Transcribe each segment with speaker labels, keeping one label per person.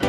Speaker 1: Du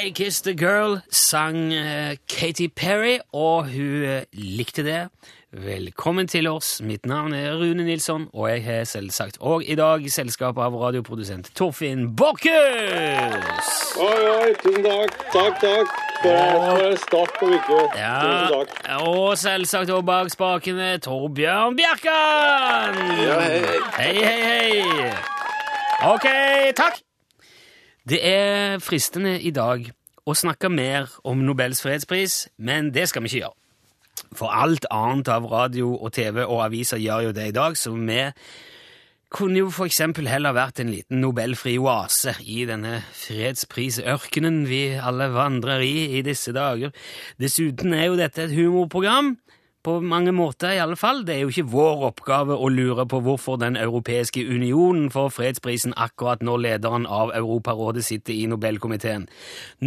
Speaker 2: I Kissed a Girl sang eh, Katy Perry, og hun eh, likte det. Velkommen til oss. Mitt navn er Rune Nilsson, og jeg har selvsagt òg i dag selskap av radioprodusent Torfinn Borchhus!
Speaker 3: Oi, oi, tusen takk. Takk, takk. For en start på uke. Tusen
Speaker 2: Ja,
Speaker 3: takk.
Speaker 2: og selvsagt òg bak spakene Torbjørn Bjerkan!
Speaker 3: hei,
Speaker 2: hei, hei, hei. Ok, takk! Det er fristende i dag å snakke mer om Nobels fredspris, men det skal vi ikke gjøre. For alt annet av radio og TV og aviser gjør jo det i dag, så vi kunne jo for eksempel heller vært en liten nobelfri oase i denne fredsprisørkenen vi alle vandrer i i disse dager. Dessuten er jo dette et humorprogram, på mange måter i alle fall. Det er jo ikke vår oppgave å lure på hvorfor Den europeiske unionen får fredsprisen akkurat når lederen av Europarådet sitter i Nobelkomiteen.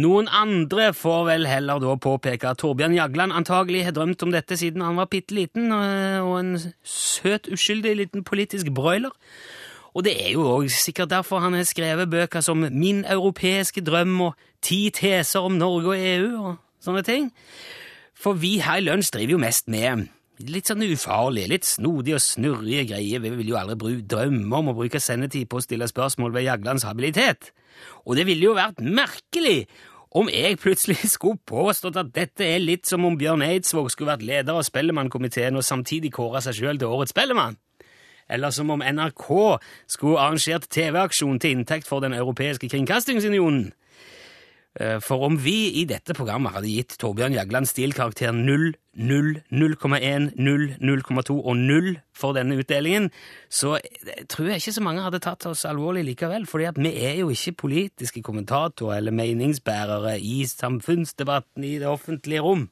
Speaker 2: Noen andre får vel heller da påpeke at Torbjørn Jagland antagelig har drømt om dette siden han var bitte liten, og en søt, uskyldig liten politisk broiler. Og det er jo også sikkert derfor han har skrevet bøker som Min europeiske drøm og Ti teser om Norge og EU og sånne ting. For vi her i lunsj driver jo mest med litt sånn ufarlige, litt snodige og snurrige greier. Vi vil jo aldri bru- drømme om å bruke sendetid på å stille spørsmål ved Jaglands habilitet. Og det ville jo vært merkelig om jeg plutselig skulle påstått at dette er litt som om Bjørn Eidsvåg skulle vært leder av Spellemannkomiteen og samtidig kåra seg sjøl til Årets Spellemann. Eller som om NRK skulle arrangert TV-aksjon til inntekt for Den europeiske kringkastingsunionen. Eh, For om vi i dette programmet hadde gitt Torbjørn Jagland stilkarakter 0, 0, 0,1, 0, 0,2 og 0 for denne utdelingen, så eh, tror jeg ikke så mange hadde tatt oss alvorlig likevel, fordi at vi er jo ikke politiske kommentatorer eller meningsbærere i samfunnsdebatten i det offentlige rom.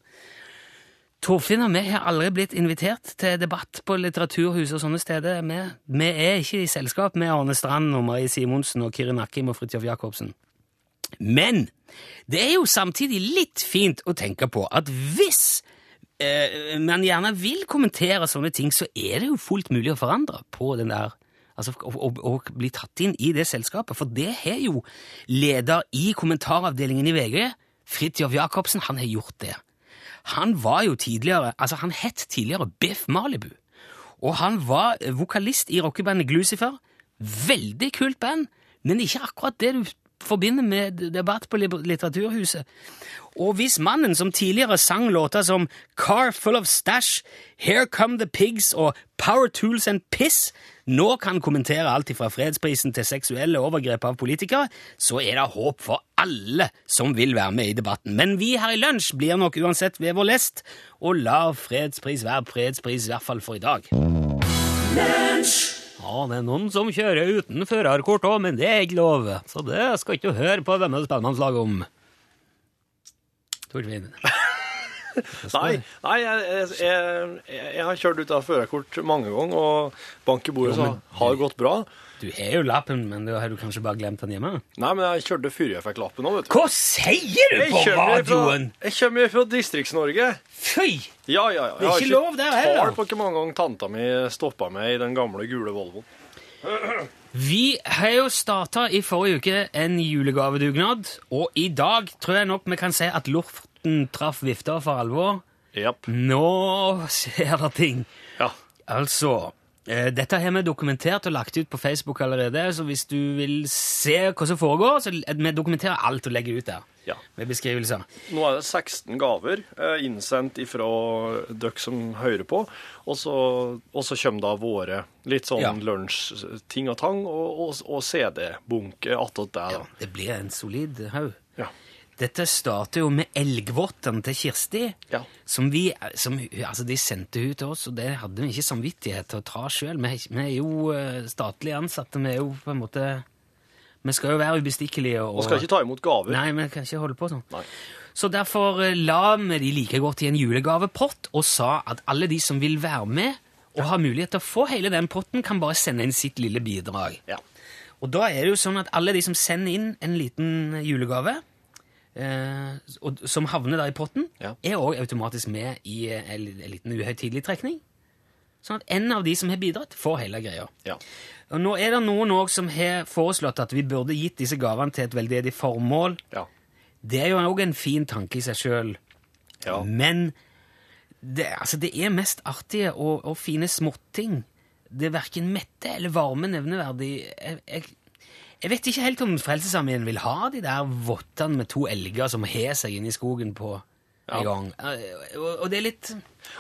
Speaker 2: Torfinn og vi har aldri blitt invitert til debatt på litteraturhus og sånne steder. Vi, vi er ikke i selskap med Arne Strand og Marie Simonsen og Kirin Akkim og Fridtjof Jacobsen. Men det er jo samtidig litt fint å tenke på at hvis eh, man gjerne vil kommentere sånne ting, så er det jo fullt mulig å forandre på den der Altså å, å, å bli tatt inn i det selskapet, for det har jo leder i kommentaravdelingen i VG, Fridtjof Jacobsen, han har gjort det. Han var jo tidligere Altså, han het tidligere Biff Malibu. Og han var eh, vokalist i rockebandet Glucifer. Veldig kult band, men ikke akkurat det du forbinder med debatt på Liber- Litteraturhuset. Og hvis mannen som tidligere sang låter som Car Full of Stash, Here Come the Pigs og Power Tools and Piss nå kan kommentere alt fra fredsprisen til seksuelle overgrep av politikere, så er det håp for alle som vil være med i debatten. Men vi her i Lunsj blir nok uansett ved vår lest, og lar fredspris være fredspris, i hvert fall for i dag. Ja, det er noen som kjører uten førerkort òg, men det er ikke lov. Så det skal ikke du høre på denne spellemannslaget om. Torfinn.
Speaker 3: Nei, nei jeg, jeg, jeg, jeg har kjørt ut av førerkort mange ganger, og bank i bordet så har det gått bra.
Speaker 2: Du har jo lappen, men du har du kanskje bare glemt den hjemme?
Speaker 3: Nei, men jeg kjørte før jeg fikk lappen òg, vet du.
Speaker 2: Hva sier du
Speaker 3: Jeg
Speaker 2: på
Speaker 3: kommer fra,
Speaker 2: radioen?!
Speaker 3: jeg kommer fra Distrikts-Norge.
Speaker 2: Fy!
Speaker 3: Ja, ja, ja.
Speaker 2: Det er
Speaker 3: Jeg har
Speaker 2: ikke lov der heller.
Speaker 3: tall på hvor mange ganger tanta mi stoppa meg i den gamle, gule Volvoen.
Speaker 2: Vi har jo starta i forrige uke en julegavedugnad, og i dag tror jeg nok vi kan si at lorten traff vifta for alvor. Mm.
Speaker 3: Japp.
Speaker 2: Nå skjer det ting.
Speaker 3: Ja.
Speaker 2: Altså eh, dette har vi dokumentert og lagt ut på Facebook allerede, så hvis du vil se hva som foregår, så eh, vi dokumenterer alt og legger ut der.
Speaker 3: Ja.
Speaker 2: Med beskrivelser.
Speaker 3: Nå er det 16 gaver eh, innsendt ifra dere som hører på, og så, og så kommer da våre litt sånn
Speaker 2: Ja.
Speaker 3: lunsj-ting og tang og, og, og CD-bunke attåt der.
Speaker 2: Ja, det blir en solid haug.
Speaker 3: Ja.
Speaker 2: Dette starter jo med elgvottene til Kirsti,
Speaker 3: Ja.
Speaker 2: som vi, som, altså de sendte hun til oss, og det hadde vi ikke samvittighet til å ta sjøl. Vi, er ikke- vi er jo eh, statlig ansatte, vi er jo på en måte Vi skal jo være ubestikkelige. Og,
Speaker 3: Og skal ikke ta imot gaver.
Speaker 2: Nei, vi kan ikke holde på sånn.
Speaker 3: Nei.
Speaker 2: Så derfor eh, la vi de like godt i en julegavepott og sa at alle de som vil være med og har mulighet til å få hele den potten, kan bare sende inn sitt lille bidrag.
Speaker 3: Ja.
Speaker 2: Og da er det jo sånn at alle de som sender inn en liten julegave, eh, og, som havner der i potten,
Speaker 3: Ja.
Speaker 2: er òg automatisk med i eh, en, en liten uhøytidelig trekning. Sånn at en av de som har bidratt, får hele greia.
Speaker 3: Ja.
Speaker 2: Og nå er det noen òg som har foreslått at vi burde gitt disse gavene til et veldedig formål.
Speaker 3: Ja.
Speaker 2: Det er jo òg en fin tanke i seg sjøl,
Speaker 3: ja.
Speaker 2: men det, altså, det er mest artige og, og fine småting. Det verken metter eller varmer nevneverdig. Jeg, jeg, jeg vet ikke helt om Frelsesarmeen vil ha de der vottene med to elger som har seg inne i skogen på
Speaker 3: Ja.
Speaker 2: en gang. Eh, Og, og det er litt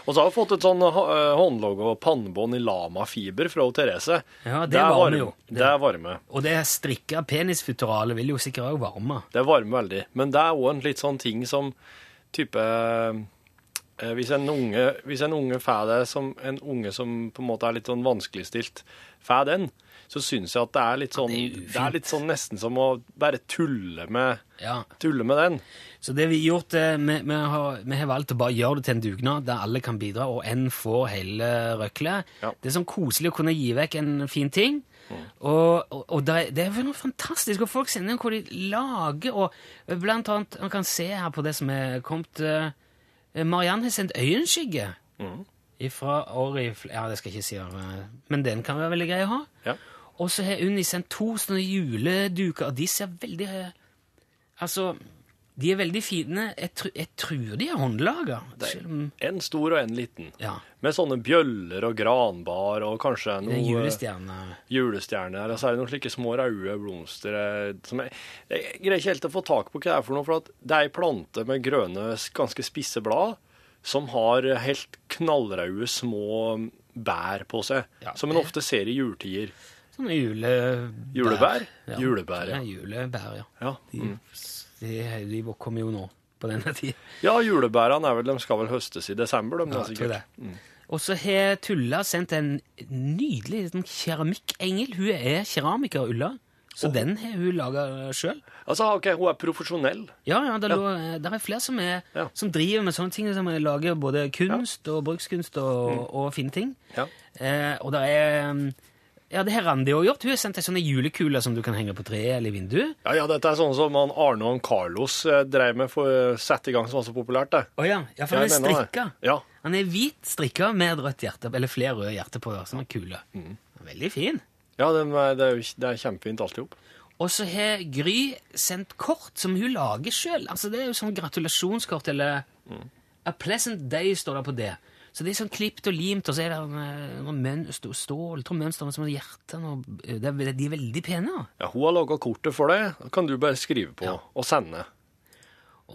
Speaker 3: Og så har vi fått et sånn eh, håndlogg og pannebånd i lamafiber fra Therese.
Speaker 2: Ja, det
Speaker 3: er
Speaker 2: varmer jo.
Speaker 3: Det er varme.
Speaker 2: Og det strikka penisfuteralet vil jo sikkert òg varme.
Speaker 3: Det varmer veldig. Men det er òg en litt sånn ting som type eh, hvis en, unge, hvis en unge får det som en unge som på en måte er litt sånn vanskeligstilt, får den, så syns jeg at det er litt sånn
Speaker 2: det er
Speaker 3: Det
Speaker 2: ufint.
Speaker 3: er litt sånn nesten som å bare tulle med,
Speaker 2: Ja.
Speaker 3: tulle med den.
Speaker 2: Så det vi har gjort, eh, vi, vi, har, vi har valgt å bare gjøre det til en dugnad der alle kan bidra, og en får hele røklet.
Speaker 3: Ja.
Speaker 2: Det er sånn koselig å kunne gi vekk en fin ting. Og, og, og det, er- det er vel noe fantastisk, og folk sender inn hvor de lager, og blant annet, man kan se her på det som er kommet, eh, Marianne har sendt øyenskygge fra året, i fl- ja det skal jeg ikke si, eh, men den kan være veldig grei å ha.
Speaker 3: Ja.
Speaker 2: Og så har Unni sendt to sånne juleduker, og de ser veldig eh, Altså, de er veldig fine. Jeg, tru, jeg tror de er håndlaga. selv om-
Speaker 3: En stor og eh, en liten.
Speaker 2: Ja.
Speaker 3: Med sånne bjøller og granbar og
Speaker 2: Det
Speaker 3: kanskje
Speaker 2: er
Speaker 3: noe
Speaker 2: en julestjerne.
Speaker 3: julestjerne her, og så er det noen slike små røde blomster eh, som jeg, jeg greier ikke helt å få tak på hva det er for noe, for at det er ei plante med grønne, s- ganske spisse blad som har helt knallrøde små mm, bær på seg,
Speaker 2: Ja,
Speaker 3: som en
Speaker 2: det-
Speaker 3: ofte ser i juletider.
Speaker 2: Sånne jule...
Speaker 3: Julebær?
Speaker 2: Ja.
Speaker 3: Julebær,
Speaker 2: ja.
Speaker 3: ja.
Speaker 2: Julebær, ja.
Speaker 3: Ja, Mm.
Speaker 2: De, de, de kommer jo nå, på denne tida.
Speaker 3: ja julebærene er vel, de skal vel høstes i desember, de,
Speaker 2: Ja,
Speaker 3: da,
Speaker 2: jeg tror
Speaker 3: sikkert. Mm.
Speaker 2: det. Og så har Tulla sendt en nydelig liten keramikkengel. Hun er keramiker, Ulla, så den har hun laga sjøl.
Speaker 3: Altså, ok, hun er profesjonell.
Speaker 2: Ja, ja, der, Lå, eh, der er flere som, er,
Speaker 3: Ja.
Speaker 2: som driver med sånne ting, som lager både kunst og brukskunst og, og fine ting.
Speaker 3: Mm. Ja.
Speaker 2: Eh, og der er mm, Ja, det har Randi òg gjort. Hun har sendt deg sånne julekuler som du kan henge på treet eller i vinduet.
Speaker 3: Ja, ja, dette er sånn som han Arne og han Carlos eh, drev med for å sette i gang, som var så populært, det.
Speaker 2: Å ja. ja, for han
Speaker 3: Jeg
Speaker 2: er
Speaker 3: mener det.
Speaker 2: strikka.
Speaker 3: Ja.
Speaker 2: Han er hvit strikka med et rødt hjerte, eller flere røde hjerter på. Sånne kuler.
Speaker 3: Mm.
Speaker 2: Veldig fin.
Speaker 3: Ja, det, er- det er, jo- det er kjempefint alt i hop.
Speaker 2: Og så har Gry sendt kort som hun lager sjøl. Altså, det er jo sånn gratulasjonskort, eller A pleasant day står det på det. Så det er sånn klipt og limt, og så er det eh, noen mønster, stål, tror mønster som er hjerter og det er, De er veldig pene. da.
Speaker 3: Ja, hun har laga kortet for deg. Da kan du bare skrive på og sende.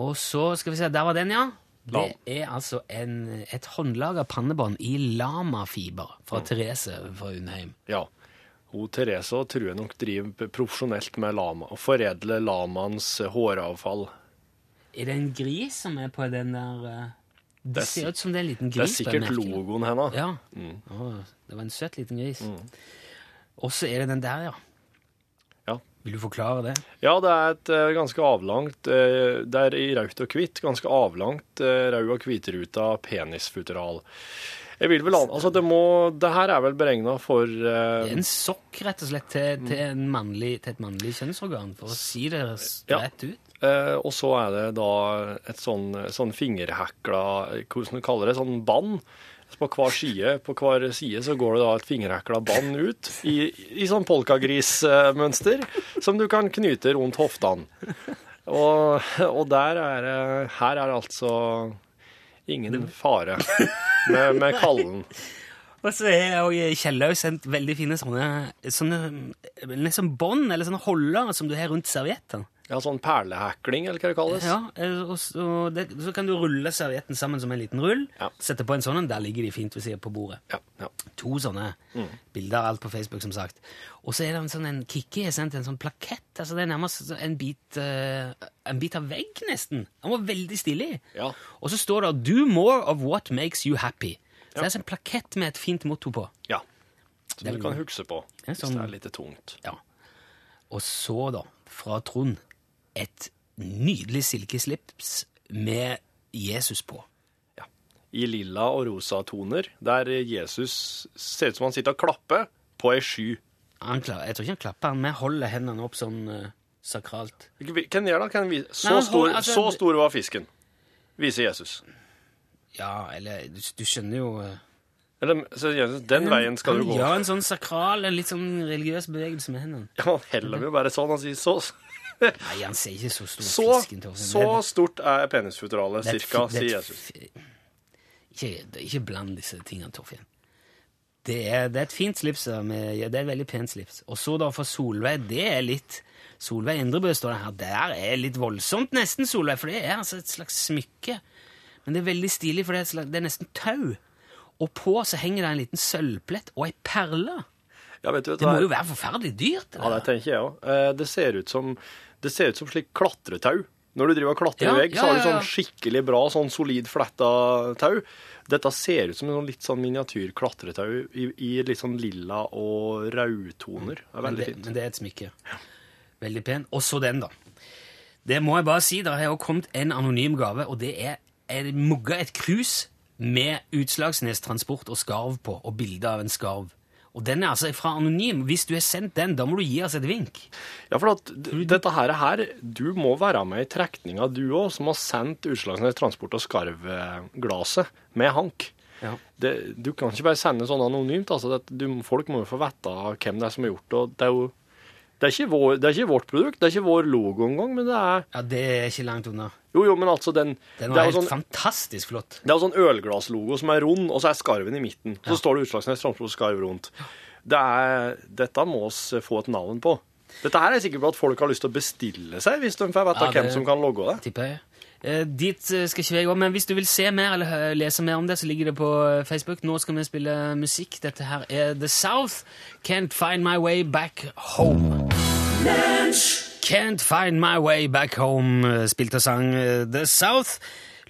Speaker 2: Og så skal vi se, der var den, ja. Det
Speaker 3: Lam.
Speaker 2: er altså en, et håndlaga pannebånd i lamafiber fra
Speaker 3: Mm.
Speaker 2: Therese fra Undheim.
Speaker 3: Ja. Hun Therese tror jeg nok driver profesjonelt med lama, og foredler lamaens håravfall.
Speaker 2: Er det en gris som er på den der eh, Det,
Speaker 3: er
Speaker 2: ser
Speaker 3: sik-
Speaker 2: ut som det er en liten
Speaker 3: Det er
Speaker 2: gris. på den
Speaker 3: sikkert
Speaker 2: merkingen.
Speaker 3: logoen hennes.
Speaker 2: Ja.
Speaker 3: Mm.
Speaker 2: Å, det var en søt liten gris. Og så er det den der, ja.
Speaker 3: Ja.
Speaker 2: Vil du forklare det?
Speaker 3: Ja, det er et eh, ganske avlangt eh, Det er i raut og hvitt. Ganske avlangt eh, rød- og hvitruta penisfuteral. Jeg vil vel an... Altså, det må Det her er vel beregna for eh,
Speaker 2: Det er En sokk, rett og slett, til, til, en mannlig, til et mannlig kjønnsorgan, for å si det s-
Speaker 3: Ja.
Speaker 2: rett ut.
Speaker 3: Eh, og så er det da et sånn, sånn fingerhekla Hvordan du kaller det? Sånn bånd. Så På hver side på hver side så går det da et fingerhekla bånd ut i, i sånn polkagrismønster som du kan knyte rundt hoftene. Og, og der er det- Her er det altså ingen fare med, med kallen.
Speaker 2: Og så er eh, òg Kjellaug sendt veldig fine sånne, sånne eh, liksom bånd, eller sånne holdere, som du har rundt servietten.
Speaker 3: Ja, sånn perlehekling, eller hva det kalles.
Speaker 2: Ja, eh, og så, det, så kan du rulle servietten sammen som en liten rull.
Speaker 3: Ja.
Speaker 2: Sette på en sånn en. Der ligger de fint ved siden på bordet.
Speaker 3: Ja, ja.
Speaker 2: To sånne bilder, alt på Facebook, som sagt. Og så er det en sånn en Kikki har sendt en sånn plakett. altså Det er nærmest så- en bit, eh, en bit av vegg, nesten. Den var veldig stilig.
Speaker 3: Ja.
Speaker 2: Og så står det 'Do more of what makes you happy'. Så Det er altså en plakett med et fint motto på.
Speaker 3: ja. Som du kan huske på
Speaker 2: Ja,
Speaker 3: hvis
Speaker 2: sånn-
Speaker 3: det er litt tungt.
Speaker 2: Ja. Og så, da, fra Trond, et nydelig silkeslips med Jesus på.
Speaker 3: Ja. I lilla og rosa toner, der Jesus ser ut som han sitter og klapper på ei sky.
Speaker 2: Han kla- jeg tror ikke han klapper, han vi holder hendene opp sånn eh, sakralt.
Speaker 3: Hvem gjør det? Kan vi, så,
Speaker 2: Nei, men
Speaker 3: stor,
Speaker 2: hold- altså-
Speaker 3: så stor var fisken, viser Jesus.
Speaker 2: Ja, eller du, du skjønner jo eh,
Speaker 3: Eller, så Jesus, den veien skal du
Speaker 2: han
Speaker 3: gå.
Speaker 2: gjør
Speaker 3: Ja,
Speaker 2: en sånn sakral, en litt sånn religiøs bevegelse med hendene.
Speaker 3: Han heller jo bare sånn. Han sier så
Speaker 2: Nei, han ser ikke så stor
Speaker 3: Så,
Speaker 2: fisken til
Speaker 3: så stort er penisfuteralet
Speaker 2: Det er et
Speaker 3: cirka,
Speaker 2: fi- det
Speaker 3: sier
Speaker 2: er et
Speaker 3: Jesus.
Speaker 2: fi- Ikke, det er ikke bland disse tingene, Torfinn. Det er, det er et fint slips. da, Med, ja, det er et veldig pent slips. Og så da for Solveig, det er litt Solveig Indrebø står det her. Der er litt voldsomt, nesten, Solveig, for det er altså et slags smykke. Men det er veldig stilig, for det er, et slags, det er nesten tau. Og på så henger det en liten sølvplett og ei perle.
Speaker 3: Ja, vet du, vet du,
Speaker 2: Det må
Speaker 3: det-
Speaker 2: jo være forferdelig dyrt. det
Speaker 3: Ja,
Speaker 2: der.
Speaker 3: det tenker jeg òg. Det ser ut som, det ser ut som slik klatretau. Når du driver og klatrer
Speaker 2: Ja,
Speaker 3: i vegg,
Speaker 2: ja,
Speaker 3: så har du
Speaker 2: ja, ja.
Speaker 3: sånn skikkelig bra, sånn solid fletta tau. Dette ser ut som en sånn litt sånn miniatyr klatretau i, i litt sånn lilla og rødtoner. Det er
Speaker 2: Men
Speaker 3: veldig
Speaker 2: det,
Speaker 3: fint.
Speaker 2: men det er et smykke. Veldig pen. Og så den, da. Det må jeg bare si, der har jo kommet en anonym gave, og det er en mugga et krus med Utslagsnes Transport og skarv på, og bilde av en skarv. Og den er altså fra anonym. Hvis du har sendt den, da må du gi oss et vink.
Speaker 3: Ja, for at d- dette her, er her Du må være med i trekninga, du òg, som har sendt Utslagsnes Transport og Skarv-glaset med hank.
Speaker 2: Ja.
Speaker 3: Det, du kan ikke bare sende sånn anonymt. Altså, det, du, folk må jo få vite hvem det er som har gjort det. og Det er jo det er, ikke vår, det er ikke vårt produkt, det er ikke vår logo engang, men det er
Speaker 2: det er ikke langt unna.
Speaker 3: Jo, jo, men altså, den,
Speaker 2: Den
Speaker 3: det,
Speaker 2: var
Speaker 3: er jo
Speaker 2: helt
Speaker 3: sånn,
Speaker 2: fantastisk flott.
Speaker 3: det er jo sånn ølglasslogo som er rund, og så er skarven i midten. Så står det Utslagsnes Transport og Skarv rundt. Det er, dette må oss få et navn på. Dette her er jeg sikker på at folk har lyst til å bestille seg, hvis de får vite
Speaker 2: Ja, det-
Speaker 3: hvem som kan logge det.
Speaker 2: tipper jeg. Eh, dit eh, skal ikke jeg gå, men hvis du vil se mer eller hø- lese mer om det, så ligger det på eh, Facebook. Nå skal vi spille musikk. Dette her er The South. Can't find my way back home. Can't find my way back home, eh, spilte og sang eh, The South.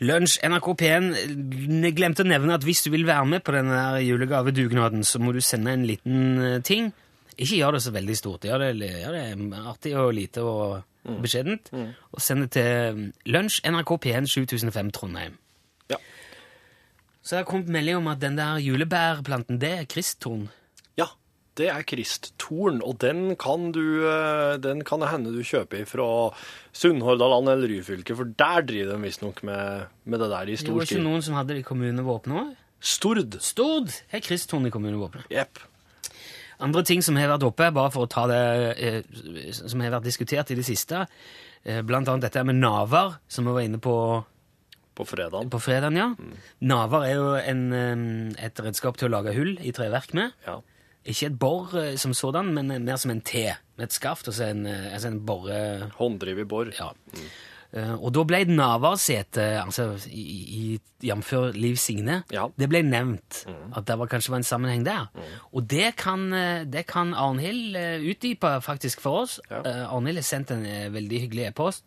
Speaker 2: Lunsj NRK P1 eh, glemte å nevne at hvis du vil være med på denne her julegavedugnaden, så må du sende en liten eh, ting. Ikke gjør det så veldig stort. Gjør det, gjør det eh, artig og lite og beskjedent. Og send det til mm, lunsj NRK P1 7005 Trondheim.
Speaker 3: Ja.
Speaker 2: Så det har kommet melding om at den der julebærplanten, det er kristtorn.
Speaker 3: Ja, det er kristtorn, og den kan du eh, Den kan det hende du kjøper fra Sunnhordaland eller Ryfylke, for der driver de visstnok med, med det der i
Speaker 2: Det
Speaker 3: stor
Speaker 2: var ikke
Speaker 3: stil.
Speaker 2: noen som hadde det i kommunevåpenet òg.
Speaker 3: Stord.
Speaker 2: Stord er kristtorn i kommunevåpenet.
Speaker 3: Jepp.
Speaker 2: Andre ting som har vært oppe, bare for å ta det eh, som har vært diskutert i det siste, eh, blant annet dette med naver, som vi var inne på
Speaker 3: På fredagen.
Speaker 2: på fredagen, ja. Naver er jo en, eh, et redskap til å lage hull i treverk med.
Speaker 3: Ja.
Speaker 2: Ikke et bor eh, som sådan, men eh, mer som en T, med et skaft og så en, eh, altså en borre.
Speaker 3: Hånddrevet bor.
Speaker 2: Ja. Eh, Og da ble Navarsete, altså i, i, jf. Liv Signe,
Speaker 3: Ja. Mm.
Speaker 2: det ble nevnt at det var, kanskje var en sammenheng der. Og det kan, eh, det kan Arnhild eh, utdype faktisk for oss.
Speaker 3: Ja.
Speaker 2: Eh, Arnhild har sendt en eh, veldig hyggelig e-post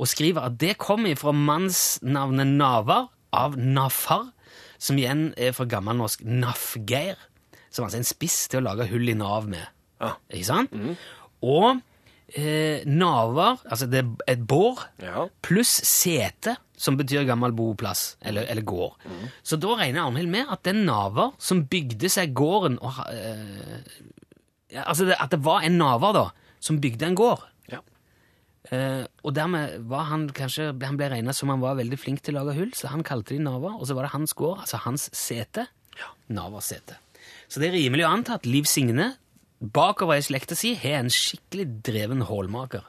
Speaker 2: og skriver at det kommer fra mannsnavnet Navar av Nafar, som igjen er fra gammelnorsk Nafgeir, som altså er en spiss til å lage hull i nav med.
Speaker 3: Ja.
Speaker 2: Ikke sant? Og eh, naver, altså det er et bår,
Speaker 3: Ja.
Speaker 2: pluss sete, som betyr gammel boplass, eller, eller gård. Så da regner Arnhild med at den naver som bygde seg gården og, ha- eh, ja, Altså det, at det var en naver, da, som bygde en gård.
Speaker 3: Ja.
Speaker 2: Eh, og dermed var han kanskje Han ble regna som han var veldig flink til å lage hull, så han kalte de naver, og så var det hans gård, altså hans sete. Navarsete. Så det er rimelig å anta at Liv Signe bakover i slekta si har en skikkelig dreven hålmaker.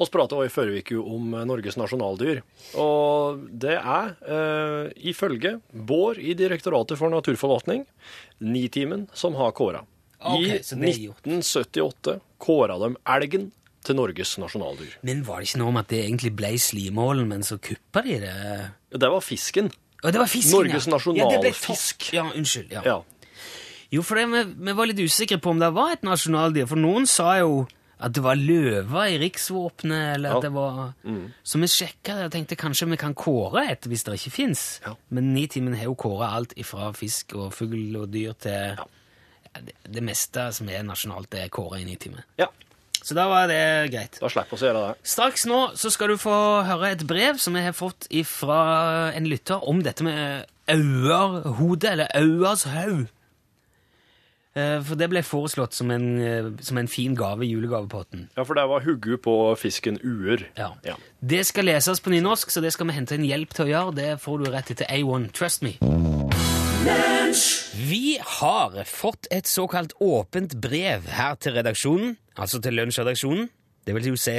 Speaker 3: Vi prata også i forrige uke om Norges nasjonaldyr. Og det er, eh, ifølge Bård i Direktoratet for naturforvaltning, Nitimen som har kåra.
Speaker 2: Ok, så det er
Speaker 3: I
Speaker 2: gjort.
Speaker 3: 1978 kåra de elgen til Norges nasjonaldyr.
Speaker 2: Men var det ikke noe om at det egentlig ble Slimålen, men så kuppa de det?
Speaker 3: Det var fisken.
Speaker 2: Å, det var fisken,
Speaker 3: Norges
Speaker 2: ja. Ja, det ble
Speaker 3: nasjonalfisk.
Speaker 2: torsk. Ja, unnskyld. Ja.
Speaker 3: Ja.
Speaker 2: Jo, for det, vi, vi var litt usikre på om det var et nasjonaldyr, for noen sa jo at det var løver i riksvåpenet, eller
Speaker 3: Ja. Mm.
Speaker 2: at det var Så vi sjekka det og tenkte kanskje vi kan kåre et hvis det ikke fins.
Speaker 3: Ja.
Speaker 2: Men Nitimen har jo kåra alt ifra fisk og fugl og dyr til ja, det, det meste som er nasjonalt, det er kåra i Nitimen.
Speaker 3: ja.
Speaker 2: Så da var det greit.
Speaker 3: Da slipper vi å gjøre det.
Speaker 2: Straks nå så skal du få høre et brev som jeg har fått fra en lytter om dette med auerhode, eller auershaug. Eh, For det ble foreslått som en, eh, som en fin gave i julegavepotten.
Speaker 3: Ja, for det var huggu på fisken uer.
Speaker 2: Ja.
Speaker 3: Ja.
Speaker 2: Det skal leses på nynorsk, så det skal vi hente inn hjelp til å gjøre. Det får du rett etter A1. Trust me. Vi har fått et såkalt åpent brev her til redaksjonen, altså til lunsjredaksjonen. Det vil jo si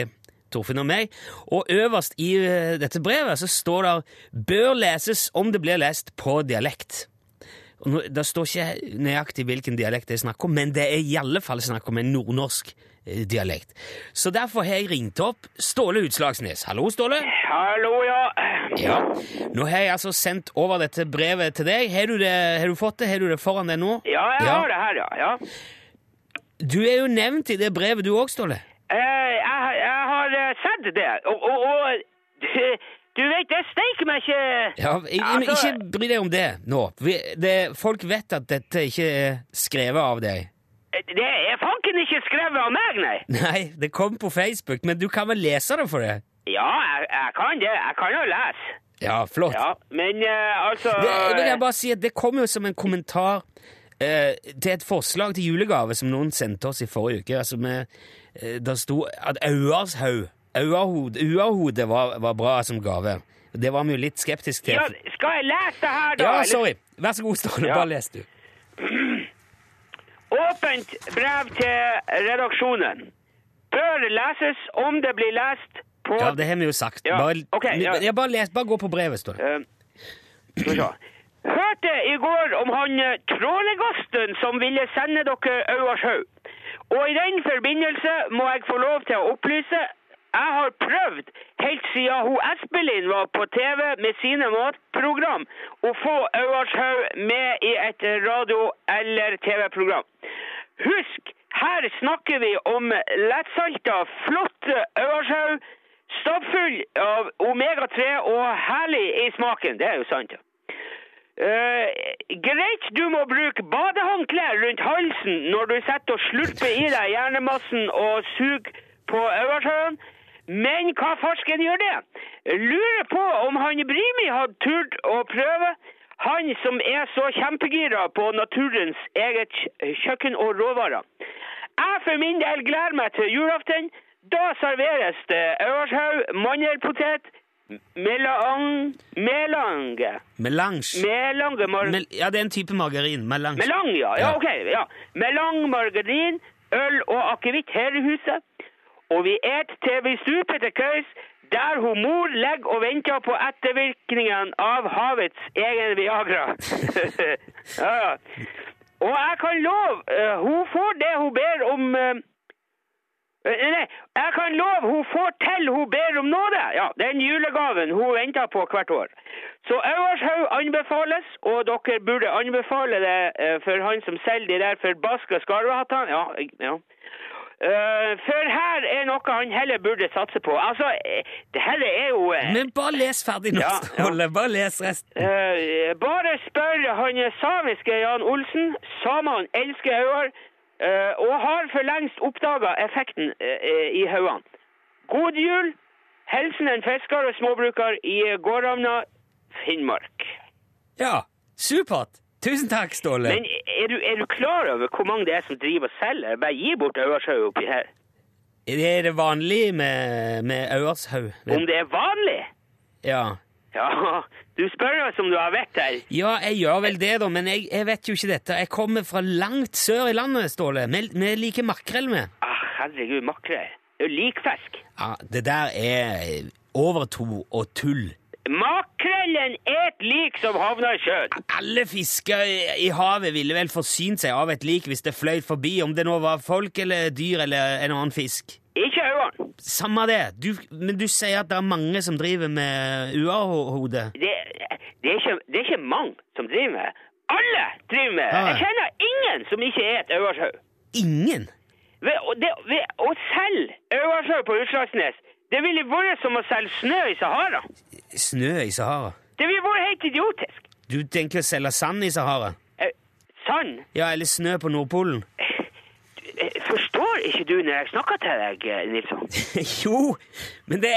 Speaker 2: Torfinn og meg. Og øverst i eh, dette brevet så står det 'bør leses om det blir lest på dialekt'. Og nå, det står ikke nøyaktig hvilken dialekt det er snakk om, men det er i alle fall snakk om en nordnorsk eh, dialekt. Så derfor har jeg ringt opp Ståle Utslagsnes. Hallo, Ståle.
Speaker 4: Hallo, ja.
Speaker 2: Ja. Nå har jeg altså sendt over dette brevet til deg. Har du, det, har du fått det? Har du det foran deg nå?
Speaker 4: Ja, jeg har det her, ja. ja.
Speaker 2: Du er jo nevnt i det brevet du òg, Ståle.
Speaker 4: Eh, jeg, jeg har eh, sett det, og, og, og du vet, det steiker meg ikke
Speaker 2: Ja, jeg, jeg,
Speaker 4: Altså-
Speaker 2: ikke bry deg om det nå. Vi, det, folk vet at dette ikke er skrevet av deg.
Speaker 4: Det er fanken ikke skrevet av meg, nei.
Speaker 2: Nei, det kom på Facebook, men du kan vel lese det for det?
Speaker 4: Ja, jeg, jeg kan det. Jeg kan jo lese.
Speaker 2: Ja, flott.
Speaker 4: Ja, men eh, altså
Speaker 2: Det, jeg vil jeg bare si at det kom jo som en kommentar eh, til et forslag til julegave som noen sendte oss i forrige uke. Altså med, eh, der sto at Auershaug Uahode var, var bra som gave. Det var vi jo litt skeptiske til.
Speaker 4: ja, Skal jeg lese det her, da?
Speaker 2: Ja,
Speaker 4: eller?
Speaker 2: sorry. Vær så god, Ståle.
Speaker 4: Ja.
Speaker 2: Bare les, du.
Speaker 4: Åpent brev til redaksjonen. Bør leses om det blir lest på
Speaker 2: Ja, det har vi jo sagt.
Speaker 4: Ja,
Speaker 2: Bare,
Speaker 4: ok, ja.
Speaker 2: ja, bare, les, bare gå på brevet, Ståle.
Speaker 4: Eh, Skal vi se. Hørte i går om han eh, trålegasten som ville sende dere Auarshaug. Og i den forbindelse må jeg få lov til å opplyse jeg har prøvd helt siden hun Espelin var på TV med sine matprogram å få Auarshaug med i et radio- eller TV-program. Husk, her snakker vi om lettsalta, flotte Auarshaug Stappfull av omega-3 og herlig i smaken. Det er jo sant. ja. Eh, greit, du må bruke badehåndklær rundt halsen når du setter og slurper i deg hjernemassen og suger på Øversjøen. Men hva farsken gjør det? Lurer på om han Brimi hadde turt å prøve. Han som er så kjempegira på naturens eget kj- kjøkken og råvarer. Jeg for min del gleder meg til julaften. Da serveres det Øvershaug, mandelpotet, melang... melange.
Speaker 2: Melange.
Speaker 4: Melange mar...
Speaker 2: Mel ja, det er en type margarin. Melange.
Speaker 4: Melang, ja.
Speaker 2: Ja.
Speaker 4: ja, ok. Ja. Melang, margarin, øl og akevitt her i huset. Og vi et til vi stuper til køys, der hun mor legger og venter på ettervirkningene av havets egen Viagra. ja, ja. Og jeg kan love, eh, hun får det hun ber om eh, eh, Nei, jeg kan love hun får til hun ber om nåde! Ja, Den julegaven hun venter på hvert år. Så Auershaug anbefales, og dere burde anbefale det eh, for han som selger de der forbaska skarvehattene. Ja, ja. Eh, for her er noe han heller burde satse på. Altså, eh, det her er jo eh,
Speaker 2: Men bare les ferdig nå,
Speaker 4: Ja, ja.
Speaker 2: Ståle. Bare les resten.
Speaker 4: Eh, bare spør han samiske Jan Olsen. Samene elsker hauger, eh, og har for lengst oppdaga effekten eh, i haugene. God jul! Hilsen en fisker og småbruker i Gårdhamna, Finnmark.
Speaker 2: Ja, supert. Tusen takk, Ståle.
Speaker 4: Men er du, er du klar over hvor mange det er som driver og selger? Bare gi bort Auershaug oppi her.
Speaker 2: Er det vanlig med, med Auershaug?
Speaker 4: Om det er vanlig?
Speaker 2: Ja.
Speaker 4: Ja, du spør oss om du har vett her.
Speaker 2: ja, jeg gjør vel det, da, men jeg, jeg vet jo ikke dette. Jeg kommer fra langt sør i landet, Ståle. Vi, vi liker makrell, vi.
Speaker 4: Ah, herregud, makrell. Det er jo likfisk.
Speaker 2: Ja, det der er overtro og tull.
Speaker 4: Makrellen er et lik som havner i sjøen.
Speaker 2: Alle fisker i- i havet ville vel forsynt seg av et lik hvis det fløy forbi, om det nå var folk eller dyr eller en annen fisk.
Speaker 4: Ikke øynene.
Speaker 2: Samme det, du, men du sier at det er mange som driver med uahode.
Speaker 4: Det, det, er ikke, det er ikke mange som driver med det. Alle driver med det.
Speaker 2: Ja.
Speaker 4: Jeg kjenner ingen som ikke er et øyershaug.
Speaker 2: Ingen!
Speaker 4: Ved, å- det- ved å selge øyershaug på Utslagsnes, det ville vært som å selge snø i Sahara.
Speaker 2: Snø i Sahara.
Speaker 4: Det ville vært helt idiotisk.
Speaker 2: Du tenker å selge sand i Sahara?
Speaker 4: Eh, Sann,
Speaker 2: Ja, eller snø på Nordpolen?
Speaker 4: eh, forstår ikke du når jeg snakker til deg, eh, Nilsson?
Speaker 2: jo, men det,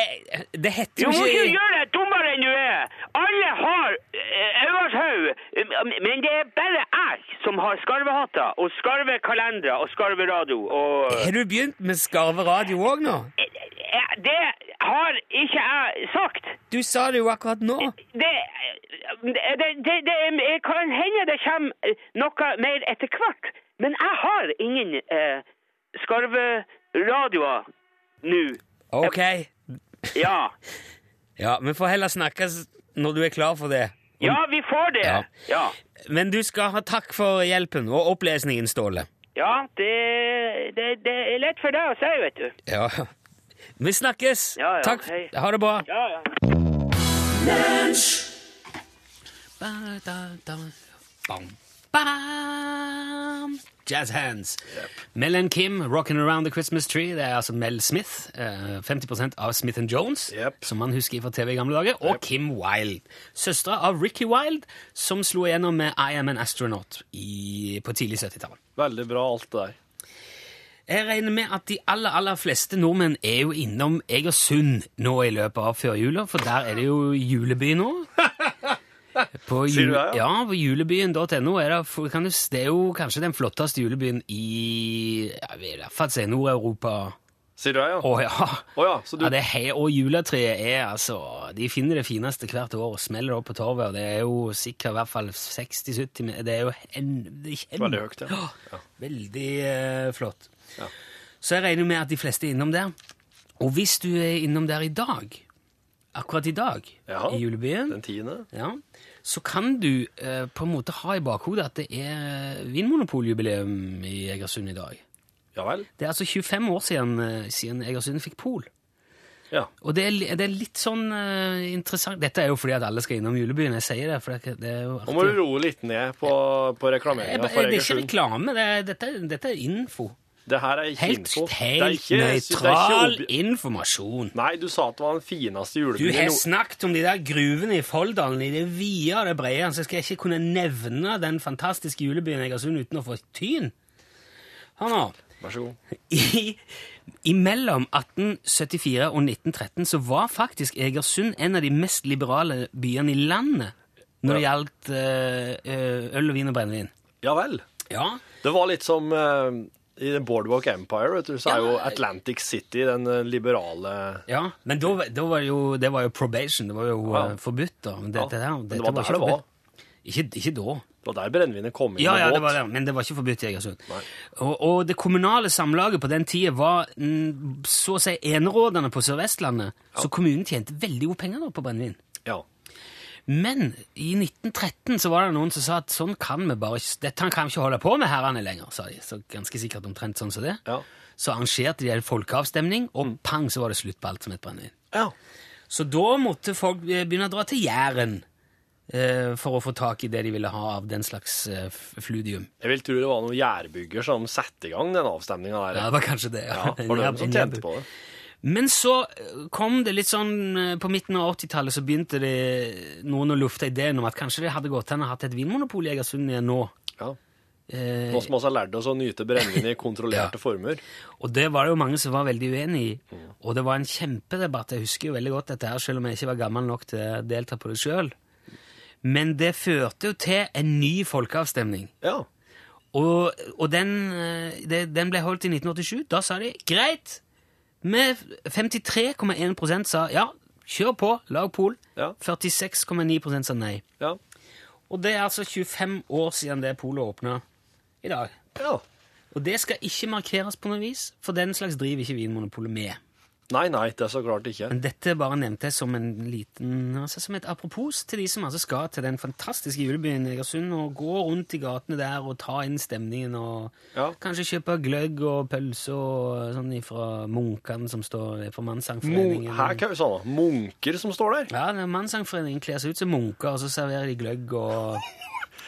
Speaker 2: det heter
Speaker 4: Du
Speaker 2: jo
Speaker 4: må ikke
Speaker 2: ikke
Speaker 4: gjøre deg dummere enn du er! Alle har eh, Auershaug, men det er bare jeg som har skarvehatter og skarvekalendere og skarveradio. Og
Speaker 2: Har du begynt med skarveradio òg nå?
Speaker 4: Eh, det har ikke jeg sagt.
Speaker 2: Du sa det jo akkurat nå.
Speaker 4: Det, det, det, det jeg kan hende det kommer noe mer etter hvert, men jeg har ingen eh, skarveradioer nå.
Speaker 2: Ok.
Speaker 4: Ja.
Speaker 2: Ja, vi får heller snakkes når du er klar for det.
Speaker 4: ja, vi får det.
Speaker 2: Ja.
Speaker 4: Ja.
Speaker 2: Men du skal ha takk for hjelpen og opplesningen, Ståle.
Speaker 4: Ja, det, det, det er lett for deg å si, vet du.
Speaker 2: Ja. Vi snakkes.
Speaker 4: Ja, ja,
Speaker 2: Takk.
Speaker 4: hei.
Speaker 2: Ha det bra.
Speaker 4: Ja, ja.
Speaker 2: Ba, da, da, bam, bam. Jazz hands. Mel and Kim, Rockin' Around the Christmas Tree. Det er altså Mel Smith, eh, 50 av Smith and Jones,
Speaker 3: Yep.
Speaker 2: som man husker fra TV i gamle dager, og Kim Wilde, søstera av Ricky Wilde, som slo igjennom med I Am An Astronaut i, på tidlig 70-tall.
Speaker 3: Veldig bra, alt det der.
Speaker 2: Jeg regner med at de aller, aller fleste nordmenn er jo innom Egersund nå i løpet av førjula, for der er det jo juleby nå. På
Speaker 3: Sier
Speaker 2: ju-
Speaker 3: du det, ja?
Speaker 2: Ja, på julebyen.no er det, for- kan du, s- det er jo kanskje den flotteste julebyen i jeg vil i hvert fall si Nord-Europa.
Speaker 3: Sier du det, ja?
Speaker 2: Å ja.
Speaker 3: Å ja, så du-
Speaker 2: ja det er, he- og juletreet er altså De finner det fineste hvert år og smeller det opp på torvet, og det er jo sikkert i hvert fall 60-70 men Det er jo en, det er kjem-
Speaker 3: Veldig høyt, ja.
Speaker 2: Åh, Veldig eh, flott. Så jeg regner med at de fleste er innom der. Og hvis du er innom der i dag, akkurat i dag,
Speaker 3: Ja.
Speaker 2: i julebyen,
Speaker 3: Den tiende?
Speaker 2: ja, så kan du eh, på en måte ha i bakhodet at det er vinmonopoljubileum i Egersund i dag.
Speaker 3: Ja vel?
Speaker 2: Det er altså 25 år siden, eh, siden Egersund fikk pol.
Speaker 3: Ja.
Speaker 2: Og det er, li- det er litt sånn eh, interessant Dette er jo fordi at alle skal innom julebyen. Jeg sier det, for det, er ikke- det er jo
Speaker 3: Nå må du
Speaker 2: artig.
Speaker 3: roe litt ned på, på
Speaker 2: Jeg,
Speaker 3: reklameringa
Speaker 2: ba-
Speaker 3: for
Speaker 2: det er ikke
Speaker 3: Egersund.
Speaker 2: reklame, det er, dette, er- dette er info.
Speaker 3: Det her er ikke
Speaker 2: Helt,
Speaker 3: info. Det er
Speaker 2: helt nøytral
Speaker 3: ikke- det er ikke obje-
Speaker 2: informasjon.
Speaker 3: Nei, du sa at det var den fineste
Speaker 2: Du
Speaker 3: julebyen i
Speaker 2: har
Speaker 3: Nord-
Speaker 2: snakket om de der gruvene i Folldalen, i det vide og det brede, så skal jeg ikke kunne nevne den fantastiske julebyen Egersund uten å få tyn. Hør nå.
Speaker 3: Vær så god.
Speaker 2: I, imellom 1874 og 1913 så var faktisk Egersund en av de mest liberale byene i landet når det gjaldt eh, eh, øl og vin og brennevin.
Speaker 3: Ja vel.
Speaker 2: Ja,
Speaker 3: Det var litt som eh, i Boardwalk Empire, vet du, så
Speaker 2: Ja,
Speaker 3: er jo
Speaker 2: men-
Speaker 3: Atlantic City den eh, liberale
Speaker 2: ja. men da, var- da var det jo, det var jo probation, det var jo
Speaker 3: Ja.
Speaker 2: eh, forbudt da. Men det,
Speaker 3: Ja,
Speaker 2: det, der-
Speaker 3: men det
Speaker 2: dette
Speaker 3: var der
Speaker 2: ikke
Speaker 3: det var.
Speaker 2: forbudt. Ikke, ikke da.
Speaker 3: Det var der brennevinet kom inn
Speaker 2: Ja,
Speaker 3: med
Speaker 2: ja, det
Speaker 3: båt.
Speaker 2: var det, men det var ikke forbudt i Egersund.
Speaker 3: Nei.
Speaker 2: Og, og det kommunale samlaget på den tida var mm, så å si enerådende på Sør-Vestlandet, så kommunen tjente veldig god penger da på brennevin.
Speaker 3: Ja.
Speaker 2: Men i 1913 så var det noen som sa at sånn kan vi bare ikke, dette kan vi ikke holde på med herrene lenger, sa de. Så ganske sikkert omtrent sånn som det.
Speaker 3: Ja. Mm.
Speaker 2: Så arrangerte de en folkeavstemning, og pang, så var det slutt på alt som het brennevin.
Speaker 3: ja.
Speaker 2: Så da måtte folk eh, begynne å dra til Jæren eh, for å få tak i det de ville ha av den slags eh, f- fludium.
Speaker 3: Jeg vil tro det var noen gjærbygger som satte i gang den avstemninga der.
Speaker 2: Ja, det var kanskje det.
Speaker 3: Ja, var det de som tjente på det?
Speaker 2: Men så eh, kom det litt sånn eh, På midten av 80-tallet så begynte det noen å lufte ideen om at kanskje det hadde gått an å ha hatt et vinmonopol i Egersund igjen nå.
Speaker 3: Ja.
Speaker 2: Eh,
Speaker 3: Nå som vi har lært oss å nyte brennevin i kontrollerte former.
Speaker 2: Og det var det jo mange som var veldig uenig i. Og det var en kjempedebatt. Jeg husker jo veldig godt dette her, selv om jeg ikke var gammel nok til å delta på det sjøl. Men det førte jo til en ny folkeavstemning.
Speaker 3: Ja.
Speaker 2: Og, og den, eh, det, den ble holdt i 1987. Da sa de greit. Med 53,1 sa ja, kjør på, lag pol.
Speaker 3: Ja.
Speaker 2: 46,9 sa nei.
Speaker 3: Ja.
Speaker 2: Og det er altså 25 år siden det polet åpna i dag.
Speaker 3: ja.
Speaker 2: Og det skal ikke markeres på noe vis, for den slags driver ikke Vinmonopolet med.
Speaker 3: Nei, nei, det er så klart ikke.
Speaker 2: Men dette bare nevnte jeg som en liten, altså som et apropos til de som altså skal til den fantastiske julebyen Egersund og gå rundt i gatene der og ta inn stemningen og
Speaker 3: Ja.
Speaker 2: kanskje kjøpe gløgg og pølse og sånn fra munkene som står for
Speaker 3: Mo
Speaker 2: Mannsangforeningen.
Speaker 3: Her, hva er det sånn, da? Munker som står der?
Speaker 2: Ja, det er Mannsangforeningen kler seg ut som munker, og så serverer de gløgg og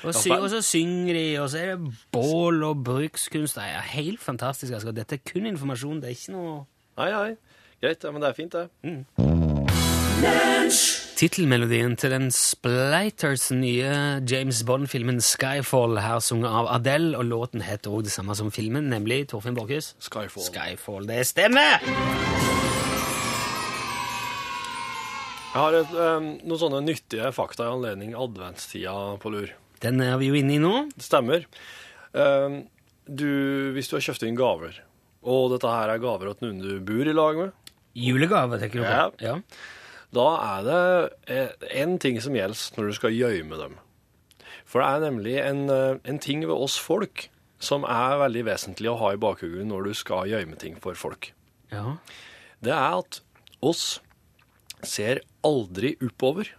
Speaker 2: og, sy
Speaker 3: vel.
Speaker 2: og så synger de, og så er det bål og brukskunst. Det er helt fantastisk. Altså. Dette er kun informasjon, det er ikke noe
Speaker 3: Nei, nei. Greit, ja, men det er fint,
Speaker 2: Mm.
Speaker 3: det.
Speaker 2: Tittelmelodien til den Splighters nye James Bond-filmen Skyfall, her sunget av Adele, og låten heter også det samme som filmen, nemlig Torfinn Borkhus.
Speaker 3: Skyfall.
Speaker 2: Skyfall, det stemmer!
Speaker 3: Jeg har et, eh, noen sånne nyttige fakta i anledning adventstida på lur.
Speaker 2: Den er vi jo inne i nå.
Speaker 3: Det stemmer. Eh, Du, hvis du har kjøpt inn gaver, og dette her er gaver til noen du bor i lag med,
Speaker 2: Julegave, tenker du på? Ja.
Speaker 3: Da er det én ting som gjelder når du skal gjemme dem. For det er nemlig en, eh, en ting ved oss folk som er veldig vesentlig å ha i bakhodet når du skal gjemme ting for folk.
Speaker 2: ja.
Speaker 3: Det er at oss ser aldri oppover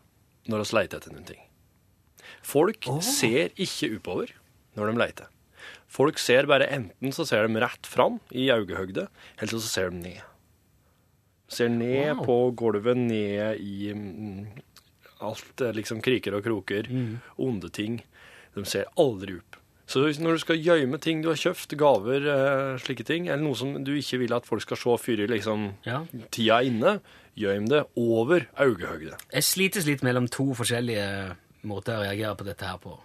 Speaker 3: når oss leter etter noen ting. Folk ser ikke oppover når de leter. Folk ser bare enten så ser de rett fram i øyehøyde, eller så ser de ned. Ser ned
Speaker 2: Wow.
Speaker 3: på gulvet, ned i mm, alt det liksom kriker og kroker,
Speaker 2: Mm.
Speaker 3: onde ting. De ser aldri opp. Så hvis- når du skal gjemme ting du har kjøpt, gaver, eh, slike ting, eller noe som du ikke vil at folk skal se fyr i liksom
Speaker 2: Ja.
Speaker 3: tida er inne, gjem det over øyehøyde.
Speaker 2: Jeg slites litt mellom to forskjellige måter å reagere på dette her på.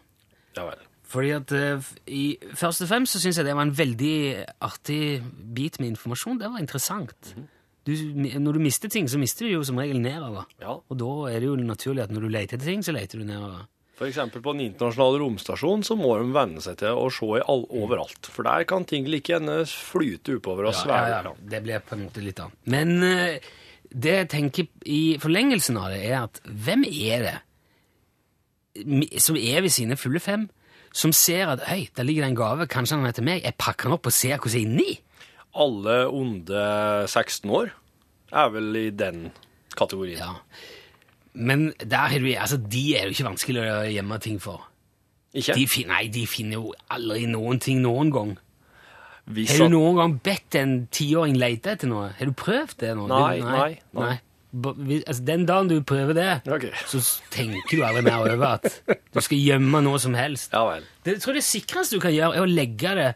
Speaker 3: Ja vel.
Speaker 2: Fordi at eh, f- i, Først og fremst så syns jeg det var en veldig artig bit med informasjon. Det var interessant. Du, når du mister ting, så mister du jo som regel nedover.
Speaker 3: Ja.
Speaker 2: Og da er det jo naturlig at når du leter etter ting, så leter du nedover.
Speaker 3: For eksempel på den internasjonale romstasjonen så må de venne seg til å se i all, overalt. For der kan ting like gjerne flyte oppover og svære.
Speaker 2: ja, ja, det blir på en måte litt annet. Men eh, det jeg tenker i forlengelsen av det, er at hvem er det mi- som er ved sine fulle fem, som ser at hei, der ligger det en gave, kanskje den er til meg, jeg pakker den opp og ser hva som er inni?
Speaker 3: Alle onde 16 år er vel i den kategorien.
Speaker 2: Ja. Men der har du, altså, de er det jo ikke vanskelig å gjemme ting for.
Speaker 3: Ikke?
Speaker 2: De finner, nei, de finner jo aldri noen ting noen gang.
Speaker 3: Hvis
Speaker 2: Har
Speaker 3: at-
Speaker 2: du noen gang bedt en tiåring lete etter noe? Har du prøvd det nå?
Speaker 3: Nei,
Speaker 2: Du-
Speaker 3: nei, nei.
Speaker 2: Ba- vi- Altså, den dagen du prøver det,
Speaker 3: Ok.
Speaker 2: så s- tenker du aldri mer over at du skal gjemme noe som helst.
Speaker 3: Ja vel.
Speaker 2: Det, jeg tror det sikreste du kan gjøre, er å legge det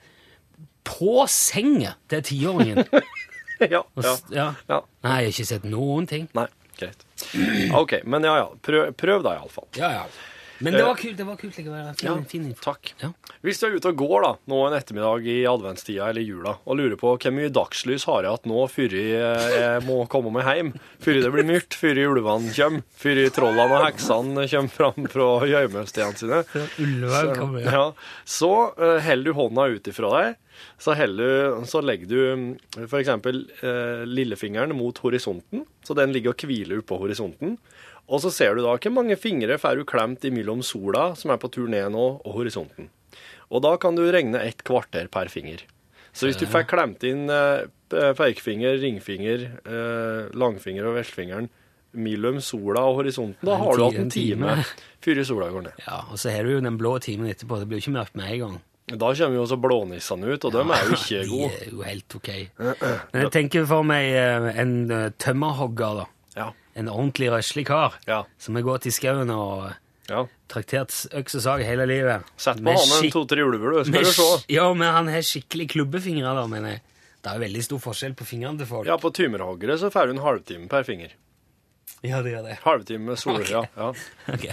Speaker 2: på senga til tiåringen.
Speaker 3: ja,
Speaker 2: Og
Speaker 3: ja,
Speaker 2: s- ja.
Speaker 3: ja.
Speaker 2: Nei, jeg har ikke sett noen ting.
Speaker 3: Nei, greit. OK, men ja ja. Prøv, prøv da iallfall.
Speaker 2: Ja, ja. Men det var kult, det var kult likevel. Fin,
Speaker 3: Eh. Ja,
Speaker 2: fin info.
Speaker 3: takk.
Speaker 2: Ja.
Speaker 3: Hvis du er ute og går da, nå en ettermiddag i adventstida eller jula, og lurer på hvor mye dagslys har jeg hatt nå før jeg jeg må komme meg hjem, før det blir mørkt, før ulvene kommer, før trollene og heksene kommer fram fra gjemmestedene sine,
Speaker 2: Ulven kommer, ja.
Speaker 3: ja, så eh, holder du hånda ut ifra deg, så, holder du, så legger du mm, for eksempel eh, lillefingeren mot horisonten, så den ligger og hviler oppå horisonten, og så ser du da hvor mange fingre får du klemt imellom sola, som er på tur ned nå, og horisonten. Og da kan du regne et kvarter per finger. Så hvis du får klemt inn eh, pe- pekefinger, ringfinger, eh, langfinger og veltfingeren mellom sola og horisonten, da
Speaker 2: En
Speaker 3: har du
Speaker 2: ti-
Speaker 3: hatt en
Speaker 2: en time.
Speaker 3: time før sola går ned.
Speaker 2: Ja, og så har du jo den blå timen etterpå. Det blir jo ikke mørkt med en gang.
Speaker 3: Da kommer jo også blånissene ut, og de er jo ikke
Speaker 2: De
Speaker 3: gode.
Speaker 2: er jo helt ok. Men jeg tenker for meg eh, en eh, tømmerhogger, da.
Speaker 3: Ja,
Speaker 2: En ordentlig røslig kar
Speaker 3: Ja.
Speaker 2: som har gått i skauen og eh,
Speaker 3: ja.
Speaker 2: traktert s- øks og sag hele livet.
Speaker 3: Sett på
Speaker 2: Med
Speaker 3: hanen
Speaker 2: skik-
Speaker 3: to-tre ulver, du,
Speaker 2: med
Speaker 3: skal du se.
Speaker 2: sk- Ja, men han har skikkelig klubbefingre, da, mener jeg. Det er jo veldig stor forskjell på fingrene til folk.
Speaker 3: Ja, på tymerhoggere så får du en halvtime per finger.
Speaker 2: Ja, det gjør det.
Speaker 3: Halvtime med sol,
Speaker 2: Ok.
Speaker 3: ja. ja.
Speaker 2: Ok.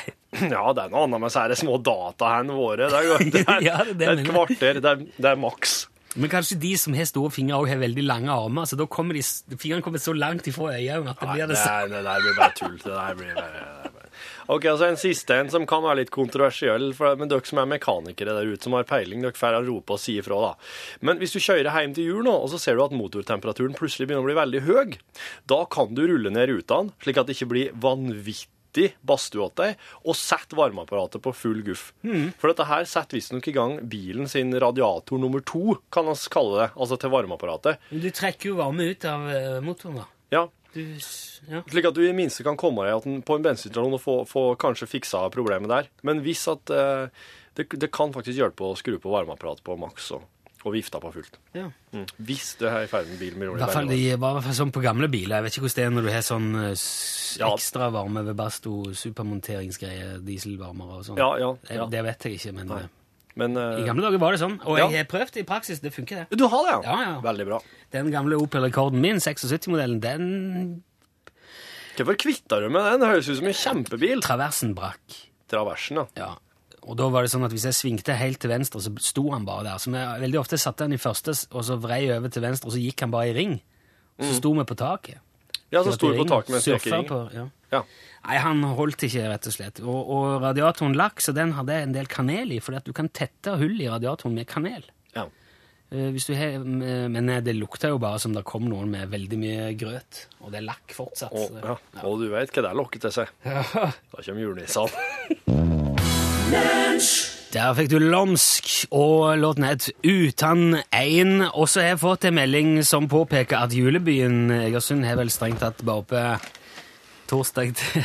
Speaker 3: Ja, det er noe annet med sære små datahendene våre. Det er jo det er,
Speaker 2: Ja, det er det
Speaker 3: det er et
Speaker 2: jeg mener.
Speaker 3: kvarter, det er, det er maks.
Speaker 2: Men kanskje de som har store fingre, også har veldig lange armer, så da kommer de, s- fingrene kommer så langt ifra øynene at det
Speaker 3: Nei,
Speaker 2: blir
Speaker 3: det,
Speaker 2: det samme.
Speaker 3: er- det der blir bare tull. Det der blir bare... det der blir- Ok, altså En siste en som kan være litt kontroversiell, for, men dere som er mekanikere der ute, som har peiling, dere får rope og si ifra, da. Men hvis du kjører hjem til jul nå, og så ser du at motortemperaturen plutselig begynner å bli veldig høy, da kan du rulle ned rutene, slik at det ikke blir vanvittig badstue åt deg, og sette varmeapparatet på full guff. For dette her setter visstnok i gang bilen sin radiator nummer to, kan vi kalle det, altså til varmeapparatet.
Speaker 2: Men du trekker jo varme ut av eh, motoren, da.
Speaker 3: Ja,
Speaker 2: Du, s- ja.
Speaker 3: Slik at du i det minste kan komme deg at den- på en bensinstasjon og få, få kanskje fiksa problemet der. Men hvis at eh, det, det kan faktisk hjelpe å skru på varmeapparatet på maks og, og vifta på fullt. Mm.
Speaker 2: ja.
Speaker 3: Hvis det er i ferd med bilen
Speaker 2: I
Speaker 3: blir dårlig
Speaker 2: hvert fall,
Speaker 3: bærevarme.
Speaker 2: de, bare i hvert fall sånn på gamle biler. Jeg vet ikke hvordan det er når du har sånn eh, s-
Speaker 3: Ja.
Speaker 2: ekstra varme ved Basto, supermonteringsgreier, dieselvarmere og sånn.
Speaker 3: Ja, ja, ja.
Speaker 2: Det, det vet jeg ikke, men eh,
Speaker 3: Men eh,
Speaker 2: i gamle dager var det sånn. Og
Speaker 3: Ja.
Speaker 2: jeg har prøvd det i praksis, det funker det.
Speaker 3: Du har det, ja?
Speaker 2: Ja, ja.
Speaker 3: Veldig bra.
Speaker 2: Den gamle Opel-rekorden min, 76-modellen, den
Speaker 3: Hvorfor kvitta du med den? Det høres ut som en kjempebil.
Speaker 2: traversen brakk.
Speaker 3: Traversen, ja.
Speaker 2: Ja. Og da var det sånn at hvis jeg svingte helt til venstre, så sto han bare der. Så jeg, veldig ofte satte han i første, og så vrei jeg over til venstre, og så gikk han bare i ring. Så sto vi på taket.
Speaker 3: Mm. Ja, så sto du på taket med en
Speaker 2: Surfa
Speaker 3: strekering.
Speaker 2: på- Ja.
Speaker 3: Ja.
Speaker 2: Nei, han holdt ikke, rett og slett. Og, og radiatoren lakk, så den hadde en del kanel i, fordi at du kan tette hull i radiatoren med kanel.
Speaker 3: ja.
Speaker 2: Eh, Hvis du har, men eh, det lukta jo bare som det kom noen med veldig mye grøt, og det er lakk fortsatt.
Speaker 3: Og, ja. og du vet hva det lokker til seg. Da kommer julenissene.
Speaker 2: Der fikk du Lomsk og låten het Utan ein. Og så har jeg fått en melding som påpeker at julebyen Egersund har vel strengt tatt bare oppe torsdag til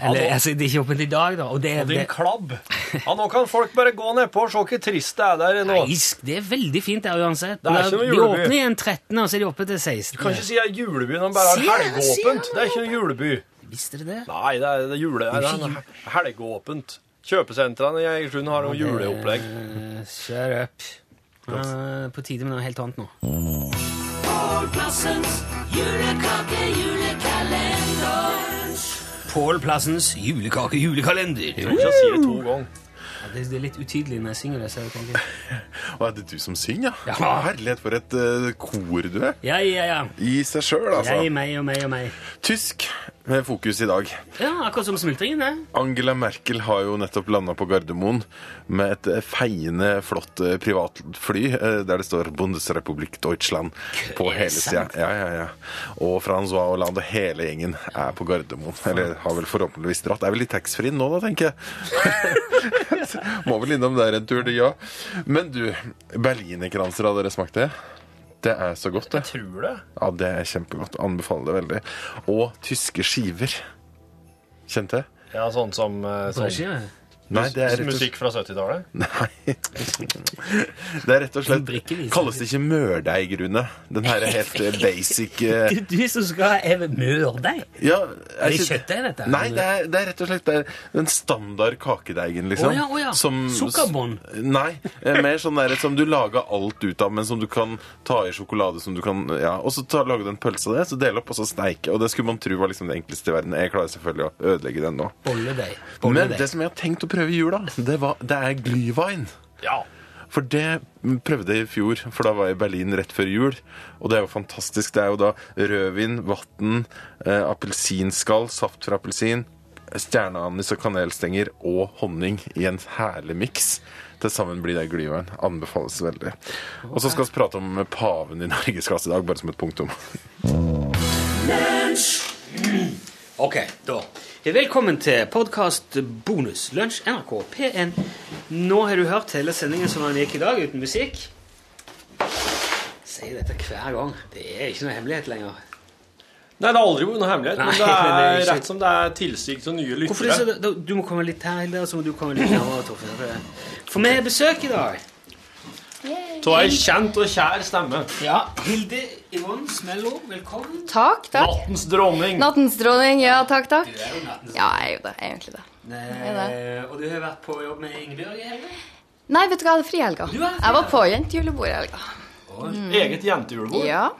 Speaker 2: Eller
Speaker 3: nå-
Speaker 2: altså, det er ikke åpent i dag, da. Og det,
Speaker 3: Og
Speaker 2: det,
Speaker 3: din klabb. Ja, nå kan folk bare gå nedpå og se hvor trist det er der nå.
Speaker 2: Nei, sk- det er veldig fint der uansett.
Speaker 3: Det er ikke noe
Speaker 2: de
Speaker 3: juleby.
Speaker 2: åpner igjen 13., og så er de oppe til 16.
Speaker 3: Du kan ikke si det er juleby når man bare
Speaker 2: Sier
Speaker 3: har
Speaker 2: jeg, sier jeg.
Speaker 3: helgeåpent. Det er ikke noe juleby.
Speaker 2: Visste dere det?
Speaker 3: Nei, det er, det er jule... Det
Speaker 2: ikke
Speaker 3: er helgeåpent. Kjøpesentrene i Egersund har noe juleopplegg.
Speaker 2: Eh, Shut up. Eh, på tide med noe helt annet nå. Pål Plassens julekake, julekalender.
Speaker 3: Jeg tror ikke jeg sier det to ganger.
Speaker 2: Ja, det, det er litt utydelig når jeg synger det. så jeg tenker...
Speaker 5: Og er det du som synger, ja?
Speaker 2: Ja.
Speaker 5: Herlighet, for et eh, kor du er.
Speaker 2: Ja, ja, ja.
Speaker 5: I seg sjøl, altså.
Speaker 2: Jeg, meg og meg og meg.
Speaker 5: Tysk med fokus i dag.
Speaker 2: Ja, akkurat som smultringen, det.
Speaker 5: Angela Merkel har jo nettopp landa på Gardermoen med et eh, feiende flott eh, privatfly eh, der det står 'Bundesrepublikk Deutschland' på
Speaker 2: Er det
Speaker 5: hele sida.
Speaker 2: sant?
Speaker 5: Ja, ja, ja. Og Francois Hollande og hele gjengen er på Gardermoen. Eller har vel forhåpentligvis dratt. Er vel i taxfree nå, da, tenker jeg. Må vel innom der en tur, de òg. Men du, berlinerkranser, har dere smakt det? Det er så godt, det.
Speaker 3: Tror det.
Speaker 5: Ja, det er kjempegodt. Anbefaler det veldig. Og tyske skiver. Kjente?
Speaker 3: Ja, sånn som eh, sånn,
Speaker 2: Brødskive.
Speaker 5: Nei, det er rett og
Speaker 3: musikk fra 70-tallet.
Speaker 5: Nei. Det er rett
Speaker 2: En
Speaker 5: og slett
Speaker 2: brikkevise.
Speaker 5: Kalles det ikke mørdeig, Rune? Den her er helt eh, basic eh,
Speaker 2: Du som skal ha mørdeig.
Speaker 5: ja,
Speaker 2: Er det kjøttdeig, dette?
Speaker 5: Nei, det er, det er rett og slett det er den standard kakedeigen, liksom.
Speaker 2: Å ja, å ja.
Speaker 5: Som-
Speaker 2: Sukkerbånd.
Speaker 5: Nei. eh, Mer sånn der, som du lager alt ut av, men som du kan ta i sjokolade som du kan Ja, og så ta, lager du en pølse av det, så dele opp, og så steike. Og det skulle man tro var liksom det enkleste i verden. Jeg klarer selvfølgelig å ødelegge den nå.
Speaker 2: Bolledeig.
Speaker 5: Men
Speaker 2: Bolledeig.
Speaker 5: det som jeg har tenkt å prøve i jula, det, var, det er glühwein.
Speaker 3: Ja.
Speaker 5: For det prøvde jeg i fjor, for da var jeg i Berlin rett før jul. Og det er jo fantastisk. Det er jo da rødvin, vann, eh, appelsinskall, saft fra appelsin, stjerneanis og kanelstenger og honning i en herlig miks. Til sammen blir det glühwein. Anbefales veldig. Og så skal vi prate om paven i norgesklasse i dag, bare som et punktum.
Speaker 2: Ok, da. Velkommen til podkast bonus lunsj NRK P1. Nå har du hørt hele sendingen som den gikk i dag, uten musikk. Sier dette hver gang. Det er ikke noe hemmelighet lenger.
Speaker 3: Nei, det har aldri vært noe hemmelighet, men
Speaker 2: Nei,
Speaker 3: det er,
Speaker 2: det er ikke-
Speaker 3: rett som det er tilsig av nye
Speaker 2: Hvorfor det, så,
Speaker 3: lyttere.
Speaker 2: da, Du må komme litt her, Hilde, og så må du komme litt nærmere, Torfinn. for det- For vi har besøk i dag.
Speaker 3: Så ei kjent og kjær stemme.
Speaker 2: Ja, Hilde Yvonne Smello, velkommen.
Speaker 6: Takk, takk.
Speaker 3: Nattens dronning.
Speaker 6: Nattens dronning, ja, takk, takk.
Speaker 2: Du er jo nattens
Speaker 6: Ja, jeg er jo det. Jeg er egentlig det.
Speaker 2: eh, Og du har vært på jobb med Ingebjørg i helga?
Speaker 6: Nei, vet du hva, jeg hadde fri i helga.
Speaker 2: Du hadde fri,
Speaker 6: Jeg var på jentejulebordet i helga.
Speaker 3: Eget jentejulebord.
Speaker 6: Ja.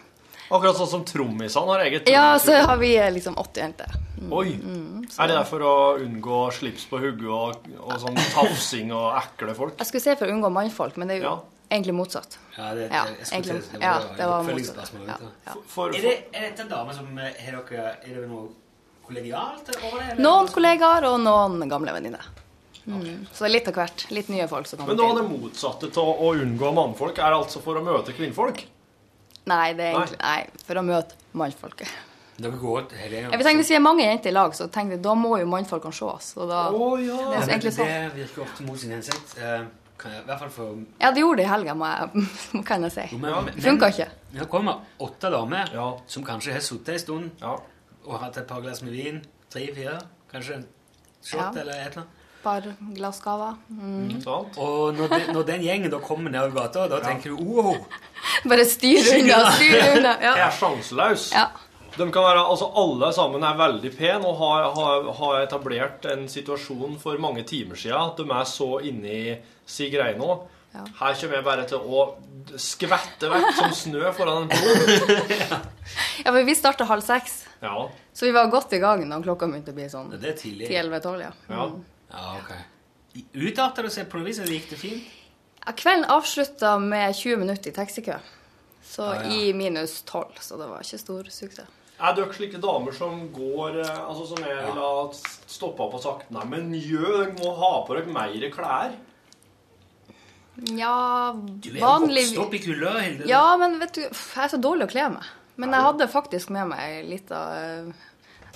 Speaker 3: Akkurat sånn som trommisene har eget.
Speaker 6: ja,
Speaker 3: julebord.
Speaker 6: så har vi eh, liksom åtte jenter.
Speaker 3: Oi.
Speaker 6: Mm,
Speaker 3: Er det der for å unngå slips på hodet og, og sånn tafsing og ekle folk?
Speaker 6: Jeg skulle si for å unngå mannfolk, men det er jo
Speaker 3: Ja.
Speaker 6: egentlig motsatt.
Speaker 2: Ja, det,
Speaker 6: Ja,
Speaker 2: eh, jeg skulle
Speaker 6: egentlig.
Speaker 2: til-
Speaker 6: Ja,
Speaker 2: et
Speaker 6: det var motsatt.
Speaker 2: oppfølgingsspørsmål,
Speaker 6: Ja,
Speaker 2: vet du.
Speaker 6: ja.
Speaker 3: For,
Speaker 2: Er, det, er dette en dame som eh, har dere Er det noe kollegialt over det? eller?
Speaker 6: Noen kollegaer og noen gamle venninner. Mm. Så det er litt av hvert. Litt nye folk som
Speaker 3: men
Speaker 6: kommer
Speaker 3: nå er det
Speaker 6: til.
Speaker 3: motsatte av å unngå mannfolk er altså for å møte kvinnfolk.
Speaker 6: Nei, det er egentlig Nei, for å møte mannfolket.
Speaker 2: Dere går til hele
Speaker 6: Jeg vil tenke, Hvis vi er mange jenter i lag, så tenker jeg, da må jo mannfolkene ses. Og da, det er så egentlig sånn.
Speaker 2: Det virker ofte mot sin hensikt. Eh, Kan jeg, I hvert fall for
Speaker 6: Ja, det gjorde det i helga, må jeg, kan jeg si.
Speaker 2: men- men-
Speaker 6: Det funka ikke.
Speaker 2: Nå kommer åtte damer
Speaker 3: Ja.
Speaker 2: som kanskje har sittet en stund
Speaker 3: Ja.
Speaker 2: og hatt et par glass med vin. Tre-fire. Kanskje en shot
Speaker 6: Ja.
Speaker 2: eller et eller annet.
Speaker 6: Par glassgaver. Mm.
Speaker 3: Sant?
Speaker 2: Og når, de, når den gjengen da kommer nedover gata, da tenker du wow!
Speaker 6: Bare styr unna, styr unna.
Speaker 3: Jeg
Speaker 6: Ja.
Speaker 3: er sjanseløs.
Speaker 6: Ja.
Speaker 3: De kan være, altså Alle sammen er veldig pene og har, har, har etablert en situasjon for mange timer siden at de er så inni si greie nå.
Speaker 6: Ja.
Speaker 3: Her kommer jeg bare til å skvette vekk som snø foran en pol.
Speaker 6: ja, for vi starta halv seks,
Speaker 3: Ja,
Speaker 6: så vi var godt i gang når klokka begynte å bli sånn
Speaker 2: Det er tidlig.
Speaker 6: 10-11-12. Ja.
Speaker 3: ja.
Speaker 2: Ja, ok. Utarter det seg på noe vis, eller gikk det fint?
Speaker 6: Ja, Kvelden avslutta med 20 minutter i taxikø. Så
Speaker 2: Ja, ja.
Speaker 6: i minus 12, så det var ikke stor suksess.
Speaker 3: Er dere slike damer som går eh, Altså som jeg vil ha stoppa opp og sagt Nei, men gjø, dere må ha på dere mer klær.
Speaker 6: Ja,
Speaker 2: Du er
Speaker 6: vanlig
Speaker 2: vokst opp i kulda, Hilde.
Speaker 6: Ja, men vet du, pff, jeg er så dårlig å kle meg. Men jeg hadde faktisk med meg ei lita eh,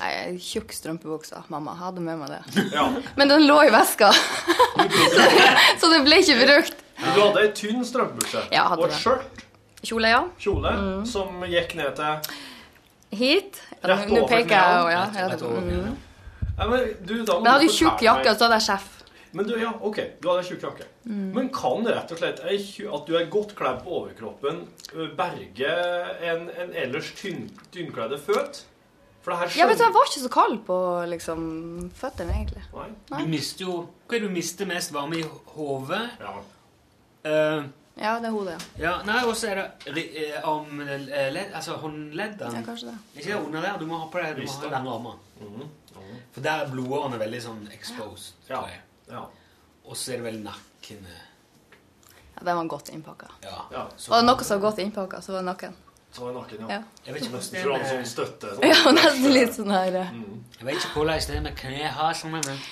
Speaker 6: Nei, ei tjukk strømpebukse. Mamma jeg hadde med meg det.
Speaker 3: Ja.
Speaker 6: Men den lå i veska, så, så det ble ikke brukt.
Speaker 3: Du hadde ei tynn strømpebukse
Speaker 6: Ja,
Speaker 3: og
Speaker 6: hadde
Speaker 3: et
Speaker 6: det. Mm.
Speaker 3: skjørt,
Speaker 6: Kjole, ja.
Speaker 3: kjole, som gikk ned til
Speaker 6: Hit. Ja,
Speaker 3: Rett
Speaker 6: Nå nå
Speaker 3: over
Speaker 6: peker jeg,
Speaker 3: knærne.
Speaker 6: og ja.
Speaker 2: Rett
Speaker 6: ja.
Speaker 2: over
Speaker 6: Mm.
Speaker 3: Nei, men du, da må
Speaker 6: Men jeg hadde
Speaker 3: du
Speaker 6: jo tjukk
Speaker 3: fortelle meg-
Speaker 6: jakke, altså. og så hadde jeg sjef.
Speaker 3: Men du, ja, ok, du hadde tjukk jakke.
Speaker 6: Mm.
Speaker 3: Men kan rett og slett ei tju- at du er godt kledd på overkroppen, ø, berge en, en ellers tynn, tynnkledde føt? For det her
Speaker 6: Ja, men så jeg
Speaker 3: skjønner
Speaker 6: var ikke så kald på liksom, føttene, egentlig.
Speaker 3: Nei,
Speaker 2: Du mister jo Hva er det du mister mest varme i hodet?
Speaker 3: ja.
Speaker 2: Eh,
Speaker 6: Ja, det er hodet, ja.
Speaker 2: ja, nei, og så er det ri- eh, om eh, ledd, altså håndleddene.
Speaker 6: ja kanskje det.
Speaker 2: Ikke det under der. Du må ha på deg du må ha
Speaker 3: Visst det.
Speaker 2: lange armer. For der er blodårene veldig sånn exposed.
Speaker 3: Ja.
Speaker 2: tror jeg.
Speaker 3: ja.
Speaker 2: Og så er det vel nakken eh,
Speaker 6: Ja, Den var godt innpakka.
Speaker 2: Ja.
Speaker 3: Ja.
Speaker 2: Så-
Speaker 6: Var det noe som var godt innpakka, så var det nakken.
Speaker 3: Så var jeg naken, ja.
Speaker 6: Ja.
Speaker 2: Jeg vet ikke hvordan det
Speaker 3: Fra en
Speaker 2: er eh,
Speaker 3: sånn
Speaker 2: med,
Speaker 3: støtte.
Speaker 6: Ja,
Speaker 3: Sånn.
Speaker 6: nesten litt sånn her eh.
Speaker 2: jeg vet ikke hvordan det er med knehasene, sånn, men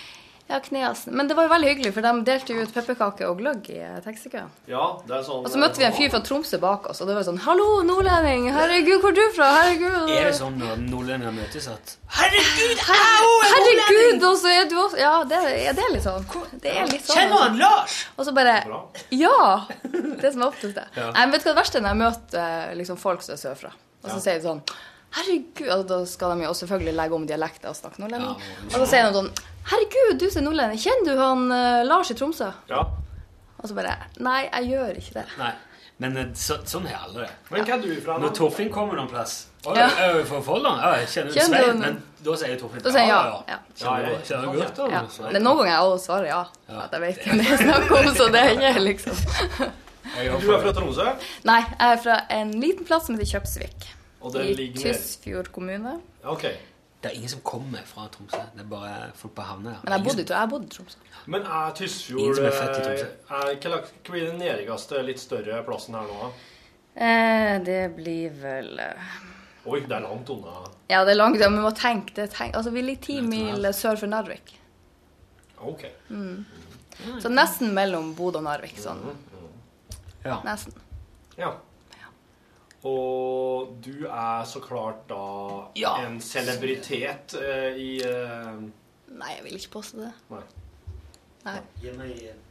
Speaker 6: Ja, kneasen. Men det var jo veldig hyggelig, for de delte jo ut pepperkaker og gløgg i eh, taxikøen.
Speaker 3: Ja, det er sånn
Speaker 6: Og så møtte vi en fyr fra Tromsø bak oss, og det var sånn Hallo, nordlending! Herregud, hvor er du fra? Herregud!
Speaker 2: er det sånn når nordlendinger møtes at
Speaker 6: Herregud, au, Herregud, og så er du også Ja, det, er- ja, det er litt sånn. Det er litt sånn. altså.
Speaker 2: Lars!
Speaker 6: Og så bare
Speaker 3: Bra.
Speaker 6: Ja! Det som er opptatt det.
Speaker 2: Ja.
Speaker 6: Nei, men vet du hva det verste er når jeg møter eh, liksom, folk som er sørfra, og så sier de sånn Herregud og Da skal de jo selvfølgelig legge om dialekten og snakke nordlending.
Speaker 2: Ja,
Speaker 6: Og så sier de sånn Herregud, du som er nordlending, kjenner du han eh, Lars i Tromsø?
Speaker 3: Ja.
Speaker 6: Og så bare Nei, jeg gjør ikke det.
Speaker 2: Nei, men eh, så, sånn er alle det.
Speaker 3: Men hva er du fra?
Speaker 2: Når
Speaker 3: da?
Speaker 2: Torfinn kommer noen plass Å,
Speaker 6: Ja.
Speaker 2: er du fra Folldalen? Ja, jeg kjenner jo
Speaker 6: Kjenner du
Speaker 2: Svein,
Speaker 6: henne?
Speaker 2: men da sier Torfinn
Speaker 6: Da sier jeg ja. Ja.
Speaker 2: Kjenner
Speaker 3: Ja,
Speaker 2: du
Speaker 3: jeg-
Speaker 2: kjenner du godt,
Speaker 6: Ja.
Speaker 2: da?
Speaker 6: Men det er noen ganger jeg også svarer ja. For at jeg vet hvem det er snakk om, så det er ikke liksom
Speaker 2: Jeg
Speaker 3: Du er fra Tromsø,
Speaker 6: Nei, jeg er fra en liten plass som heter Kjøpsvik.
Speaker 3: og det
Speaker 6: I
Speaker 3: ligger nede.
Speaker 6: Tysfjord kommune.
Speaker 3: Ok.
Speaker 2: Det er ingen som kommer fra Tromsø. Det er bare folk på havna.
Speaker 6: Men jeg bodde i- jeg bodde i Tromsø.
Speaker 3: Men er
Speaker 2: Ingen
Speaker 3: Tysfjord
Speaker 2: som
Speaker 3: eh,
Speaker 2: er født i Tromsø.
Speaker 3: er- Hva lag- hva blir den nederigste, litt større plassen her nå? da?
Speaker 6: Eh, det blir vel eh,
Speaker 3: Oi, det er langt unna.
Speaker 6: Ja, det er langt, ja, men vi må tenke det. Tenk, altså, vi ligger ti mil sør for Narvik.
Speaker 3: Ok.
Speaker 6: Så nesten mellom Bodø og Narvik. Sånn.
Speaker 2: Ja.
Speaker 6: Nesten.
Speaker 3: Ja. Og du er så klart da
Speaker 2: Ja.
Speaker 3: en celebritet eh, i eh,
Speaker 6: Nei, jeg vil ikke påstå det.
Speaker 3: Nei.
Speaker 6: Nei,
Speaker 2: Hjemme i eh,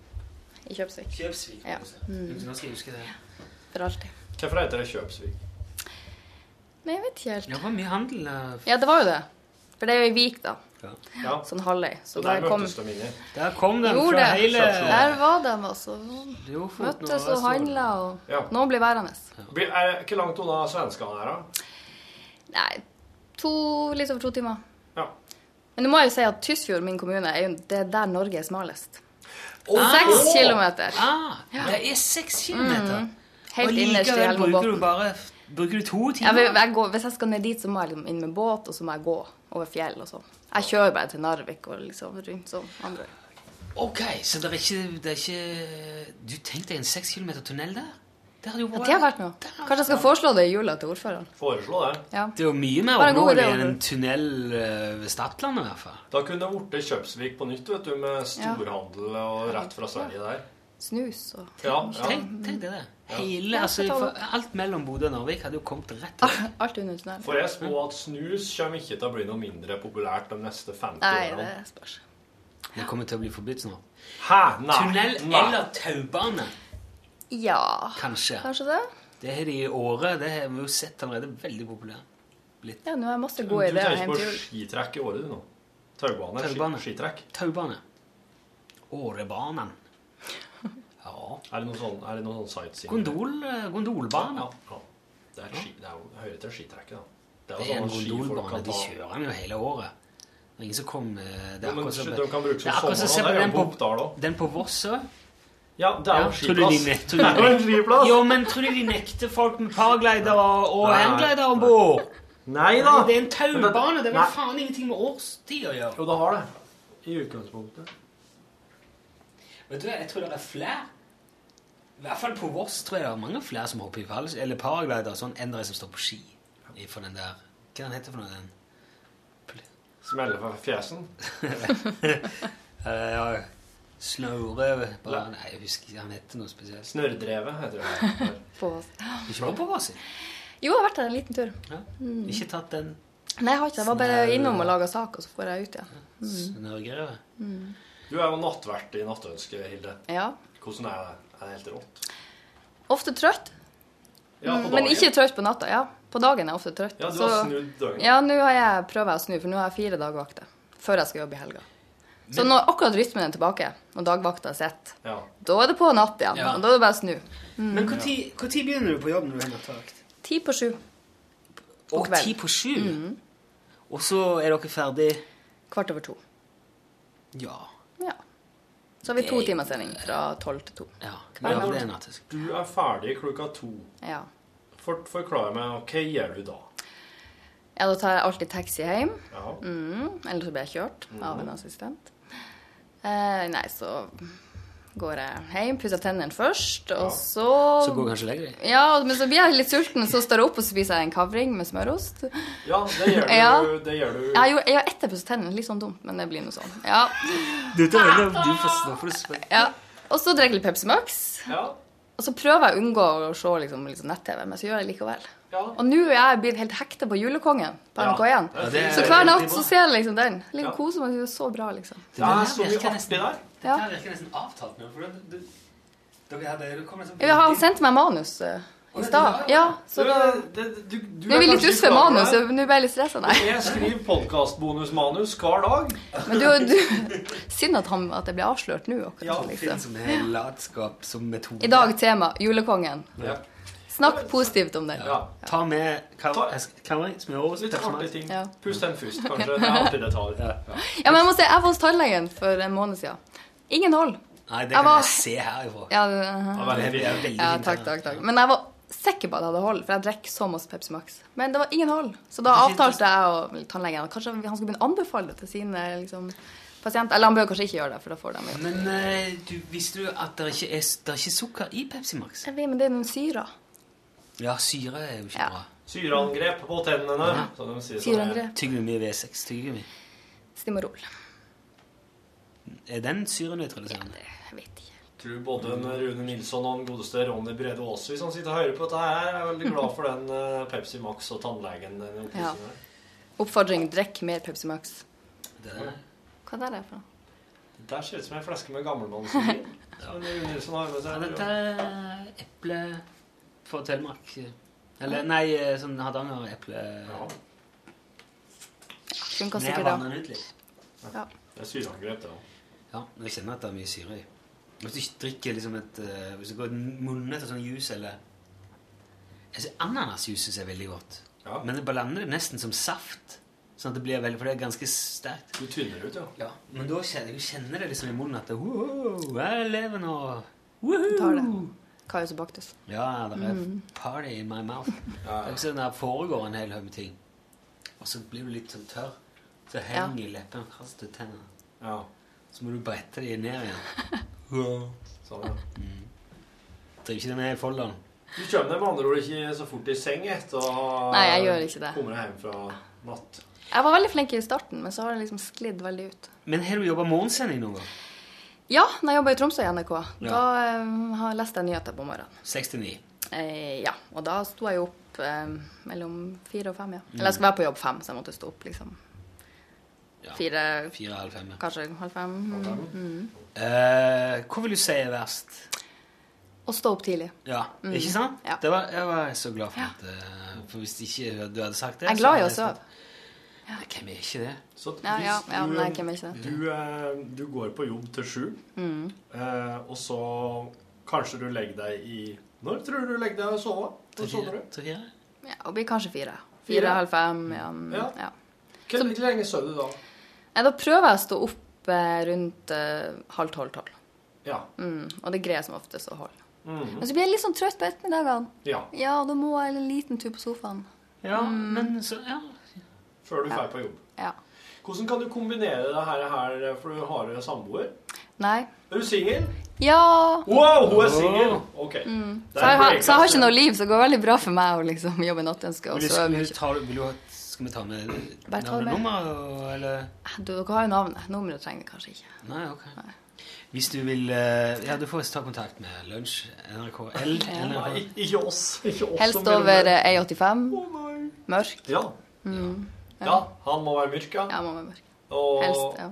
Speaker 6: I Kjøpsvik.
Speaker 2: Kjøpsvik.
Speaker 6: Ja. Mm.
Speaker 2: altså. Nå skal jeg huske det.
Speaker 6: For alltid.
Speaker 3: Hvorfor heter det Kjøpsvik?
Speaker 6: Men jeg vet ikke helt.
Speaker 2: Ja, det var mye handel. eh, f-
Speaker 6: Ja, det var jo det. For det er jo i Vik, da.
Speaker 3: Ja.
Speaker 6: Sånn halvøy. Så
Speaker 3: Så der
Speaker 6: der kom
Speaker 3: møttes de inni.
Speaker 2: Der kom den
Speaker 6: Gjorde
Speaker 2: fra
Speaker 6: det.
Speaker 2: hele
Speaker 6: Der var de, altså.
Speaker 2: Lofoten og
Speaker 6: Møttes og
Speaker 2: Vesterålen.
Speaker 6: handla
Speaker 3: Ja.
Speaker 6: og Noen blir værende.
Speaker 3: Blir- er- Hvor langt unna svenskene er, da?
Speaker 6: Nei, to, litt over to timer.
Speaker 3: Ja.
Speaker 6: Men nå må jeg jo si at Tysfjord, min kommune, er jo det er der Norge er smalest.
Speaker 3: Åh!
Speaker 6: Seks kilometer.
Speaker 2: Ah, det er seks kilometer.
Speaker 6: Mm, Helt
Speaker 2: Og
Speaker 6: innerst i
Speaker 2: likevel bruker du
Speaker 6: Helmobotn.
Speaker 2: bare Bruker du to
Speaker 6: Ja,
Speaker 2: timer?
Speaker 6: men jeg går, hvis jeg skal ned dit, så må jeg liksom inn med båt, og så må jeg gå over fjell og sånn. Jeg kjører bare til Narvik og liksom rundt sånn. Andre.
Speaker 2: Ok, så det er ikke, det er ikke Du tenkte en seks kilometer tunnel der? Det hadde jo
Speaker 6: Ja, det har vært noe. Kanskje jeg skal foreslå det i jula til ordføreren.
Speaker 3: Foreslå det.
Speaker 6: Ja.
Speaker 2: Det er jo mye mer
Speaker 6: Bare en god
Speaker 2: område
Speaker 6: idé,
Speaker 2: enn en
Speaker 6: Oliver.
Speaker 2: tunnel eh, ved Stadlandet, i hvert fall.
Speaker 3: Da kunne det blitt Kjøpsvik på nytt, vet du, med storhandel og rett fra Sverige der.
Speaker 6: Snus og
Speaker 3: Ja, ja.
Speaker 2: Tenk, tenk deg det. Hele,
Speaker 6: Ja,
Speaker 2: altså,
Speaker 6: skal ta
Speaker 2: for,
Speaker 6: det.
Speaker 2: alt mellom Bodø og Narvik hadde jo kommet rett opp.
Speaker 6: alt under tunnelen.
Speaker 3: For jeg spår at snus kommer ikke til å bli noe mindre populært de neste 50
Speaker 6: Nei, det
Speaker 3: årene.
Speaker 6: spørs. Ah.
Speaker 2: Det kommer til å bli forbudt snart.
Speaker 3: Hæ? Nei.
Speaker 2: Tunnel
Speaker 3: Nei.
Speaker 2: eller taubane,
Speaker 6: Ja,
Speaker 2: kanskje.
Speaker 6: kanskje det?
Speaker 2: Det har de i året. Det har vi jo sett allerede veldig populær.
Speaker 6: Ja, nå har jeg masse
Speaker 3: Du
Speaker 6: gode ideer
Speaker 3: tenker
Speaker 6: hjem
Speaker 3: på
Speaker 6: til jul.
Speaker 3: skitrekk i året, du, nå? Taubane?
Speaker 2: Taubane.
Speaker 3: Ski, skitrekk?
Speaker 2: Taubane. Årebanen. Ja.
Speaker 3: Er det noe sånn, er det noe sånn sightseeing?
Speaker 2: Gondol, eh, gondolbane.
Speaker 3: Ja, ja. Det, er ski, det, er, jo- det hører til skitrekket, da. Det
Speaker 2: Det er en
Speaker 3: at skifolk
Speaker 2: gondolbane.
Speaker 3: kan
Speaker 2: De
Speaker 3: ta-
Speaker 2: kjører den jo hele året. Det er ingen som kommer Det
Speaker 3: Jo,
Speaker 2: er
Speaker 3: men
Speaker 2: akkurat som
Speaker 3: de kan bruke
Speaker 2: det er
Speaker 3: som
Speaker 2: akkurat som se
Speaker 3: sommer, da. Det er
Speaker 2: den
Speaker 3: jo på Oppdal
Speaker 2: på,
Speaker 3: også.
Speaker 2: den på Voss òg.
Speaker 3: Ja, det er jo
Speaker 2: Tror du de
Speaker 3: skiplass.
Speaker 2: nekter
Speaker 3: Det er jo en skiplass!
Speaker 2: Jo, men tror du de nekter folk med paraglider og, og
Speaker 3: Nei.
Speaker 2: hangglider om bord?
Speaker 3: Nei da!
Speaker 2: Det er en taubane. Det er
Speaker 3: Nei.
Speaker 2: vel faen ingenting med årstid å gjøre.
Speaker 3: Jo, det har det. I utgangspunktet.
Speaker 2: Vet du hva, jeg tror det er flere. I hvert fall på Voss tror jeg det er mange flere som hopper i fallsk, eller paraglider og sånn, enn de som står på ski. For den der Hva den heter for noe? den?
Speaker 3: Smelle fra fjesen.
Speaker 2: Eh, ja, Snøre bare, Nei, jeg husker ikke. Han heter noe spesielt.
Speaker 3: Snørrdrevet heter det.
Speaker 6: På.
Speaker 2: Ikke var på Mm. Vasi.
Speaker 6: Jo, jeg har vært der en liten tur.
Speaker 2: Ja. Ikke tatt den
Speaker 6: Nei, jeg har ikke det. Jeg var bare
Speaker 3: Sånn
Speaker 2: Snau.
Speaker 6: innom og laga sak, og så får jeg ut igjen.
Speaker 2: Mm. snørrgreia.
Speaker 3: Du er jo nattvert i Nattønsket, Hilde.
Speaker 6: Ja.
Speaker 3: Hvordan er det? Er det helt rått?
Speaker 6: Ofte trøtt,
Speaker 3: Ja, på
Speaker 6: Mm, men
Speaker 3: dagen.
Speaker 6: ikke trøtt på natta. Ja, på dagen er jeg ofte trøtt.
Speaker 3: Ja, du har
Speaker 6: så-
Speaker 3: snudd døgnet.
Speaker 6: Ja, nå har jeg, prøver jeg å snu, for nå har jeg fire dagvakter før jeg skal jobbe i helga. Så når akkurat rytmen er tilbake, og dagvakta sitter,
Speaker 3: Ja.
Speaker 6: da er det på natt igjen.
Speaker 2: Ja.
Speaker 6: og Da er det bare å snu.
Speaker 2: Mm. Men når begynner du på jobb når du har nattevakt?
Speaker 6: Ti på sju
Speaker 2: Å,
Speaker 6: kveld.
Speaker 2: ti på sju?
Speaker 6: Mm.
Speaker 2: Og så er dere ferdig
Speaker 6: kvart over to.
Speaker 2: Ja.
Speaker 6: Ja. Så har vi to timers sending fra tolv til to.
Speaker 2: ja.
Speaker 6: Hver
Speaker 2: ja
Speaker 6: natt.
Speaker 2: det er nattesøvn.
Speaker 3: Du er ferdig klokka to.
Speaker 6: Ja.
Speaker 3: For, forklar meg, hva gjør du da?
Speaker 6: ja, da tar jeg alltid taxi hjem.
Speaker 3: Ja.
Speaker 6: Mm, eller så blir jeg kjørt
Speaker 2: Mm.
Speaker 6: av en assistent. Eh, nei, så går jeg hjem, pusser tennene først, og så
Speaker 2: Så går kanskje legger deg?
Speaker 6: Ja, men så blir jeg litt sulten, så står jeg opp og så spiser jeg en kavring med smørost.
Speaker 3: Ja, det gjør du.
Speaker 6: Ja.
Speaker 3: Det gjør du.
Speaker 6: Jeg gjorde, jeg gjorde ett episode tennene, litt sånn dumt, men det blir noe sånn. Ja,
Speaker 2: Du tar det, du får nå får du spørre.
Speaker 6: ja. Og så drikker jeg litt Pepsi Max.
Speaker 3: Ja.
Speaker 6: Og så prøver jeg å unngå å se liksom, litt sånn nett-TV, men så gjør jeg likevel.
Speaker 3: Ja.
Speaker 6: Og nå er jeg blitt helt hekta på Julekongen på NRK1.
Speaker 3: Ja,
Speaker 2: det er
Speaker 6: så hver
Speaker 2: veldig
Speaker 6: natt
Speaker 2: bra.
Speaker 6: så ser jeg liksom den. Ligger
Speaker 3: Ja.
Speaker 6: og koser meg. Det er så bra, liksom.
Speaker 3: Det er så mye artig der.
Speaker 6: Ja.
Speaker 2: Dette virker nesten avtalt nå. for du- du- dere her, dere kommer liksom-
Speaker 6: Ja, vi har- Han sendte meg manus eh, i stad. Ja, så da
Speaker 3: eh, Det- det- du- du
Speaker 6: Nå er vi litt
Speaker 3: kanskje
Speaker 6: ute for
Speaker 3: klar over
Speaker 6: manus,
Speaker 3: det.
Speaker 6: så nå ble jeg litt stressa, nei.
Speaker 3: Jeg skriver podkastbonusmanus hver dag.
Speaker 6: Men du, du Synd at, han, at det ble avslørt nå. akkurat,
Speaker 3: Ja,
Speaker 6: liksom.
Speaker 2: Som er latskap som metode.
Speaker 6: I dag tema Julekongen.
Speaker 3: Ja.
Speaker 6: Snakk positivt om den.
Speaker 3: ja.
Speaker 2: Ta med
Speaker 3: Ta-
Speaker 2: kavring, smørost,
Speaker 3: Litt
Speaker 2: Pepsi Max.
Speaker 3: artige ting.
Speaker 6: Ja.
Speaker 3: Pust den først, kanskje. Det er artig detalj. Ja.
Speaker 6: Ja, men Jeg må si, jeg var hos tannlegen for en måned siden. Ingen hold.
Speaker 2: Nei, det
Speaker 6: Jeg
Speaker 2: kan
Speaker 6: var-
Speaker 2: jeg se herifra.
Speaker 6: Ja, det-
Speaker 3: Ja, veldig
Speaker 2: Det er
Speaker 3: fint.
Speaker 2: veldig
Speaker 6: ja
Speaker 2: fint
Speaker 6: takk,
Speaker 2: her.
Speaker 6: takk, takk. Men jeg var sikker på at jeg hadde hold, for jeg drikker så masse Pepsi Max. Men det var ingen hold, så da
Speaker 2: Det er fint,
Speaker 6: avtalte jeg og tannlegen at kanskje han skulle begynne å anbefale det til sine liksom, pasienter. Eller han bør kanskje ikke gjøre det, for da får de jo
Speaker 2: Men eh, du, visste du at det ikke er, det er ikke sukker i Pepsi Max?
Speaker 6: Jeg vet, Men det er noen syrer.
Speaker 2: Ja, syre er jo ikke
Speaker 6: Ja.
Speaker 2: bra.
Speaker 3: Syreangrep på tennene, som de sier. sånn her.
Speaker 6: Syreangrep.
Speaker 2: Tyggegummi V6. Tyggegummi.
Speaker 6: Stimorol.
Speaker 2: Er den syrenøytraliserende?
Speaker 6: Jeg vet ikke.
Speaker 3: Tror både en Rune Nilsson og den godeste Ronny Brede Aase, hvis han sitter og hører på dette her, er veldig glad for den eh, Pepsi Max og tannlegen. Den
Speaker 6: Ja.
Speaker 3: opplysen her.
Speaker 6: Oppfordring drikk mer Pepsi Max.
Speaker 2: Det er det.
Speaker 6: Hva er det for noe?
Speaker 3: Det Der ser ut som en flaske med gammelmannsvin. som Rune Nilsson har med
Speaker 2: Ja,
Speaker 3: seg.
Speaker 2: dette er eple fra Telemark. Eller nei, eh, sånn Hardanger-eple.
Speaker 3: Ja,
Speaker 6: Funka
Speaker 2: Men jeg
Speaker 6: sikkert da.
Speaker 2: vanner den ut litt.
Speaker 3: det er syreangrep, det òg.
Speaker 2: Ja, men jeg kjenner at det er mye syre i. Hvis du ikke drikker liksom et eh, Hvis du går munnen etter sånn juice eller Jeg synes Ananasjuice er veldig godt.
Speaker 3: Ja.
Speaker 2: Men det blander det nesten som saft. Sånn at det blir veldig, For det er ganske sterkt.
Speaker 3: Du tynner ut, ja.
Speaker 2: Men da kjenner jeg kjenner det liksom i munnen at det, wow, Jeg lever nå! Woohoo!
Speaker 6: Tar det. Mm. Kajus og Baktus.
Speaker 2: Ja, det er party in my mouth. Det er ikke sånn at det foregår en hel haug med ting. Og så blir du litt sånn tørr. Så henger leppene fast til tennene.
Speaker 3: ja.
Speaker 2: Så må du brette de ned igjen. Wow.
Speaker 3: Sånn, ja.
Speaker 2: Driver ikke det med i folderen?
Speaker 3: Du kommer deg med andre ord ikke så fort i seng etter å ha-
Speaker 6: Nei, jeg gjør ikke det.
Speaker 3: kommer deg hjem fra natt.
Speaker 6: Jeg var veldig flink i starten, men så har det liksom sklidd veldig ut.
Speaker 2: Men har du jobba morgensending noen gang?
Speaker 6: Ja, da jeg jobba i Tromsø i NRK,
Speaker 2: Ja.
Speaker 6: da eh, har jeg lest jeg nyheter på morgenen.
Speaker 2: 69.
Speaker 6: Eh, ja, og da sto jeg jo opp eh, mellom fire og fem, ja. Eller jeg skulle være på jobb fem, så jeg måtte stå opp liksom
Speaker 2: Ja.
Speaker 6: fire,
Speaker 2: Fire, halv fem. ja.
Speaker 6: kanskje halv fem. Mm.
Speaker 2: Eh, hva vil du si er verst?
Speaker 6: Og stå opp tidlig.
Speaker 2: Ja, Ikke sant?
Speaker 6: Mm. Ja.
Speaker 2: Det var, jeg var så glad for at eh, For hvis ikke du hadde sagt sånn det
Speaker 6: Jeg er
Speaker 2: så
Speaker 6: glad i
Speaker 2: hadde
Speaker 6: å
Speaker 2: jeg sagt-
Speaker 6: sove.
Speaker 2: Nei, Hvem er ikke det?
Speaker 3: Så
Speaker 6: Ja, ja,
Speaker 3: hvis
Speaker 6: ja,
Speaker 3: du-
Speaker 6: nei, hvem Mm. er ikke det?
Speaker 3: Du, eh, du går på jobb til sju, eh, og så kanskje du legger deg i Når tror du du legger deg og sover? Når sover du?
Speaker 2: Tre, fire?
Speaker 6: Ja, det blir kanskje fire.
Speaker 3: Fire?
Speaker 6: Fire, halv fem, ja. mm,
Speaker 3: Ja.
Speaker 6: ja.
Speaker 3: Hvor hvor lenge sover du da?
Speaker 6: Nei, da prøver jeg å stå opp eh, rundt eh, halv tolv-tolv.
Speaker 3: Ja.
Speaker 6: Mm, og det greier jeg som oftest å holde.
Speaker 3: Mhm.
Speaker 6: Men så blir jeg litt sånn trøtt på ettermiddagene.
Speaker 3: ja.
Speaker 6: Ja, da må jeg en liten tur på sofaen.
Speaker 2: Ja,
Speaker 6: Mm.
Speaker 2: men så Ja.
Speaker 3: Før du drar på jobb.
Speaker 6: Ja.
Speaker 3: Hvordan kan du kombinere det her, her for du har jo samboer?
Speaker 6: Nei.
Speaker 3: Er du singel?
Speaker 6: Ja!
Speaker 3: Wow, hun er singel! Ok.
Speaker 6: Mm. Så jeg, har, så jeg har ikke noe liv, så det går veldig bra for meg å liksom jobbe i nattønsket og
Speaker 2: Vil du,
Speaker 6: sove
Speaker 2: vil du,
Speaker 6: mye.
Speaker 2: ta, vil du, ha- skal Skal vi ta med
Speaker 6: Bare ta det med.
Speaker 2: navnenummer, og- eller?
Speaker 6: Eh, Du, dere har jo navnet. Nummeret trenger dere kanskje ikke.
Speaker 2: Nei, ok. Hvis du vil eh, Ja, du får ta kontakt med Lunsj, NRKL eller
Speaker 3: Ikke oss. Ikke oss
Speaker 6: Helst
Speaker 3: som
Speaker 6: over
Speaker 3: mellom-
Speaker 6: eh, 1,85. Mørk.
Speaker 3: Ja. Mm. ja. Han må være mørk, ja.
Speaker 6: Ja, må være mørk.
Speaker 3: Og
Speaker 6: Helst. Ja.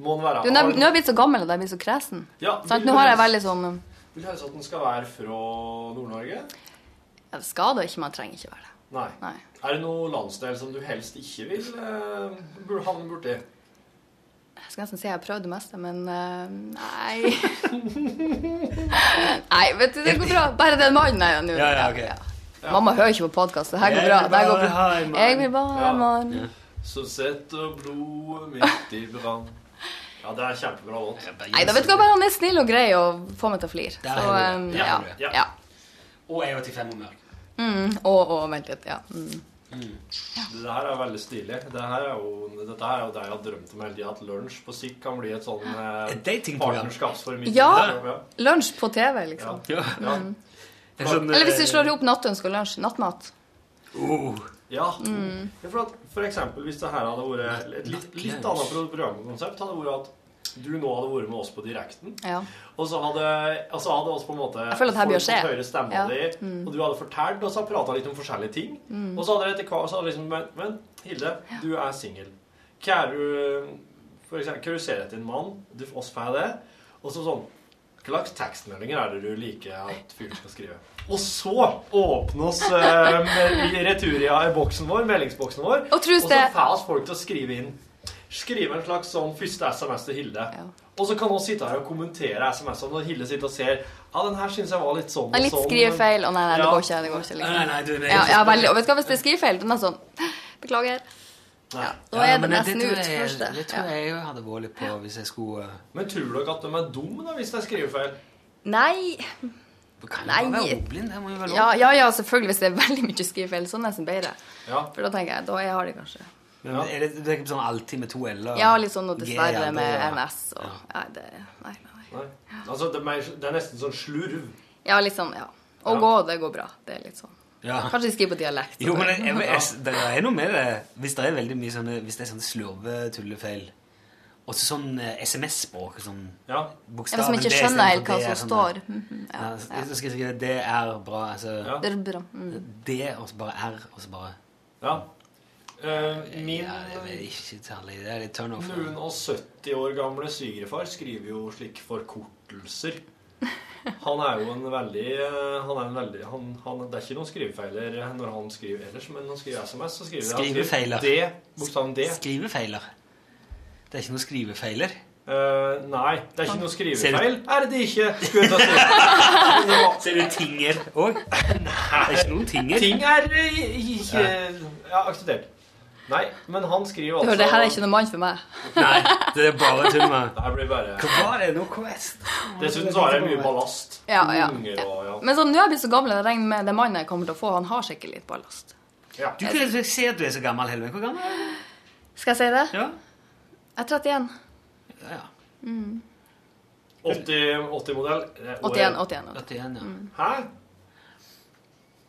Speaker 3: må han være
Speaker 6: Du, nå er- nå er jeg blitt så gammel at jeg blir så kresen.
Speaker 3: Ja,
Speaker 6: Sant?
Speaker 3: vil
Speaker 6: Nå
Speaker 3: du
Speaker 6: har jeg
Speaker 3: helst-
Speaker 6: veldig sånn um,
Speaker 3: Vil helst at den skal være fra Nord-Norge?
Speaker 6: ja, Det skader ikke, man trenger ikke være det.
Speaker 3: Nei.
Speaker 6: Nei.
Speaker 3: Er det noen landsdel som du helst ikke vil eh, burde havne borti?
Speaker 6: Jeg skal nesten si jeg har prøvd det meste, men eh, nei. nei, vet du, det går bra. Bare den mannen er nå.
Speaker 2: Ja, ja, ok.
Speaker 6: Mamma hører ikke på podkast. Det her går
Speaker 2: Jeg
Speaker 6: bra.
Speaker 2: vil
Speaker 6: Det her går
Speaker 2: bare
Speaker 6: bra.
Speaker 2: ha en mann.
Speaker 6: Jeg vil bare ha en mann.
Speaker 3: Så setter blodet mitt i brann. Ja, det er kjempebra låt.
Speaker 6: Nei, da vet du hva, bare han er snill og grei og får meg til å flire.
Speaker 2: Der har
Speaker 6: Så
Speaker 2: du
Speaker 6: eh,
Speaker 2: det.
Speaker 3: Der
Speaker 6: ja.
Speaker 3: har du det.
Speaker 6: ja.
Speaker 2: Og er 85 og mørk.
Speaker 6: Mm, og, og vent litt. Ja. Mm.
Speaker 3: Det her er veldig stilig. Det her er jo, dette her er jo det jeg har drømt om hele tida. At lunsj på sikt kan bli et sånn eh,
Speaker 2: Et datingprogram.
Speaker 3: partnerskapsformidling.
Speaker 6: ja.
Speaker 3: ja.
Speaker 6: Lunsj på TV, liksom.
Speaker 3: Ja. Ja.
Speaker 2: Det er sånn,
Speaker 6: Eller hvis vi slår ihop nattønske og lunsj. Nattmat.
Speaker 2: Oh.
Speaker 3: Ja.
Speaker 6: Mm.
Speaker 3: ja for, at, for eksempel hvis det her hadde vært et litt, litt annet pro- programkonsept, hadde vært at du nå hadde vært med oss på direkten,
Speaker 6: Ja.
Speaker 3: og så hadde, og så hadde oss på en måte
Speaker 6: Jeg føler at her bør skje.
Speaker 3: høyre stemma
Speaker 6: Ja. Mm.
Speaker 3: di, og du hadde fortalt, og så hadde prata litt om forskjellige ting. Og så hadde det etter hvert så hadde liksom Men, men Hilde, du er singel. Hva er du For eksempel, hva du ser etter en mann? Du, oss får det. Og så sånn Hva slags tekstmeldinger er det du liker at fyren skal skrive? Og så åpnes eh, med- i returia i boksen vår, meldingsboksen vår,
Speaker 6: Og trus
Speaker 3: så
Speaker 6: det.
Speaker 3: får oss folk til å skrive inn Skrive en slags sånn første SMS til Hilde.
Speaker 6: Ja.
Speaker 3: Og så kan hun sitte her og kommentere SMS-ene når Hilde sitter og ser Ja, den her syns jeg var litt sånn
Speaker 6: Og litt
Speaker 3: og sånn.
Speaker 6: skrivefeil. Å nei, nei, det
Speaker 3: Ja.
Speaker 6: går ikke. Det går ikke
Speaker 2: Nei, nei,
Speaker 6: liksom.
Speaker 2: nei, du, det er
Speaker 6: Ja,
Speaker 2: ikke
Speaker 6: ja,
Speaker 2: så-
Speaker 6: veldig. Og vet du hva, hvis det er skrivefeil, den er sånn Beklager.
Speaker 3: Nei.
Speaker 6: Nå er
Speaker 2: men
Speaker 6: det nesten
Speaker 2: tror
Speaker 6: ut
Speaker 2: jeg-
Speaker 6: først.
Speaker 2: Det
Speaker 6: Ja.
Speaker 2: tror jeg jeg hadde vært litt på hvis jeg skulle eh,
Speaker 3: Men tror dere at de er dumme da, hvis det er skrivefeil?
Speaker 6: Nei.
Speaker 2: Kan
Speaker 6: Nei.
Speaker 2: jeg bare være ordblind? Det må jo være lov.
Speaker 6: Ja, ja, ja, selvfølgelig. Hvis det er veldig mye skrivefeil, så er det nesten bedre.
Speaker 3: Ja.
Speaker 6: For da tenker jeg, da har de kanskje
Speaker 2: Men er det, det er ikke sånn alltid med to l-er?
Speaker 6: Ja, litt sånn og
Speaker 2: G,
Speaker 6: dessverre
Speaker 2: ja,
Speaker 6: med
Speaker 2: det-
Speaker 6: NS og Nei, det Nei, nei. nei.
Speaker 3: Nei. Altså, det er, mer- det er nesten sånn slurv.
Speaker 6: Ja, litt sånn, ja. Å
Speaker 3: Ja.
Speaker 6: gå, det går bra. Det er litt sånn.
Speaker 2: Ja.
Speaker 6: Kanskje de skriver på dialekt.
Speaker 2: Jo, men jeg, jeg,
Speaker 6: ja.
Speaker 2: jeg, det er noe med det. Hvis det er veldig mye sånne, hvis det er sånne slurvetullefeil. Og så sånn eh, SMS-språk. Sånn
Speaker 3: Ja.
Speaker 2: bokstaven
Speaker 6: Hvis man ikke
Speaker 2: D istedenfor
Speaker 6: skjønner helt hva
Speaker 2: D er
Speaker 6: som
Speaker 2: sånn
Speaker 6: står.
Speaker 2: der.
Speaker 6: Mhm,
Speaker 2: Ja,
Speaker 6: Ja.
Speaker 2: så- så skal jeg skrive Det er bra. Altså
Speaker 3: Ja.
Speaker 6: Det er bra. Mm.
Speaker 2: D, og så bare R, og så bare
Speaker 3: ja. Eh, min
Speaker 2: Ja, det er ikke særlig Det er litt turn off.
Speaker 3: noen og 70 år gamle svigerfar skriver jo slike forkortelser. Han er jo en veldig, eh, han er en veldig han, han, Det er ikke noen skrivefeiler når han skriver ellers, men når han skriver SMS, så skriver han skriver
Speaker 2: Skrivefeiler.
Speaker 3: D, bokstaven D.
Speaker 2: Skrivefeiler. Det er ikke noen skrivefeiler.
Speaker 3: Eh, nei, det er ikke noe skrivefeil.
Speaker 2: Ser
Speaker 3: Er det det ikke? Skulle jeg ta si. Det var-
Speaker 2: Ser du tinger òg? Det er ikke noen tinger.
Speaker 3: Ting er eh, ikke Ja, akseptert. Nei, men han skriver altså
Speaker 6: Du hører, det her er ikke noe mann for meg.
Speaker 2: Nei, det er bare tull med
Speaker 3: Det her blir bare
Speaker 2: Hva var det? Noe Quest?
Speaker 3: Dessuten så har jeg mye ballast.
Speaker 6: Ja, ja.
Speaker 3: Unger og ja.
Speaker 6: Men sånn, nå er jeg blitt så gammel, jeg regner med det mannen jeg kommer til å få, han har sikkert litt ballast.
Speaker 3: ja.
Speaker 2: Du kan si at du er så gammel, Helveg. Hvor gammel er du?
Speaker 6: Skal jeg si det?
Speaker 2: Ja.
Speaker 6: Jeg er 31.
Speaker 2: Ja,
Speaker 3: 80-modell.
Speaker 6: 81. 81.
Speaker 2: 81, ja.
Speaker 3: Eh, Hæ?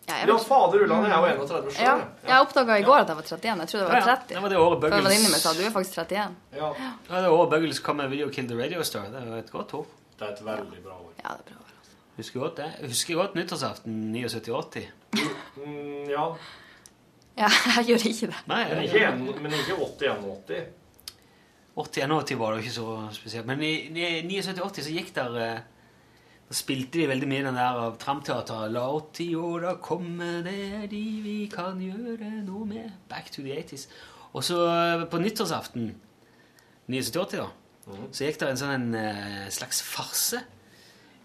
Speaker 6: Ja, jeg,
Speaker 3: Ja,
Speaker 6: vet ikke.
Speaker 3: fader ulland, jeg er jo 31
Speaker 6: ja.
Speaker 3: sjøl.
Speaker 6: jeg oppdaga i går at jeg var 31. Jeg trodde jeg
Speaker 2: Ja, ja.
Speaker 6: var 30.
Speaker 2: Det var det året
Speaker 6: For venninnen min sa
Speaker 2: Buggles
Speaker 6: du er faktisk 31.
Speaker 3: Ja.
Speaker 2: Ja, det året Buggles kom med Video Kill the Radio Star. Det var et godt år.
Speaker 3: Det er et veldig bra år.
Speaker 6: Ja, det er bra. å være.
Speaker 2: Husker godt det. Jeg Husker godt nyttårsaften 79-80.
Speaker 3: Mm, ja.
Speaker 6: Ja, jeg gjør ikke det.
Speaker 2: Nei,
Speaker 3: Men ikke, en, men ikke 80-81.
Speaker 2: 81-80 var det jo ikke så spesielt. Men i, i 79-80 så gikk der eh, Da spilte de veldig mye den der av Tramteateret. La 80-åra komme, det er de vi kan gjøre noe med. Back to the 80s. Og så eh, på nyttårsaften 79-80, da, så gikk det en sånn en eh, slags farse.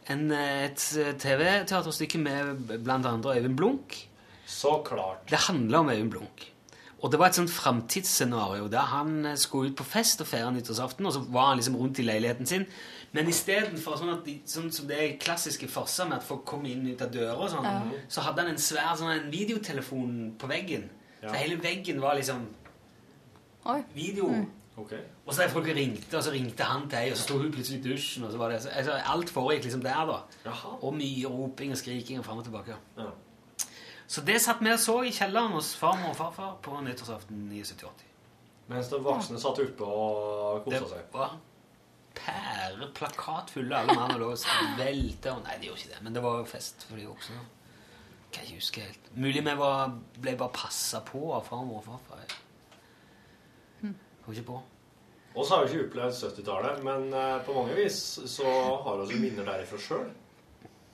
Speaker 2: En, eh, et TV-teaterstykke med blant andre Øyvind Blunk.
Speaker 3: Så klart.
Speaker 2: Det handla om Øyvind Blunk. Og det var et sånt framtidsscenario der han eh, skulle ut på fest og feire nyttårsaften, og så var han liksom rundt i leiligheten sin. Men istedenfor sånn, at de- sånn som det er klassiske farser med at folk kommer inn ut av døra og sånn, så hadde han en svær sånn en videotelefon på veggen.
Speaker 3: Ja.
Speaker 2: Så hele veggen var liksom
Speaker 6: Oi.
Speaker 2: video.
Speaker 3: Ok.
Speaker 2: Og så der folk ringte, og så ringte han til ei, og så sto hun plutselig i dusjen, og så var det så, altså, Alt foregikk liksom der, da.
Speaker 3: Jaha.
Speaker 2: Og mye roping og skriking og fram og tilbake.
Speaker 3: Ja.
Speaker 2: Så det satt vi og så i kjelleren hos farmor og farfar på nyttårsaften i 78.
Speaker 3: Mens de voksne satt oppe og
Speaker 2: Det
Speaker 3: kosa seg.
Speaker 2: var pære plakatfulle alle mann og lå og skvelte og Nei, det gjorde ikke det, men det var jo fest for de voksne. Kan ikke huske helt. Mulig vi var, ble bare passa på av farmor og farfar. Jeg
Speaker 6: Hm.
Speaker 2: kom ikke på.
Speaker 3: Oss har jo ikke opplevd 70-tallet, men eh, på mange vis så har vi jo minner derifra sjøl.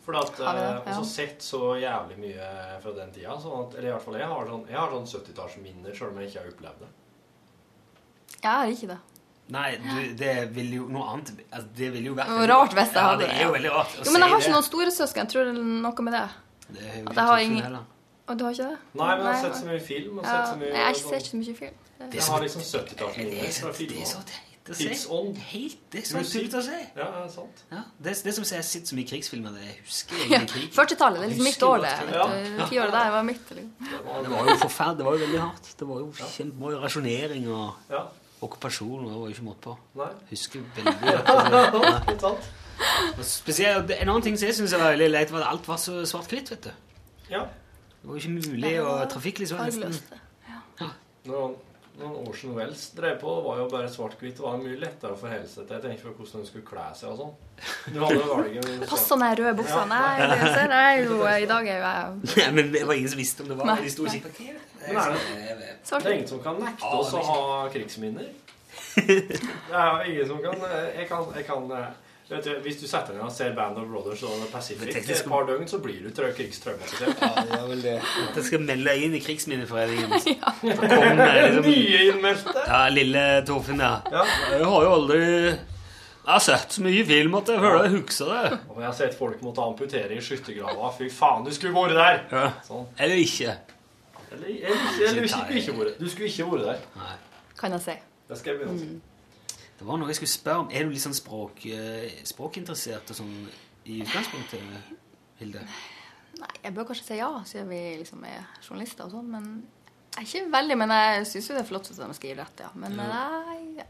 Speaker 3: For at
Speaker 6: Har vi
Speaker 3: eh,
Speaker 6: det? Ja.
Speaker 3: også sett så jævlig mye fra den tida. Sånn at, eller i hvert fall jeg har sånn, jeg har sånn 70-tallsminner, sjøl om jeg ikke har opplevd det.
Speaker 6: Jeg har ikke det.
Speaker 2: Nei, du, det ville jo noe annet altså, Det ville jo vært
Speaker 6: Det var rart hvis jeg hadde
Speaker 2: det. Ja, det er jo veldig rart å
Speaker 6: Jo, men jeg har
Speaker 2: si
Speaker 6: ikke noen storesøsken. Tror det er noe med det.
Speaker 2: det. Det er jo
Speaker 6: at jeg
Speaker 2: ikke
Speaker 6: har
Speaker 2: tusen
Speaker 6: ingen-
Speaker 2: heller.
Speaker 6: Og du har ikke det?
Speaker 3: Nei, men jeg har sett så
Speaker 6: nei.
Speaker 3: mye film. Og
Speaker 6: Ja,
Speaker 3: sett så
Speaker 6: nei,
Speaker 3: mye,
Speaker 6: jeg ser
Speaker 3: sånn-
Speaker 6: ikke så mye film. Det-
Speaker 3: Jeg har liksom 70-tallsminner
Speaker 2: Det er så- Det
Speaker 3: fra
Speaker 2: er så
Speaker 3: filmer.
Speaker 2: teit å si.
Speaker 3: Tidsånd.
Speaker 2: Helt, det er så
Speaker 3: Musikk.
Speaker 2: sykt å si.
Speaker 3: Ja, det er sant.
Speaker 2: Ja, det, det er som å si jeg sitter så mye i krigsfilmer det jeg husker
Speaker 6: Ja,
Speaker 2: egentlig krig.
Speaker 6: 40-tallet. Det er liksom mitt
Speaker 2: Husker
Speaker 6: år,
Speaker 2: godt
Speaker 6: det.
Speaker 2: krig.
Speaker 3: Ja.
Speaker 6: vet du. Tiåret der var mitt. Liksom.
Speaker 2: Det var jo forferdelig. Det var jo veldig hardt. Det var jo kjempe, var jo rasjonering og
Speaker 3: Ja.
Speaker 2: okkupasjon. og Det var jo ikke måte på.
Speaker 3: Nei.
Speaker 2: Husker veldig godt.
Speaker 3: Litt sant.
Speaker 2: Og Spesielt, En annen ting som jeg syns var veldig leit, var at alt var så svart-hvitt. vet du.
Speaker 3: Ja.
Speaker 2: Det var jo ikke mulig å trafikklys var nesten
Speaker 6: Fargeløst.
Speaker 3: Når, når Orson Welles drev på, var jo bare svart-hvitt. Det var mye lettere å forholde seg til. Jeg tenker på hvordan de skulle kle seg og sånn. Du hadde jo valget
Speaker 6: Passer den her røde buksa?
Speaker 3: Ja.
Speaker 6: Nei, det ser jeg jo I dag er jo jeg
Speaker 2: Nei, men Det var ingen som visste om det var
Speaker 6: Nei.
Speaker 2: de sto og kikket. sånn,
Speaker 3: Men er det,
Speaker 2: eh,
Speaker 3: det
Speaker 6: svart.
Speaker 3: er ingen som kan nekte
Speaker 2: Ah,
Speaker 3: oss å ha krigsminner. Det er jo ingen som kan eh, Jeg kan, jeg kan vet du, Hvis du setter deg ned og ser Band of Brothers og Pacific i et par døgn, så blir du trau- krigstraumatisert.
Speaker 2: Ah, Jeg skal melde deg inn i Krigsminneforeningen.
Speaker 6: Ja.
Speaker 2: Så kom det liksom
Speaker 3: Nye innmeldte!
Speaker 2: Ja, lille Torfinn, ja.
Speaker 3: Ja.
Speaker 2: Jeg har jo aldri Jeg har sett så mye film at jeg føler jeg husker det.
Speaker 3: Og jeg har sett folk måtte amputere i skyttergrava. Fy faen, du skulle vært der! Sånn.
Speaker 2: Eller ikke.
Speaker 3: Eller, eller, ikke- eller du skulle ikke vært Du skulle ikke vært der. Mm.
Speaker 2: Nei.
Speaker 6: Kan jeg si.
Speaker 3: Det skal jeg begynne å si.
Speaker 2: Det var noe jeg skulle spørre om. Er du litt sånn språk, eh, språkinteressert og sånn i utgangspunktet, Hilde?
Speaker 6: Nei, jeg bør kanskje si ja, siden vi liksom er journalister og sånn. Men jeg er ikke veldig, men jeg syns jo det er flott at de skriver rett, ja. Men nei ja.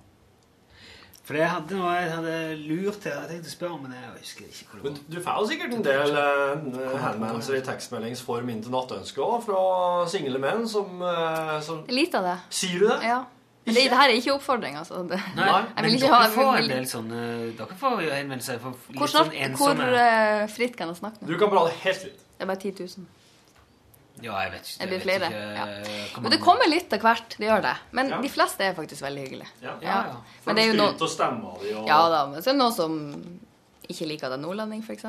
Speaker 2: For jeg hadde noe jeg hadde lurt til. Jeg tenkte å spørre om, men jeg husker ikke hvor det
Speaker 3: Men
Speaker 2: var.
Speaker 3: du får jo sikkert en del eh, henvendelser i tekstmeldingsform inn til nattønsket òg, fra single menn som, eh, som
Speaker 6: Det er lite av det.
Speaker 3: Sier du det?
Speaker 6: Ja. Men det, det her er ikke oppfordring, altså. Det,
Speaker 3: Nei,
Speaker 6: jeg
Speaker 2: men
Speaker 6: vil ikke
Speaker 2: dere
Speaker 6: ha
Speaker 2: får en
Speaker 6: vil-
Speaker 2: del sånne Dere får jo henvendelser fra litt
Speaker 6: Hvor,
Speaker 2: sånn
Speaker 6: snart, hvor
Speaker 2: ensomme
Speaker 6: eh, fritt kan jeg snakke nå?
Speaker 3: Du kan prate helt fritt.
Speaker 6: Det er bare 10 000.
Speaker 2: Ja, jeg vet ikke.
Speaker 6: Det blir
Speaker 2: jeg vet
Speaker 6: flere,
Speaker 2: ikke,
Speaker 6: ja.
Speaker 2: eh, hvor
Speaker 6: Men det
Speaker 2: mange-
Speaker 6: kommer litt av hvert. det gjør det. Men
Speaker 3: Ja.
Speaker 6: de fleste er faktisk veldig hyggelige.
Speaker 3: Ja.
Speaker 2: Ja, ja.
Speaker 6: Men det er jo noen
Speaker 3: Skryt og stemma di og
Speaker 6: Ja da, men så er det noen som ikke liker at jeg er nordlending, f.eks.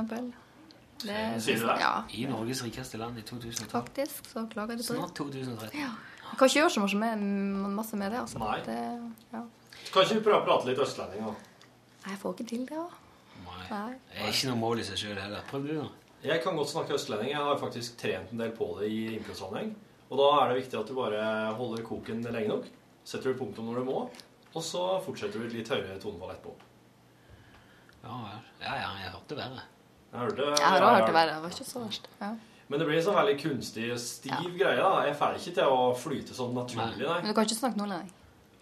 Speaker 3: Sier du det?
Speaker 6: Ja,
Speaker 2: I Norges rikeste land i 2012.
Speaker 6: faktisk. Så klager de på det.
Speaker 2: Snart 2013.
Speaker 6: Jeg kan ikke gjøre så mye med, masse med det, altså.
Speaker 3: Nei.
Speaker 6: Det, ja.
Speaker 3: Kan ikke vi prøve å prate litt østlending, da?
Speaker 6: Nei, Jeg får ikke til det, da.
Speaker 2: Nei.
Speaker 6: Nei.
Speaker 2: Det er ikke noe mål i seg sjøl heller. Prøv du, da.
Speaker 3: Jeg kan godt snakke østlending. Jeg har faktisk trent en del på det i improsammenheng. Og da er det viktig at du bare holder koken lenge nok. Setter du punktum når du må, og så fortsetter du i et litt høyere tonefall etterpå.
Speaker 2: Ja, vel. ja, ja jeg hørte verre.
Speaker 3: Jeg hørte
Speaker 6: Jeg har også hørt det verre. Det var ikke så verst. Ja.
Speaker 3: Men det blir en sånn veldig kunstig, stiv greie. da. Jeg får ikke til å flyte sånn naturlig, nei.
Speaker 6: Men du kan ikke snakke nordlending.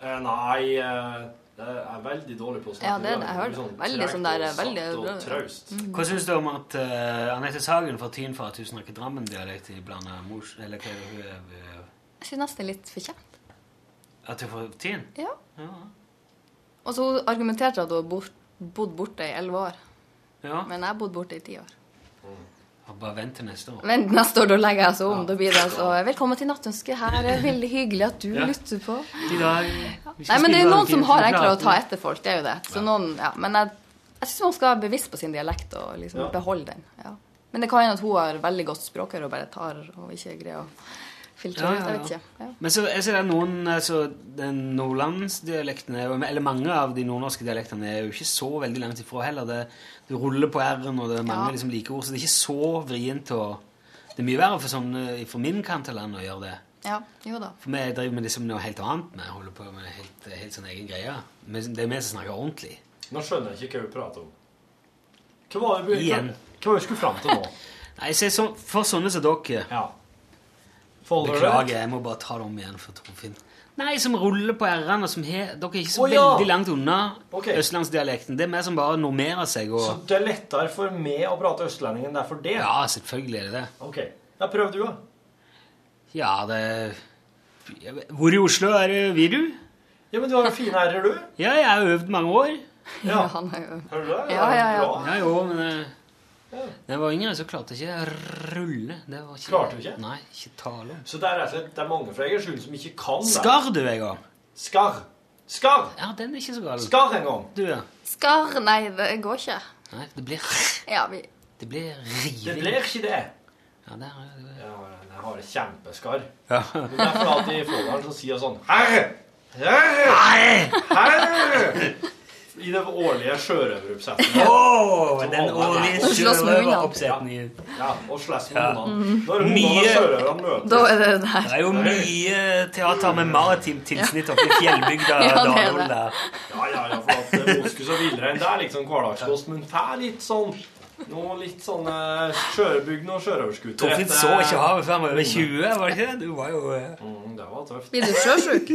Speaker 3: Eh, nei eh, jeg er veldig dårlig på å snakke
Speaker 6: Ja, det er det. Jeg hører det. Veldig sånn der, veldig
Speaker 3: bra.
Speaker 6: bra. Mm.
Speaker 3: Og traust.
Speaker 2: Hva syns du om at eh, Anette Sagen fra Tyn fra at hun snakker Drammen-dialekt blanda mors... Eller hva er det hun er eh,
Speaker 6: Jeg synes nesten det er litt fortjent.
Speaker 2: At hun er fra Tyn?
Speaker 6: Ja.
Speaker 2: Ja.
Speaker 6: Og så hun argumenterte at hun har bort, bodd borte i 11 år.
Speaker 2: ja.
Speaker 6: Men jeg har bodd borte i 10 år.
Speaker 2: Og Bare vent til neste år.
Speaker 6: Men neste år da legger jeg så om. Da blir det altså Velkommen til Nattønsket. Her er veldig hyggelig at du
Speaker 2: Ja.
Speaker 6: lytter på.
Speaker 2: I dag vi skal
Speaker 6: Nei, men det er
Speaker 2: spille
Speaker 6: noen som har
Speaker 2: Valentin-
Speaker 6: enklere å ta etter folk. Det er jo det. Så noen, ja. Men jeg, jeg syns man skal være bevisst på sin dialekt og
Speaker 3: Ja.
Speaker 6: liksom beholde den. Ja. Men det kan hende at hun har veldig godt språkøre og bare tar og ikke greier å filtrere ut. Jeg vet ikke. Ja.
Speaker 2: Men så jeg ser det er noen altså, den nordlandsdialekten er jo- Eller mange av de nordnorske dialektene er jo ikke så veldig langt ifra heller. Det, det ruller på r-en, og det er mange
Speaker 6: Ja.
Speaker 2: liksom, like ord, så det er ikke så vrient å Det er mye verre for sånn eh, fra min kant av landet å gjøre det.
Speaker 6: ja. Jo da.
Speaker 2: For vi driver med liksom noe helt annet. Vi holder på med helt, helt sånn egen greie. Men det er vi som snakker ordentlig.
Speaker 3: Nå skjønner jeg ikke hva vi prater om. Hva var det vi
Speaker 2: Igjen.
Speaker 3: Hva var det vi skulle fram til nå?
Speaker 2: Nei, se, så, For sånne som dere
Speaker 3: Ja. Folder
Speaker 2: Beklager, jeg må bare ta det om igjen for Torfinn. Nei, som ruller på r-en, og som he, Dere er ikke så
Speaker 3: Å, ja.
Speaker 2: veldig langt unna
Speaker 3: Ok.
Speaker 2: østlandsdialekten. Det er mer som bare normerer seg
Speaker 3: Så
Speaker 2: og
Speaker 3: det er lettere for meg å prate østlending enn det er for det?
Speaker 2: Ja, selvfølgelig er det det.
Speaker 3: Ok. Da prøv du, da.
Speaker 2: Ja, det Hvor i Oslo er det vi, du?
Speaker 3: Ja, men du har jo fine ærer, du.
Speaker 2: Ja, jeg har øvd mange år.
Speaker 3: Ja.
Speaker 6: Han er jo
Speaker 3: Hører du det?
Speaker 6: Ja, ja, ja.
Speaker 3: Bra.
Speaker 2: Ja, jo, men eh, da jeg var yngre, så klarte jeg ikke å rulle. Det var ikke,
Speaker 3: Klarte du ikke?
Speaker 2: Nei, ikke tale om.
Speaker 3: Så det er, rett og slett- det er mange fra Egersund som ikke kan det.
Speaker 2: Skar du, jeg òg?
Speaker 3: Skarr. Skarr.
Speaker 2: Ja, den er ikke så gal.
Speaker 3: Skarr en gang.
Speaker 2: Du, ja.
Speaker 6: Skar? Nei, det går ikke.
Speaker 2: Nei, det blir
Speaker 6: Ja, vi
Speaker 2: Det blir
Speaker 3: Det
Speaker 2: riving.
Speaker 3: blir ikke det.
Speaker 2: Ja, der er det.
Speaker 3: Ja, jeg har et kjempeskarr.
Speaker 2: Ja.
Speaker 3: Det er fordi at i Folldalen så sier jeg sånn Herre! Herre! Herre! I det årlige sjørøveroppsettet.
Speaker 2: Åh, den
Speaker 3: årlige
Speaker 6: Slåss med hundene.
Speaker 2: oppsetningen.
Speaker 3: Ja, og slåss med hundene. Når hundene
Speaker 2: Mye-
Speaker 3: og sjørøverne møtes
Speaker 6: Da er det der.
Speaker 2: Det er jo mye teater med maritimt tilsnitt oppe i fjellbygda
Speaker 6: Ja, det er
Speaker 2: Dalhol
Speaker 6: det.
Speaker 2: der.
Speaker 3: Ja, ja, ja, for at eh, moskus og villrein, det er liksom hverdagskost, men det er litt sånn noe litt sånn eh, skjørbygd og sjørøverskuter.
Speaker 2: Torfinn
Speaker 3: etter-
Speaker 2: så ikke havet før han var over 20, var det ikke det? Du var jo eh,
Speaker 3: Mm, det var tøft.
Speaker 6: Blir du sjøsjuk?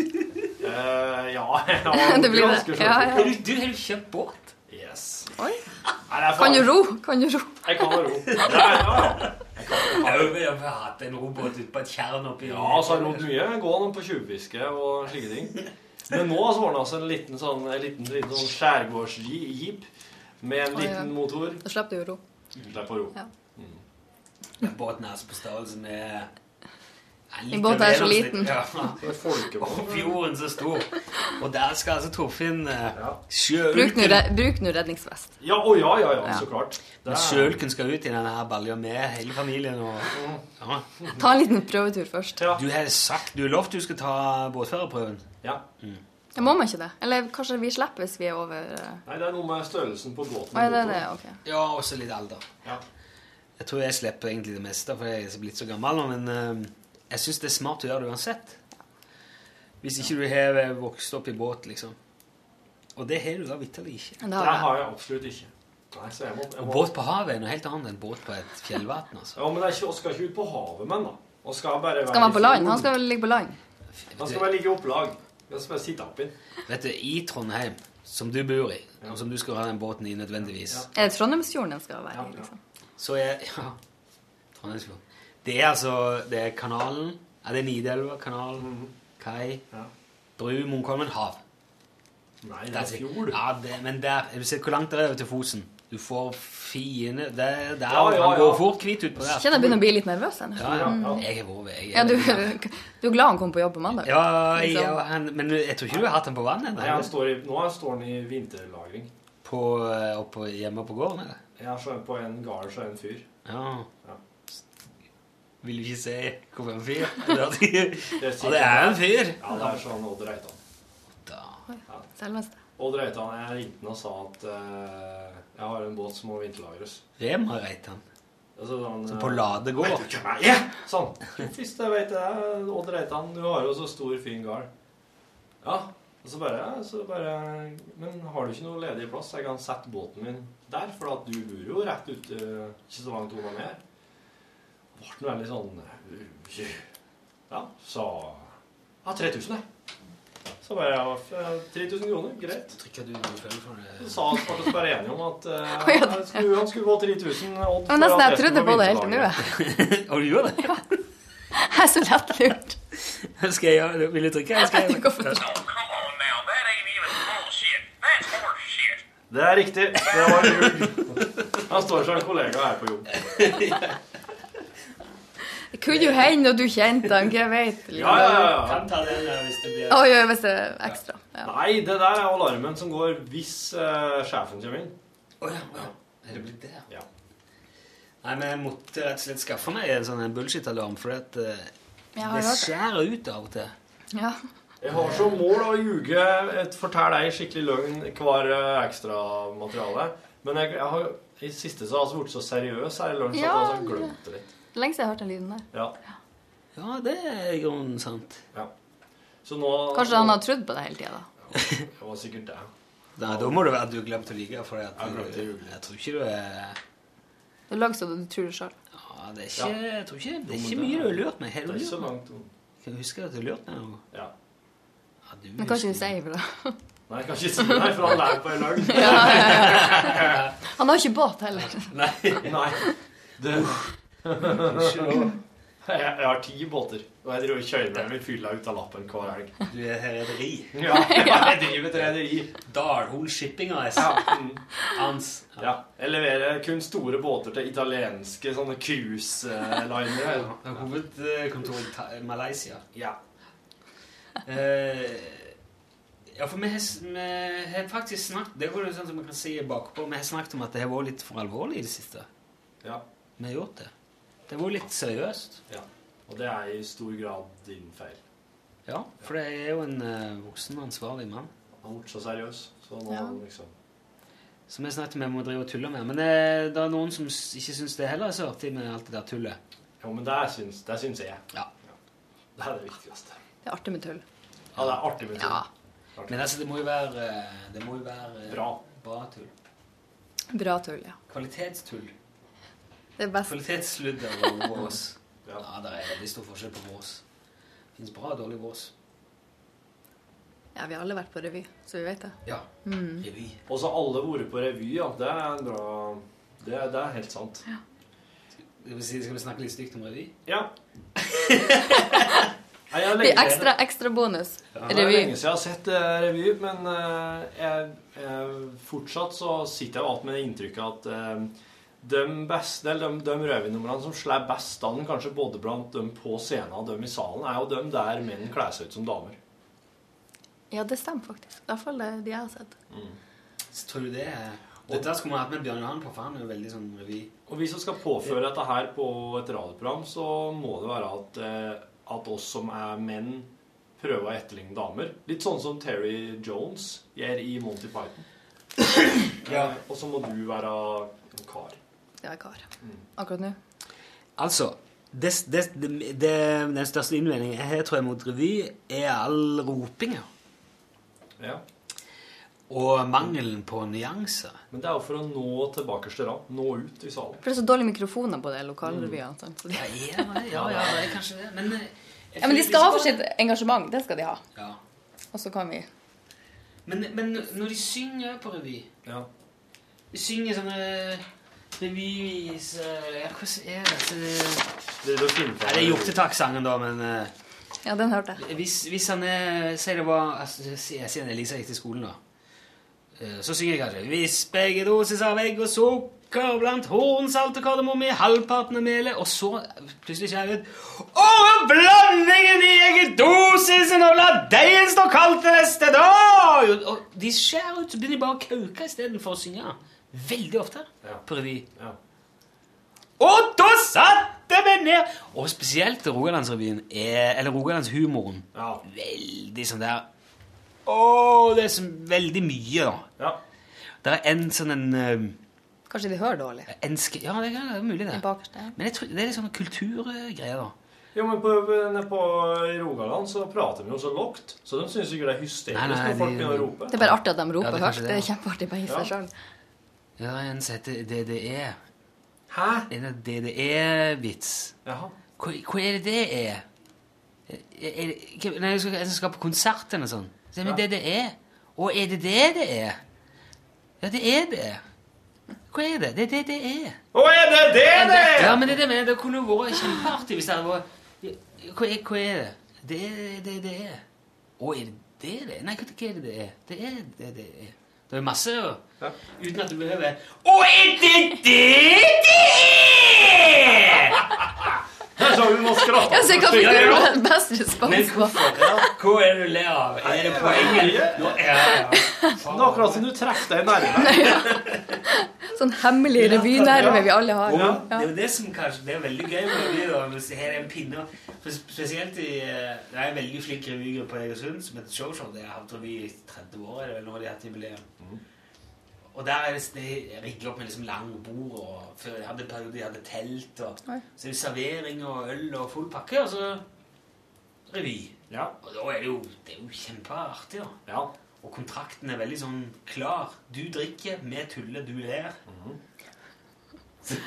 Speaker 3: Eh, ja, ja.
Speaker 6: Det blir
Speaker 3: ganske
Speaker 6: det. Ja,
Speaker 2: Har
Speaker 3: skjørbygd.
Speaker 6: ja.
Speaker 2: du, du, har du kjøpt båt?
Speaker 3: Yes.
Speaker 6: Oi.
Speaker 3: Nei, det er
Speaker 6: Kan
Speaker 3: faen-
Speaker 6: du ro? Kan du ro?
Speaker 3: Jeg kan ro. Ja, ja, ja.
Speaker 2: Jeg har jo jeg har hatt en robåt ute på et tjern oppi
Speaker 3: ja så har jeg rodd mye. Gående på tjuvfiske og slike ting. Men nå så ordna vi en liten sånn, en liten, liten sånn skjærgårdsjeep med en
Speaker 6: Å, ja.
Speaker 3: liten motor.
Speaker 6: Da slipper du å ro.
Speaker 3: Slipp å ro.
Speaker 2: Båten er altså på størrelse med Ja, litt
Speaker 6: Den båten er så
Speaker 2: over
Speaker 6: liten.
Speaker 2: gjennomsnitt,
Speaker 3: Det er folkebåt.
Speaker 2: Ja. Fjorden så stor. Og der skal altså Torfinn eh,
Speaker 3: Ja.
Speaker 6: Bruk nå
Speaker 2: Sjøulken
Speaker 6: re- Bruk nå redningsvest.
Speaker 3: Ja, å ja, ja, ja,
Speaker 6: Ja.
Speaker 3: så klart. Det
Speaker 2: Men
Speaker 3: er-
Speaker 2: Sjøulken skal ut i denne her balja med hele familien og ja.
Speaker 6: Ta en liten prøvetur først.
Speaker 3: Ja.
Speaker 2: Du har sagt Du har lovt du skal ta båtførerprøven.
Speaker 3: ja.
Speaker 6: Ja, Må man ikke det? Eller kanskje vi slipper hvis vi er over eh,
Speaker 3: Nei, det er noe med størrelsen på båten.
Speaker 6: Å, ja, det er det. Ok.
Speaker 2: Ja, også litt alder.
Speaker 3: Ja.
Speaker 2: Jeg tror jeg slipper egentlig det meste, for jeg er blitt så gammel nå, men eh, jeg syns det er smart å gjøre det uansett. Hvis ikke du har eh, vokst opp i båt, liksom. Og det har du da vitterlig ikke.
Speaker 6: Men
Speaker 3: Det
Speaker 6: da har
Speaker 3: har jeg absolutt ikke. Nei, så jeg må, jeg
Speaker 2: Og
Speaker 3: må.
Speaker 2: båt på havet er noe helt annet enn båt på et fjellvann, altså.
Speaker 3: Ja, men det er ikke, og skal ikke ut på havet med den, da. Og skal bare være
Speaker 6: Skal man
Speaker 3: i
Speaker 6: på land?
Speaker 3: fjorden.
Speaker 6: Han skal vel ligge på land?
Speaker 3: Han skal bare ligge i opplag. Jeg skal bare sitte oppi.
Speaker 2: Vet du, i Trondheim, som du bor i, og som du skal ha den båten i nødvendigvis,
Speaker 6: Er det Eh, Trondheimsfjorden den skal være i? liksom?
Speaker 2: så er ja, Trondheimsfjorden. Det er altså det er kanalen ja, Det er Nidelva, kanalen, kai,
Speaker 3: Ja.
Speaker 2: bru, Munkholmen, hav.
Speaker 3: Nei, det
Speaker 2: Der
Speaker 3: er
Speaker 2: sier-
Speaker 3: fjord.
Speaker 2: Ja, det, men der Har du sett hvor langt det er over til Fosen? Du får fiende Der, der
Speaker 3: Ja, ja,
Speaker 2: han går
Speaker 3: ja.
Speaker 2: fort hvit utpå der.
Speaker 6: Kjenner jeg begynner å bli litt nervøs. Jeg,
Speaker 2: Ja, ja.
Speaker 3: Ja, ja.
Speaker 2: Jeg har vært jeg
Speaker 6: ja,
Speaker 2: er-
Speaker 6: du, du er glad han kom på jobb på mandag?
Speaker 2: ja, jeg-
Speaker 6: Liksom.
Speaker 2: ja, han, Men jeg tror ikke du har hatt den på vannet
Speaker 3: Nei, han
Speaker 2: ennå?
Speaker 3: står i, nå står han i vinterlagring.
Speaker 2: På, eh, oppå- Hjemme på gården, eller?
Speaker 3: Jeg har skjønt på en gard så er det en fyr.
Speaker 2: Ja.
Speaker 3: Ja.
Speaker 2: Vil du ikke si hvorfor en fyr? Ja, det
Speaker 3: Det er
Speaker 2: er en fyr!
Speaker 3: Ja, det er sånn Odd Reitan.
Speaker 2: Da.
Speaker 6: Selveste.
Speaker 3: Odd Reitan, jeg ringte han og sa at eh, jeg har en båt som må vinterlagres.
Speaker 2: Rema Reitan.
Speaker 3: Og så sa han,
Speaker 2: På
Speaker 3: eh,
Speaker 2: Ladegård.
Speaker 3: Vet du hvem jeg er? Sånn. Hvis jeg vet det, Odd Reitan, du har jo så stor, fin gard. Ja. Og så bare, ja, så bare Men har du ikke noe ledig plass? Jeg kan sette båten min der, for at du bor jo rett ute ikke så langt unna mer. Ble han veldig sånn eh, Ja, så Ja, 3000, jeg. Så bare ja, f- 3000 kroner, greit.
Speaker 2: Jeg tror ikke du føler for
Speaker 3: Så
Speaker 2: det.
Speaker 3: sa han faktisk bare enige om at eh,
Speaker 6: Å, ja, det-
Speaker 3: han skulle, han skulle få 3000 odd.
Speaker 6: Men nesten jeg trodde på det helt til nå. jeg.
Speaker 2: Og du gjorde det?
Speaker 6: Jeg er så lettlurt.
Speaker 2: Skal jeg gjøre det? Vil du drikke? eller Skal jeg
Speaker 6: Du kan få drikke.
Speaker 7: Come on now, that ain't even bullshit. That's horseshit.
Speaker 3: Det er riktig. Det var jul. Han står som en kollega her på jobb.
Speaker 6: Det kunne jo hende at du kjente han, hva jeg vet. liksom.
Speaker 3: Ja, ja, ja, ja.
Speaker 2: Kan ta den eh, hvis det blir
Speaker 6: Oi, oi, hvis det er ekstra. Ja.
Speaker 3: Nei, det der er alarmen som går hvis eh, sjefen kommer inn.
Speaker 2: Å ja, å ja. Er det blitt det?
Speaker 3: Ja.
Speaker 2: Nei, men jeg måtte rett og slett skaffe meg en sånn en bullshit-alarm, for at eh,
Speaker 6: Jeg
Speaker 2: det
Speaker 6: har hørt det.
Speaker 2: skjærer ut av og til.
Speaker 6: Ja.
Speaker 3: Jeg har som mål å ljuge, et- fortelle ei skikkelig løgn hver eh, ekstramateriale. Men jeg, jeg har i siste så har jeg blitt så seriøs her i lunsj at jeg
Speaker 6: Ja,
Speaker 3: har sånn glemt det litt.
Speaker 6: Lenge siden jeg hørte den lyden der.
Speaker 3: Ja,
Speaker 2: Ja, det er i grunnen sant.
Speaker 3: ja. Så nå
Speaker 6: Kanskje han har trodd på det hele tida, da.
Speaker 3: Det var sikkert det.
Speaker 2: Nei, da må det være at du har glemt å like, for at,
Speaker 3: Jeg glemte å ljuge.
Speaker 2: jeg tror ikke du er
Speaker 6: Du lag så du tror det sjøl.
Speaker 2: Ja, det er ikke, jeg tror ikke, det er
Speaker 3: Jo,
Speaker 2: ikke
Speaker 3: men det
Speaker 2: mye
Speaker 3: er-
Speaker 2: du har lurt meg. Har
Speaker 3: Det
Speaker 2: du
Speaker 3: er ikke
Speaker 2: lurt
Speaker 3: så
Speaker 2: meg?
Speaker 3: langt.
Speaker 2: Kan du huske at du har lurt meg noe?
Speaker 3: Ja.
Speaker 2: Ja, du
Speaker 6: Men kanskje du
Speaker 2: husker.
Speaker 6: sier ifra.
Speaker 3: Nei, jeg kan ikke si det, nei, for han lærer på ei løgn.
Speaker 6: Han har ikke båt heller.
Speaker 2: Nei,
Speaker 3: Nei. Det,
Speaker 2: ikke lov.
Speaker 3: Jeg, jeg har ti båter, og jeg driver og kjører med min fylla ut av lappen hver helg.
Speaker 2: Du er rederi.
Speaker 3: Ja, jeg driver et rederi.
Speaker 2: Darhol Shipping AS.
Speaker 3: Ja. mm.
Speaker 2: Ans.
Speaker 3: Ja. Jeg leverer kun store båter til italienske sånne cruise-linere.
Speaker 2: Hovedkontoret i Malaysia.
Speaker 3: Ja.
Speaker 2: Eh, ja, for vi har, s- vi har faktisk snakket Det går jo sånn som man kan si bakpå. Vi har snakket om at det har vært litt for alvorlig i det siste.
Speaker 3: ja.
Speaker 2: Vi har gjort det. Det har vært litt seriøst.
Speaker 3: ja. Og det er i stor grad din feil.
Speaker 2: Ja, for jeg er jo en eh, voksen, ansvarlig mann.
Speaker 3: Han har vært så seriøs, så nå
Speaker 6: Ja.
Speaker 3: liksom
Speaker 2: Så vi snakket om at vi må drive og tulle med. Men eh, det er noen som s- ikke syns det heller er så artig med alt det der tullet.
Speaker 3: Jo, men det syns, det syns jeg.
Speaker 2: Ja.
Speaker 3: Det er det viktigste.
Speaker 6: Det er artig med tull.
Speaker 3: Ja, det er artig med
Speaker 6: Ja.
Speaker 3: tull.
Speaker 2: Men altså, det må jo være, eh, det må jo være eh,
Speaker 3: Bra.
Speaker 2: bra tull.
Speaker 6: Bra tull, ja.
Speaker 2: Kvalitetstull.
Speaker 6: Det er best.
Speaker 2: Kvalitetsludder og vås.
Speaker 3: Ja.
Speaker 2: Ja, det er veldig stor forskjell på vås. Det fins bra og dårlig vås.
Speaker 6: Ja, vi har alle vært på revy, så vi vet det.
Speaker 2: Ja. Revy.
Speaker 3: Og så alle vært på revy, ja. Det er en bra Det, det er helt sant.
Speaker 2: Det vil si, skal vi snakke litt stygt om revy?
Speaker 3: Ja. Nei, jeg
Speaker 6: Det
Speaker 3: legger
Speaker 6: er ekstra, ekstra bonus.
Speaker 3: Ja, Det er
Speaker 6: Revy.
Speaker 3: lenge siden jeg har sett eh, revy, men eh, jeg, jeg, fortsatt så sitter jeg igjen med det inntrykket at eh, de beste, eller de, de revynumrene som slår best an, kanskje både blant dem på scenen og dem i salen, er jo dem der menn kler seg ut som damer.
Speaker 6: Ja, det stemmer faktisk. I hvert fall det de jeg har sett.
Speaker 2: Så tror du det er Og der skulle vi hatt med Bjørn Johan på, for han er jo veldig sånn revy.
Speaker 3: Og hvis vi skal påføre dette her på et radioprogram, så må det være at, eh, at oss som er menn, prøver å etterligne damer. Litt sånn som Terry Jones gjør i Monty Python.
Speaker 2: Ja.
Speaker 3: Eh, Og så må du være en kar.
Speaker 6: Det er kar.
Speaker 2: Mm.
Speaker 6: Akkurat nå.
Speaker 2: Altså det, det, det, det, Den største innvendingen jeg har, tror jeg, mot revy, er all ropinga.
Speaker 3: Ja.
Speaker 2: Og mangelen på nyanser.
Speaker 3: Men det er jo for å nå tilbake til da. Nå ut i salen.
Speaker 6: For det er så dårlige mikrofoner på de
Speaker 2: Mm.
Speaker 6: lokalrevyene. sant? Så de-
Speaker 2: Ja, ja, ja, ja, det er kanskje det. Men, eh, jeg
Speaker 6: Ja, men de
Speaker 2: føler
Speaker 6: skal ha
Speaker 2: liksom-
Speaker 6: for sitt engasjement. Det skal de ha.
Speaker 2: ja.
Speaker 6: Og så kan vi
Speaker 2: men, men når de synger på revy
Speaker 3: Ja.
Speaker 2: De synger sånne revyviser ja, Hvordan er det? Så det
Speaker 3: Det er det å finne på.
Speaker 2: Nei, det er Hjortetak-sangen, da, men eh,
Speaker 6: Ja, den hørte jeg.
Speaker 2: Hvis, hvis han er, sier det var altså, sier- Siden Elisa gikk til skolen, da. eh, Så synger jeg kanskje Hvis begge doses av egg og sukker blant horn, salt og kardemomme i halvparten av melet Og så plutselig skjærer jeg ut Over blandingen i eggedosisen og la deigen stå kald til neste dag! Og- Og de skjærer ut, så begynner de bare å kauke istedenfor å synge. Veldig ofte
Speaker 3: Ja.
Speaker 2: på revy.
Speaker 3: Ja.
Speaker 2: Og da satte vi ned! Og spesielt Rogalandsrevyen, er- eller Rogalandshumoren.
Speaker 3: Ja.
Speaker 2: Veldig sånn der Å, det er så veldig mye, da.
Speaker 3: ja.
Speaker 2: Det er en sånn en, eh,
Speaker 6: Kanskje de hører dårlig.
Speaker 2: en sk- Ja, det er mulig, det.
Speaker 6: Den bakerste. ja.
Speaker 2: Men jeg tror, det er litt sånn kulturgreier, da.
Speaker 3: Jo, men på, nede på i Rogaland så prater de jo så lågt, så de syns sikkert det er hysterisk
Speaker 2: Nei, nei,
Speaker 3: når folk
Speaker 2: de-
Speaker 3: begynner å rope.
Speaker 6: Det er bare artig at de
Speaker 2: Ja,
Speaker 6: roper
Speaker 2: det er
Speaker 6: høyt.
Speaker 2: kanskje det,
Speaker 6: Det er
Speaker 2: ja.
Speaker 6: kjempeartig bare i seg sjøl.
Speaker 2: Det er en som heter DDE.
Speaker 3: Hæ?
Speaker 2: En DDE-vits.
Speaker 3: Jaha.
Speaker 2: Hva, hva er det det er? er, er hvem- nei, jeg skal, jeg skal på konsert eller sånn. Så, men det det er. Og er det det det er? Ja, det er det. Hva er det? Det er E. det det er.
Speaker 3: Å, er det det det er?
Speaker 2: Ja, men det, er det, men det kunne jo vært kjempeartig hvis det hadde vært hva er, hva er det? Det er det det er. Å, er det det det er? Nei, hva hva er det det er? Det er det det er. Det er masse jo. Uten at du behøver Å, er det det det er?
Speaker 3: Jeg sa vi må skrape.
Speaker 6: Ja, så jeg kan
Speaker 2: Ja, ja, ja.
Speaker 6: fikk best respons på.
Speaker 2: Hva er det du ler av? Er det poenget? Nå er jeg
Speaker 3: Det er akkurat som du trekker deg nærmere.
Speaker 6: Sånn hemmelig revynerve vi alle har.
Speaker 2: Ja. Det
Speaker 6: Ja.
Speaker 2: er jo det som kanskje Det er veldig gøy med revy. da, Hvis her er en pinne for Spesielt i eh, Det er en veldig flink revygruppe i Egersund som heter Showshow. De har hatt revy i 30 år, eller nå har de hatt jubileum. Og der er det de rigger opp med liksom lange bord. og Før de hadde en periode de hadde telt. og
Speaker 6: Oi.
Speaker 2: Så er det servering og øl og full pakke, og så revy.
Speaker 3: Ja.
Speaker 2: Og da er det jo, det er jo kjempeartig, da.
Speaker 3: Ja.
Speaker 2: Og kontrakten er veldig sånn klar. Du drikker, vi tuller, du ler.
Speaker 8: Mhm.
Speaker 2: Så,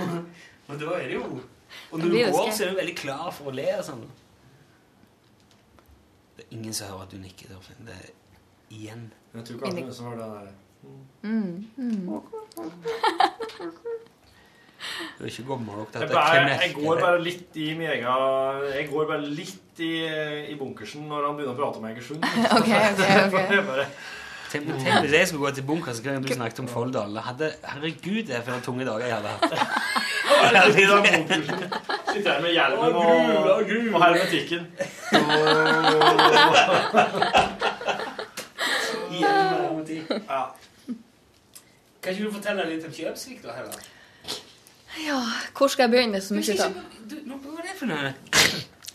Speaker 2: og da er det jo Og når
Speaker 6: Da
Speaker 2: du
Speaker 6: blir det
Speaker 2: går,
Speaker 6: skøy.
Speaker 2: så er du veldig klar for å le. og Sånn. Det er ingen som hører at du nikker. Torfinn. Det er igjen.
Speaker 3: Jeg tror kanskje det er som var det der.
Speaker 8: Du er ikke gammel nok til
Speaker 3: Jeg,
Speaker 8: at
Speaker 3: bare,
Speaker 8: jeg
Speaker 3: jeg
Speaker 8: kan
Speaker 3: går
Speaker 8: merke det.
Speaker 3: bare litt i min egen Jeg går bare litt i, i bunkersen når han begynner å prate om Egersund.
Speaker 6: OK, ok, ok.
Speaker 3: Jeg bare-
Speaker 8: Tenk tenk hvis jeg skulle gå til bunkers hver gang du snakket om Folldal. Da hadde- Herregud, det er for en tunge dag jeg hadde hatt.
Speaker 3: I den bunkersen sitter jeg med hjelmen og, og hermetikken. Ja.
Speaker 2: Kan ikke du fortelle litt om Kjøpsvik, da? Heller?
Speaker 6: Ja, hvor skal jeg begynne? så mye da?
Speaker 2: hva er det for noe?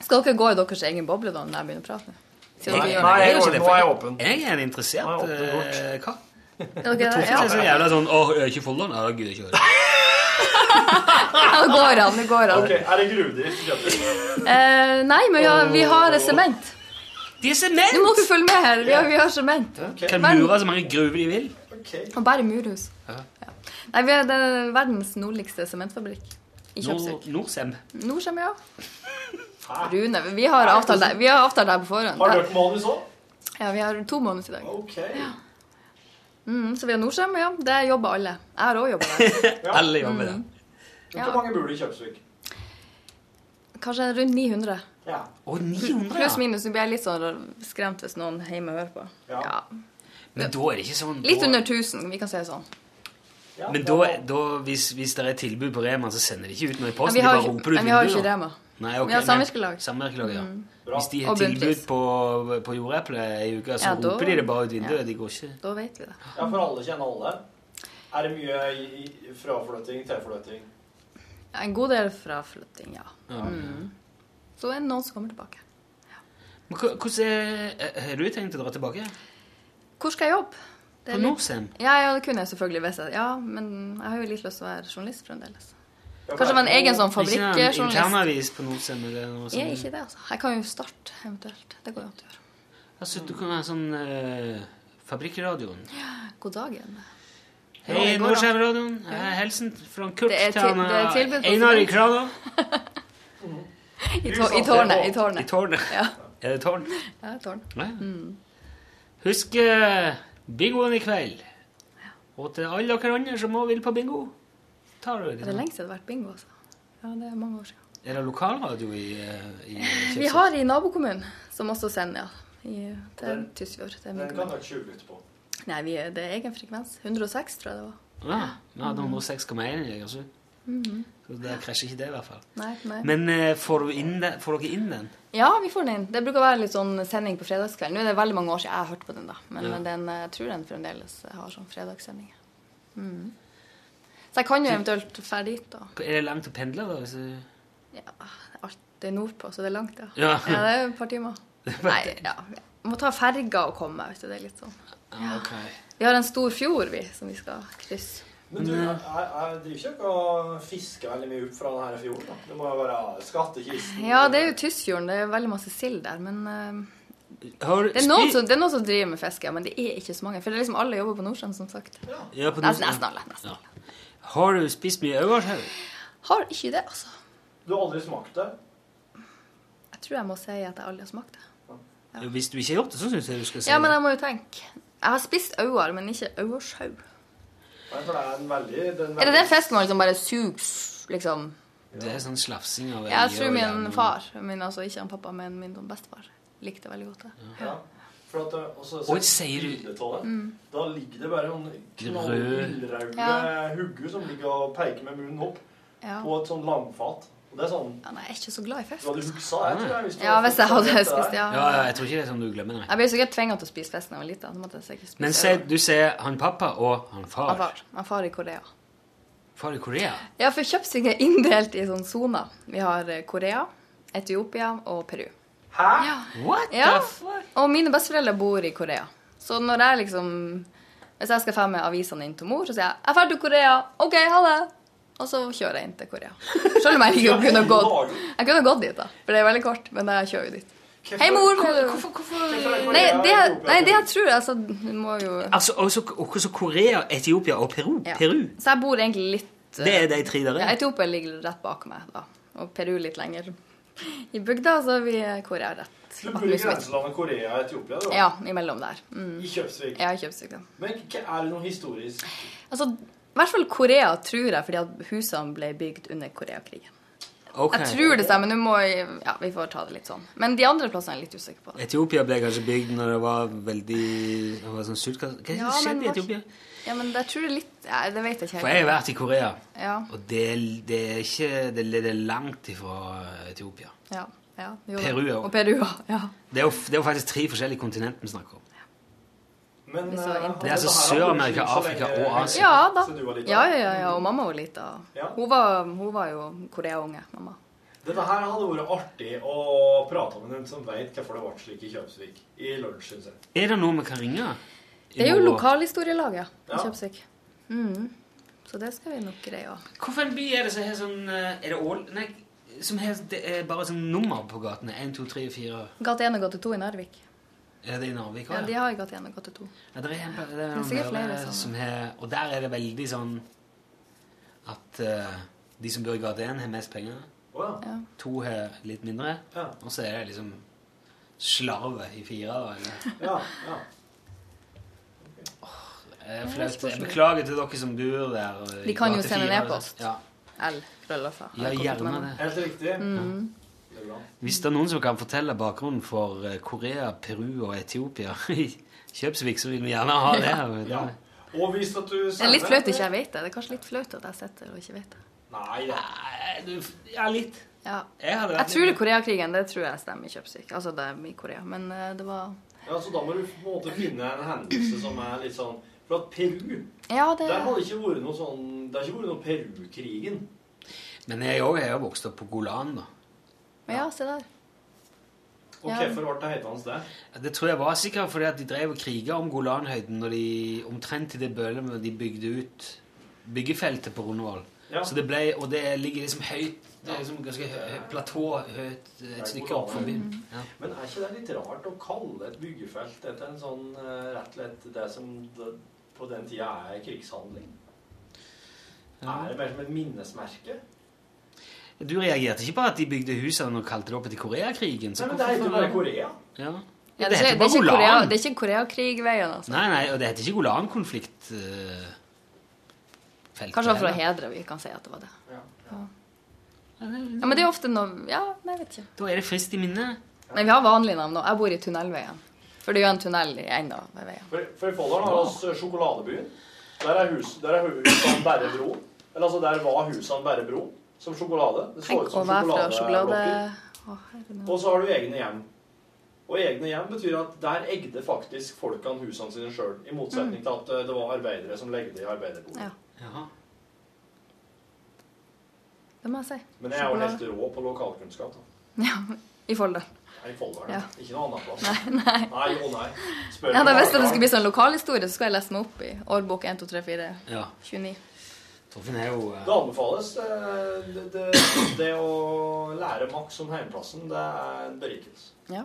Speaker 6: Skal dere gå i deres egen boble da når jeg begynner å prate? Siden dere
Speaker 2: Nei,
Speaker 6: gjør
Speaker 3: Nei,
Speaker 2: jeg
Speaker 6: det.
Speaker 3: jeg,
Speaker 2: gjør ikke det,
Speaker 3: nå er jeg åpen.
Speaker 2: Jeg er en interessert
Speaker 3: Nei, åpenbart.
Speaker 2: eh, kar.
Speaker 6: Er dere det?
Speaker 2: Det er
Speaker 6: Ja.
Speaker 2: så jævla sånn Å, jeg er ikke Folldal? Nei, da gidder jeg ikke høre.
Speaker 6: Ja, det går an. Det går an.
Speaker 3: Ok, Er det gruvedrift?
Speaker 6: Eh, nei, men ja, vi har sement.
Speaker 2: De er
Speaker 6: Du må
Speaker 2: sement!
Speaker 6: ikke følge med her. Vi har, vi har sement.
Speaker 2: Kan mure så mange gruver de vil.
Speaker 6: Og bare murhus. Ja. Nei, vi er det er verdens nordligste sementfabrikk i Kjøpsvik.
Speaker 2: Nor- Norcem.
Speaker 6: Nordsem, ja. Rune, vi har avtalt der, vi har avtalt der på forhånd.
Speaker 3: Har du hørt manus òg?
Speaker 6: Ja, vi har to måneder i dag.
Speaker 3: Ok.
Speaker 6: Mm, så vi har Nordsem, ja. Det jobber alle. Jeg har òg jobba der.
Speaker 2: Alle
Speaker 6: Mm.
Speaker 2: jobber der.
Speaker 6: Ja.
Speaker 3: Hvor mange bor det i Kjøpsvik?
Speaker 6: Kanskje rundt 900.
Speaker 3: Ja.
Speaker 2: Å, 900,
Speaker 6: Pluss
Speaker 2: ja.
Speaker 6: minus. Nå blir jeg litt sånn skremt hvis noen hjemme hører på.
Speaker 3: Ja.
Speaker 6: Ja.
Speaker 2: Men da er det ikke sånn
Speaker 6: Litt
Speaker 2: da-
Speaker 6: under 1000, vi kan si det sånn.
Speaker 3: Ja,
Speaker 2: Men da, da hvis, hvis det er tilbud på Rema, så sender de ikke ut noe i
Speaker 6: Men
Speaker 2: posten.
Speaker 6: vi har
Speaker 2: de
Speaker 6: jo
Speaker 2: bare
Speaker 6: ikke,
Speaker 2: roper ut
Speaker 6: men vi har jo
Speaker 2: tilbud,
Speaker 6: ikke
Speaker 2: da.
Speaker 6: Rema.
Speaker 2: Nei, ok,
Speaker 6: Vi har
Speaker 2: men-
Speaker 6: samvirkelag. Mm.
Speaker 2: samvirkelag, ja. Hvis de har
Speaker 6: Og
Speaker 2: tilbud
Speaker 6: bunnpris.
Speaker 2: på, på jordeple ei uke, så
Speaker 6: Ja, da-
Speaker 2: roper de det bare ut vinduet. De går ikke
Speaker 6: Da vet vi det.
Speaker 3: Ja, for alle kjenner alle. Er det mye i- i- fraflytting, tilflytting?
Speaker 6: Ja, En god del fraflytting, ja. Mm. Så er det noen som kommer tilbake.
Speaker 2: Men hva- hvordan er eh, Har du tenkt å dra tilbake?
Speaker 6: Hvor skal jeg jobbe? Det
Speaker 2: På
Speaker 6: er litt...
Speaker 2: Norcem?
Speaker 6: Ja, ja, det kunne jeg selvfølgelig visst. at- Ja, men jeg har jo litt lyst til å være journalist fremdeles.
Speaker 3: Ja,
Speaker 6: Kanskje være en egen sånn
Speaker 2: Ikke en
Speaker 6: fabrikkjournalist.
Speaker 2: internavis på Norcem eller noe
Speaker 6: Jeg er
Speaker 2: sånt?
Speaker 6: ikke det, altså. Jeg kan jo starte, eventuelt. Det går jo an å gjøre.
Speaker 2: Altså, du kan være sånn eh, Fabrikkradioen.
Speaker 6: God dag igjen.
Speaker 2: Hei,
Speaker 6: det går an.
Speaker 2: Norcem-radioen. Eh, Hilsen fra Kurt
Speaker 6: Det er til-
Speaker 2: til han,
Speaker 6: det er tilbud på
Speaker 2: eh, Einar i
Speaker 6: Finans.
Speaker 2: Krana.
Speaker 6: I, tå i tårnet. I
Speaker 2: I
Speaker 6: tårnet.
Speaker 2: tårnet.
Speaker 6: Ja. Mm.
Speaker 2: Er det tårn?
Speaker 6: Ja, tårn.
Speaker 2: Ja. Husk eh, bingoen i kveld. Og til alle dere andre som også vil på bingo tar du
Speaker 6: Det er lenge siden det har vært bingo, altså. Ja, det er mange år siden.
Speaker 2: liksom. Er det lokalradio i, eh, i
Speaker 6: Vi har i nabokommunen, som også sender, ja. I, det er Tysfjord. Det er min
Speaker 3: Den kan
Speaker 6: kommune.
Speaker 3: dere tjuve litt på.
Speaker 6: Nei, vi, er- det er egen frekvens. 106, tror jeg det var.
Speaker 2: Ja, vi hadde 106,1 i Egersund.
Speaker 6: Mhm.
Speaker 2: Så der krasjer ikke det, i hvert fall.
Speaker 6: Nei, nei.
Speaker 2: Men eh, får, du inn den, får dere inn den?
Speaker 6: Ja, vi får den inn. Det bruker å være litt sånn sending på fredagskveld. Nå er det veldig mange år siden jeg har hørt på den, da. Men men den, eh, jeg tror den fremdeles har sånn fredagssending. Mm. Så jeg kan jo eventuelt dra dit, da.
Speaker 2: Er det langt å pendle, da? Altså, Hvis du...
Speaker 6: Ja, alt det er nordpå, så det er langt, ja.
Speaker 2: Ja.
Speaker 6: det er et par timer. Nei, ja. Vi må ta ferga og komme, vet du. Det er litt sånn.
Speaker 2: Ja, ok.
Speaker 6: Vi har en stor fjord, vi, som vi skal krysse.
Speaker 3: Men du, jeg, jeg driver ikke dere og fisker veldig mye opp fra denne fjorden? da? Det må jo være skattekisten.
Speaker 6: Ja, det er jo Tysfjorden. Det er veldig masse sild der. Men eh,
Speaker 2: Har du-
Speaker 6: det, er noen
Speaker 2: Spi-
Speaker 6: som, det er noen som driver med fiske, ja, men det er ikke så mange. For det er liksom alle jobber på Nordsjøen, som sagt.
Speaker 2: Ja, på
Speaker 6: Nesten,
Speaker 2: Norcem.
Speaker 6: nesten alle. Nesten.
Speaker 2: Ja. Har du spist mye Øvershaug?
Speaker 6: Har ikke det, altså.
Speaker 3: Du har aldri smakt det?
Speaker 6: Jeg tror jeg må si at jeg aldri har smakt det.
Speaker 2: Hvis du ikke har gjort det, så syns jeg du skal si
Speaker 6: Ja, men
Speaker 2: det.
Speaker 6: jeg må jo tenke. Jeg har spist auer, men ikke auersjau.
Speaker 3: Nei, for det er en veldig den
Speaker 6: Er det
Speaker 3: veldig-
Speaker 6: den fisken man liksom bare suger, liksom?
Speaker 2: Det er sånn slafsing av
Speaker 6: Jeg
Speaker 2: øye
Speaker 6: tror
Speaker 2: og
Speaker 6: min
Speaker 2: hjernen.
Speaker 6: far, min altså ikke han pappa, men min bestefar, likte veldig godt det.
Speaker 3: Ja. For at, eh, det- og så
Speaker 2: Oi, sier du-
Speaker 3: bildet av det.
Speaker 6: Mm.
Speaker 3: Da ligger det bare sånn noen
Speaker 2: Rød.
Speaker 3: knallrøde
Speaker 6: Ja.
Speaker 3: hugger som ligger og peker med munnen opp
Speaker 6: Ja.
Speaker 3: på et sånn langfat. Og det er sånn
Speaker 6: Ja, nei, jeg er ikke så glad i
Speaker 3: Du hadde
Speaker 6: fisk.
Speaker 3: huksa,
Speaker 2: Ah.
Speaker 3: jeg tror jeg. Hvis du
Speaker 6: Ja, hvis jeg hadde
Speaker 3: fortsatt
Speaker 6: spist,
Speaker 3: det
Speaker 6: ja.
Speaker 2: Ja, ja, jeg tror ikke det er sånn du glemmer det.
Speaker 6: Jeg ble sikkert tvinga til å spise fisk da jeg var liten. så måtte jeg sikkert spise
Speaker 2: Men se,
Speaker 6: auer.
Speaker 2: du ser han pappa og han far.
Speaker 6: Han far, han far i Korea.
Speaker 2: Far i Korea.
Speaker 6: Ja, for Kjøpsvik er inndelt i sånne soner. Vi har eh, Korea, Etiopia og Peru.
Speaker 3: Hæ?
Speaker 6: Ja.
Speaker 2: What
Speaker 6: Ja,
Speaker 2: the fuck?
Speaker 6: og mine besteforeldre bor i Korea. Så når jeg liksom Hvis jeg skal dra med avisene inn til mor, så sier jeg 'Jeg drar til Korea'. OK, ha det. Og så kjører jeg inn til Korea. Selv om jeg ikke kunne gått Jeg kunne gått dit, da. For det er veldig kort. Men jeg kjører jo dit. Hei, mor! Hvorfor, Nei, det, nei, det jeg tror altså, du må jo
Speaker 2: Altså, også, også Korea, Etiopia og Peru.
Speaker 6: ja.
Speaker 2: Peru.
Speaker 6: Så jeg bor egentlig litt eh,
Speaker 2: Det er de tre der.
Speaker 6: ja, Etiopia ligger rett bak meg, da. Og Peru litt lenger i bygda. Så vi Korea rett
Speaker 3: Du
Speaker 6: bak
Speaker 3: bor i
Speaker 6: huset mitt.
Speaker 3: grenselandet Korea og Etiopia, du. da.
Speaker 6: Ja, imellom der. Mm.
Speaker 3: I Kjøpsvik.
Speaker 6: Ja, i Kjøpsvik. da.
Speaker 3: Men hva- er det noe historisk?
Speaker 6: Altså, I hvert fall Korea, tror jeg, fordi at husene ble bygd under Koreakrigen.
Speaker 2: Ok.
Speaker 6: Jeg tror det stemmer. Nå må jeg, ja, Vi får ta det litt sånn. Men de andre plassene er jeg litt usikker på.
Speaker 2: Etiopia ble kanskje bygd når det var veldig det var sånn sultkatastrofe. Hva er det
Speaker 6: Ja,
Speaker 2: som skjedde i
Speaker 6: men-
Speaker 2: Etiopia?
Speaker 6: Ja, men jeg tror det er litt ja, Det vet jeg ikke
Speaker 2: For jeg har vært i Korea,
Speaker 6: Ja,
Speaker 2: og det, det er ikke det, det er langt ifra eh, Etiopia.
Speaker 6: ja, ja. jo da.
Speaker 2: Peru, ja.
Speaker 6: Og Peru, ja.
Speaker 2: Det er jo, det er jo faktisk tre forskjellige kontinent vi snakker om.
Speaker 3: Men
Speaker 6: Det er så
Speaker 3: eh,
Speaker 6: int-
Speaker 2: Det er altså
Speaker 3: dette her har
Speaker 2: Sør-Amerika,
Speaker 3: vært så
Speaker 2: Afrika
Speaker 3: lenge-
Speaker 2: og Asia.
Speaker 6: Ja da.
Speaker 3: Så du var liten.
Speaker 6: Ja, ja, ja, ja. Og mamma var lita.
Speaker 3: Ja.
Speaker 6: Hun var, hun var jo Korea-unge, mamma.
Speaker 3: Dette her hadde vært artig å prate med en som vet hvorfor det ble slik i Kjøpsvik. I lunsjen sin.
Speaker 2: Er det noe vi kan ringe? I
Speaker 6: Det er jo
Speaker 2: morgen?
Speaker 6: lokalhistorielaget i
Speaker 3: Ja.
Speaker 6: Kjøpsvik. Mm. Så det skal vi nok greie å
Speaker 2: Hvorfor en by er det som har sånn eh, Er det Ål... Nei, som har det er bare sånn nummer på gatene. 1, 2, 3, 4
Speaker 6: Gate 1 og gate 2 i Narvik.
Speaker 2: Er det i Narvik
Speaker 6: Ja,
Speaker 2: også,
Speaker 6: De har jo gate 1 og gate 2.
Speaker 2: Ja, det er, en pla- det er
Speaker 6: er
Speaker 2: noen
Speaker 6: sikkert flere
Speaker 2: flere
Speaker 6: sånne.
Speaker 2: som har Og der er det veldig sånn at eh, de som bor i gate 1, har mest penger.
Speaker 3: Å ja.
Speaker 2: To har litt mindre.
Speaker 3: Ja.
Speaker 2: Og så er det liksom slarvet i fire. da, Eller,
Speaker 3: ja, ja.
Speaker 2: Eh, flaut. Jeg beklager til dere som bor der. og i
Speaker 6: De kan jo
Speaker 2: gate
Speaker 6: sende
Speaker 2: 4,
Speaker 6: ned post.
Speaker 2: Ja,
Speaker 6: L. Krøllaffa.
Speaker 2: ja gjerne det.
Speaker 3: Helt riktig.
Speaker 6: Mm.
Speaker 3: Det er bra.
Speaker 2: Hvis det er noen som kan fortelle bakgrunnen for eh, Korea, Peru og Etiopia i Kjøpsvik, så vil vi gjerne ha det.
Speaker 3: Ja. Og hvis at du
Speaker 6: Det er litt flaut ikke jeg vet det. Det er kanskje litt flaut at jeg sitter og ikke vet det.
Speaker 3: Nei, ja.
Speaker 2: Nei, du- Ja, litt.
Speaker 6: Ja.
Speaker 2: Jeg hadde
Speaker 6: Jeg
Speaker 2: vært
Speaker 6: tror det er Koreakrigen. Det tror jeg stemmer i Kjøpsvik. Altså, det er i Korea. Men eh, det var
Speaker 3: ja, så da må du på en måte finne en hendelse som er litt sånn For at Peru
Speaker 6: Ja, det
Speaker 3: Der har det ikke vært noe sånn Det har ikke vært noe Peru-krigen.
Speaker 2: Men jeg òg er jo vokst opp på Golan, da.
Speaker 6: Men ja, se der.
Speaker 3: Og
Speaker 6: Ja.
Speaker 3: hvorfor ble det hetende det?
Speaker 2: Det tror jeg var sikkert fordi at de drev og kriga om Golanhøyden når de omtrent i det bølet når de bygde ut byggefeltet på Rundvoll.
Speaker 3: Ja.
Speaker 2: Så det ble, Og det ligger liksom høyt det er liksom ganske hø, hø, platå høyt eh, et stykke opp forbi. Ja.
Speaker 3: Men er ikke det litt rart å kalle et byggefelt etter en sånn eh, rett og slett det som d- på den tida er krigshandling? Er det bare som et minnesmerke?
Speaker 2: Du reagerte ikke på at de bygde husene og kalte det opp etter Koreakrigen? så
Speaker 3: Nei, men det
Speaker 2: hvorfor-
Speaker 3: heter jo bare Korea.
Speaker 2: Ja.
Speaker 6: Ja,
Speaker 2: det
Speaker 6: det,
Speaker 2: heter
Speaker 6: er ikke, det,
Speaker 2: bare
Speaker 6: er ikke
Speaker 2: Golan.
Speaker 6: Korea, det er ikke Koreakrigveien, altså.
Speaker 2: Nei, nei, og det heter ikke Golan-konflikt. eh, feltet
Speaker 6: Kanskje det var for å
Speaker 2: heller.
Speaker 6: hedre vi kan si at det var det.
Speaker 3: Ja.
Speaker 6: Ja, Men det er ofte noe Ja, nei, jeg vet ikke.
Speaker 2: Da er det frist i minnet.
Speaker 6: Nei, vi har vanlige navn nå. Jeg bor i Tunnelveien. For det er jo en tunnel i en av veiene.
Speaker 3: For, for i Folldalen har vi eh, Sjokoladebyen. Der er, hus, der er husene bare bro. Eller altså, der var husene bare bro. Som sjokolade. Det så
Speaker 6: Tenk
Speaker 3: ut
Speaker 6: å
Speaker 3: som
Speaker 6: være fra sjokolade...
Speaker 3: sjokoladeblokker.
Speaker 6: Å, herre min.
Speaker 3: Og så har du egne hjem. Og egne hjem betyr at der egde faktisk folkene husene sine sjøl. I motsetning
Speaker 6: Mm.
Speaker 3: til at eh, det var arbeidere som legde i arbeiderbolig.
Speaker 6: Ja.
Speaker 2: Jaha.
Speaker 6: Det må jeg si.
Speaker 3: Men jeg er jo helt rå på lokalkunnskap. da.
Speaker 6: Ja, I Folda.
Speaker 3: Jeg er i Folldalen.
Speaker 6: Ja.
Speaker 3: Ikke noe annet plass. Nei, nei. å nei. Spør
Speaker 6: Ja, da
Speaker 3: meg
Speaker 6: visste jeg det
Speaker 3: hver
Speaker 6: skulle bli sånn lokalhistorie, så skal jeg lese meg opp i årbok 1, 2, 3, 4,
Speaker 2: Ja.
Speaker 6: 29.
Speaker 2: Torfinn er jo
Speaker 3: Det
Speaker 2: eh,
Speaker 3: anbefales. eh, Det, det, det å lære Max om heimplassen, det er en berikelse.
Speaker 6: Ja.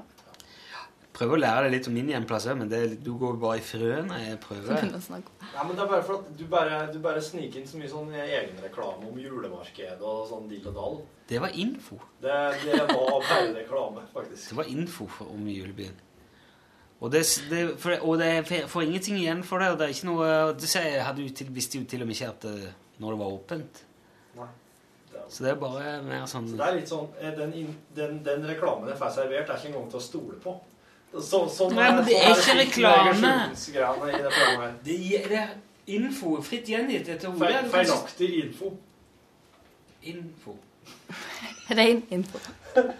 Speaker 2: Prøver å lære deg litt om min hjemplass òg, men det, er- du går jo bare i frøene. Jeg prøver.
Speaker 6: Begynner å snakke om-
Speaker 3: Nei, men det er bare for at du bare, du bare sniker inn så mye sånn egenreklame om julemarkedet og sånn dill og dall.
Speaker 2: Det var info.
Speaker 3: Det, det var bare reklame, faktisk.
Speaker 2: Det var info for, om julebyen. Og det, s- det, for, og det får- får ingenting igjen for det. og det er ikke noe, Du sier, hadde jo til, visste jo til og med ikke at det, når det var åpent.
Speaker 3: Nei. Det er-
Speaker 2: Så det er bare mer sånn
Speaker 3: Så det er litt sånn eh, Den, inn- den, den reklamen jeg får servert, er ikke engang til å stole på. Så, sånn
Speaker 2: Nei, men det er
Speaker 3: sånn
Speaker 2: ikke
Speaker 3: slik med
Speaker 2: reklame.
Speaker 3: Egersundgreiene i det programmet her.
Speaker 2: Det gi- det er info fritt gjengitt etter ordet.
Speaker 3: Feil, feilaktig info.
Speaker 2: Info.
Speaker 6: Rein info.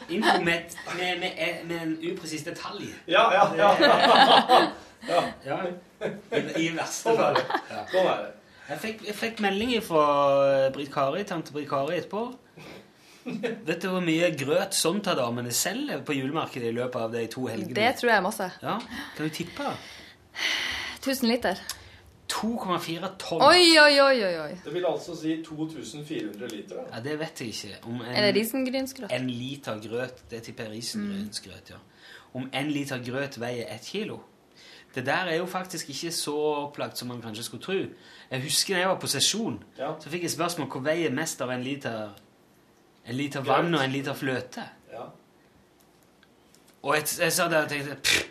Speaker 2: Info med, et- med, med, eh, med en upresis detalj.
Speaker 3: Ja, ja, ja.
Speaker 2: Ja. I, i verste
Speaker 3: Sånn er
Speaker 2: fall.
Speaker 3: det. Sånn er det.
Speaker 2: Jeg fikk, jeg fikk melding fra eh, Britt Kari, tante Britt Kari etterpå. Vet du hvor mye grøt Sonta-damene selger på julemarkedet i løpet av de to helgene?
Speaker 6: Det tror jeg er masse.
Speaker 2: Ja, Kan du tippe?
Speaker 6: 1000 liter.
Speaker 2: 2,4 tonn.
Speaker 6: Oi, oi, oi, oi, oi.
Speaker 3: Det vil altså si 2400 liter. da.
Speaker 2: Ja, Det vet jeg ikke. Om en,
Speaker 6: Er det risengrynsgrøt?
Speaker 2: en liter grøt Det tipper jeg risengrynsgrøt, ja. Om en liter grøt veier ett kilo. Det der er jo faktisk ikke så opplagt som man kanskje skulle tro. Jeg husker da jeg var på sesjon,
Speaker 3: Ja.
Speaker 2: så fikk jeg spørsmål hva veier mest av en liter, en liter
Speaker 3: Grøt.
Speaker 2: vann og en liter fløte.
Speaker 3: Ja.
Speaker 2: Og jeg, jeg sa det og tenkte pff,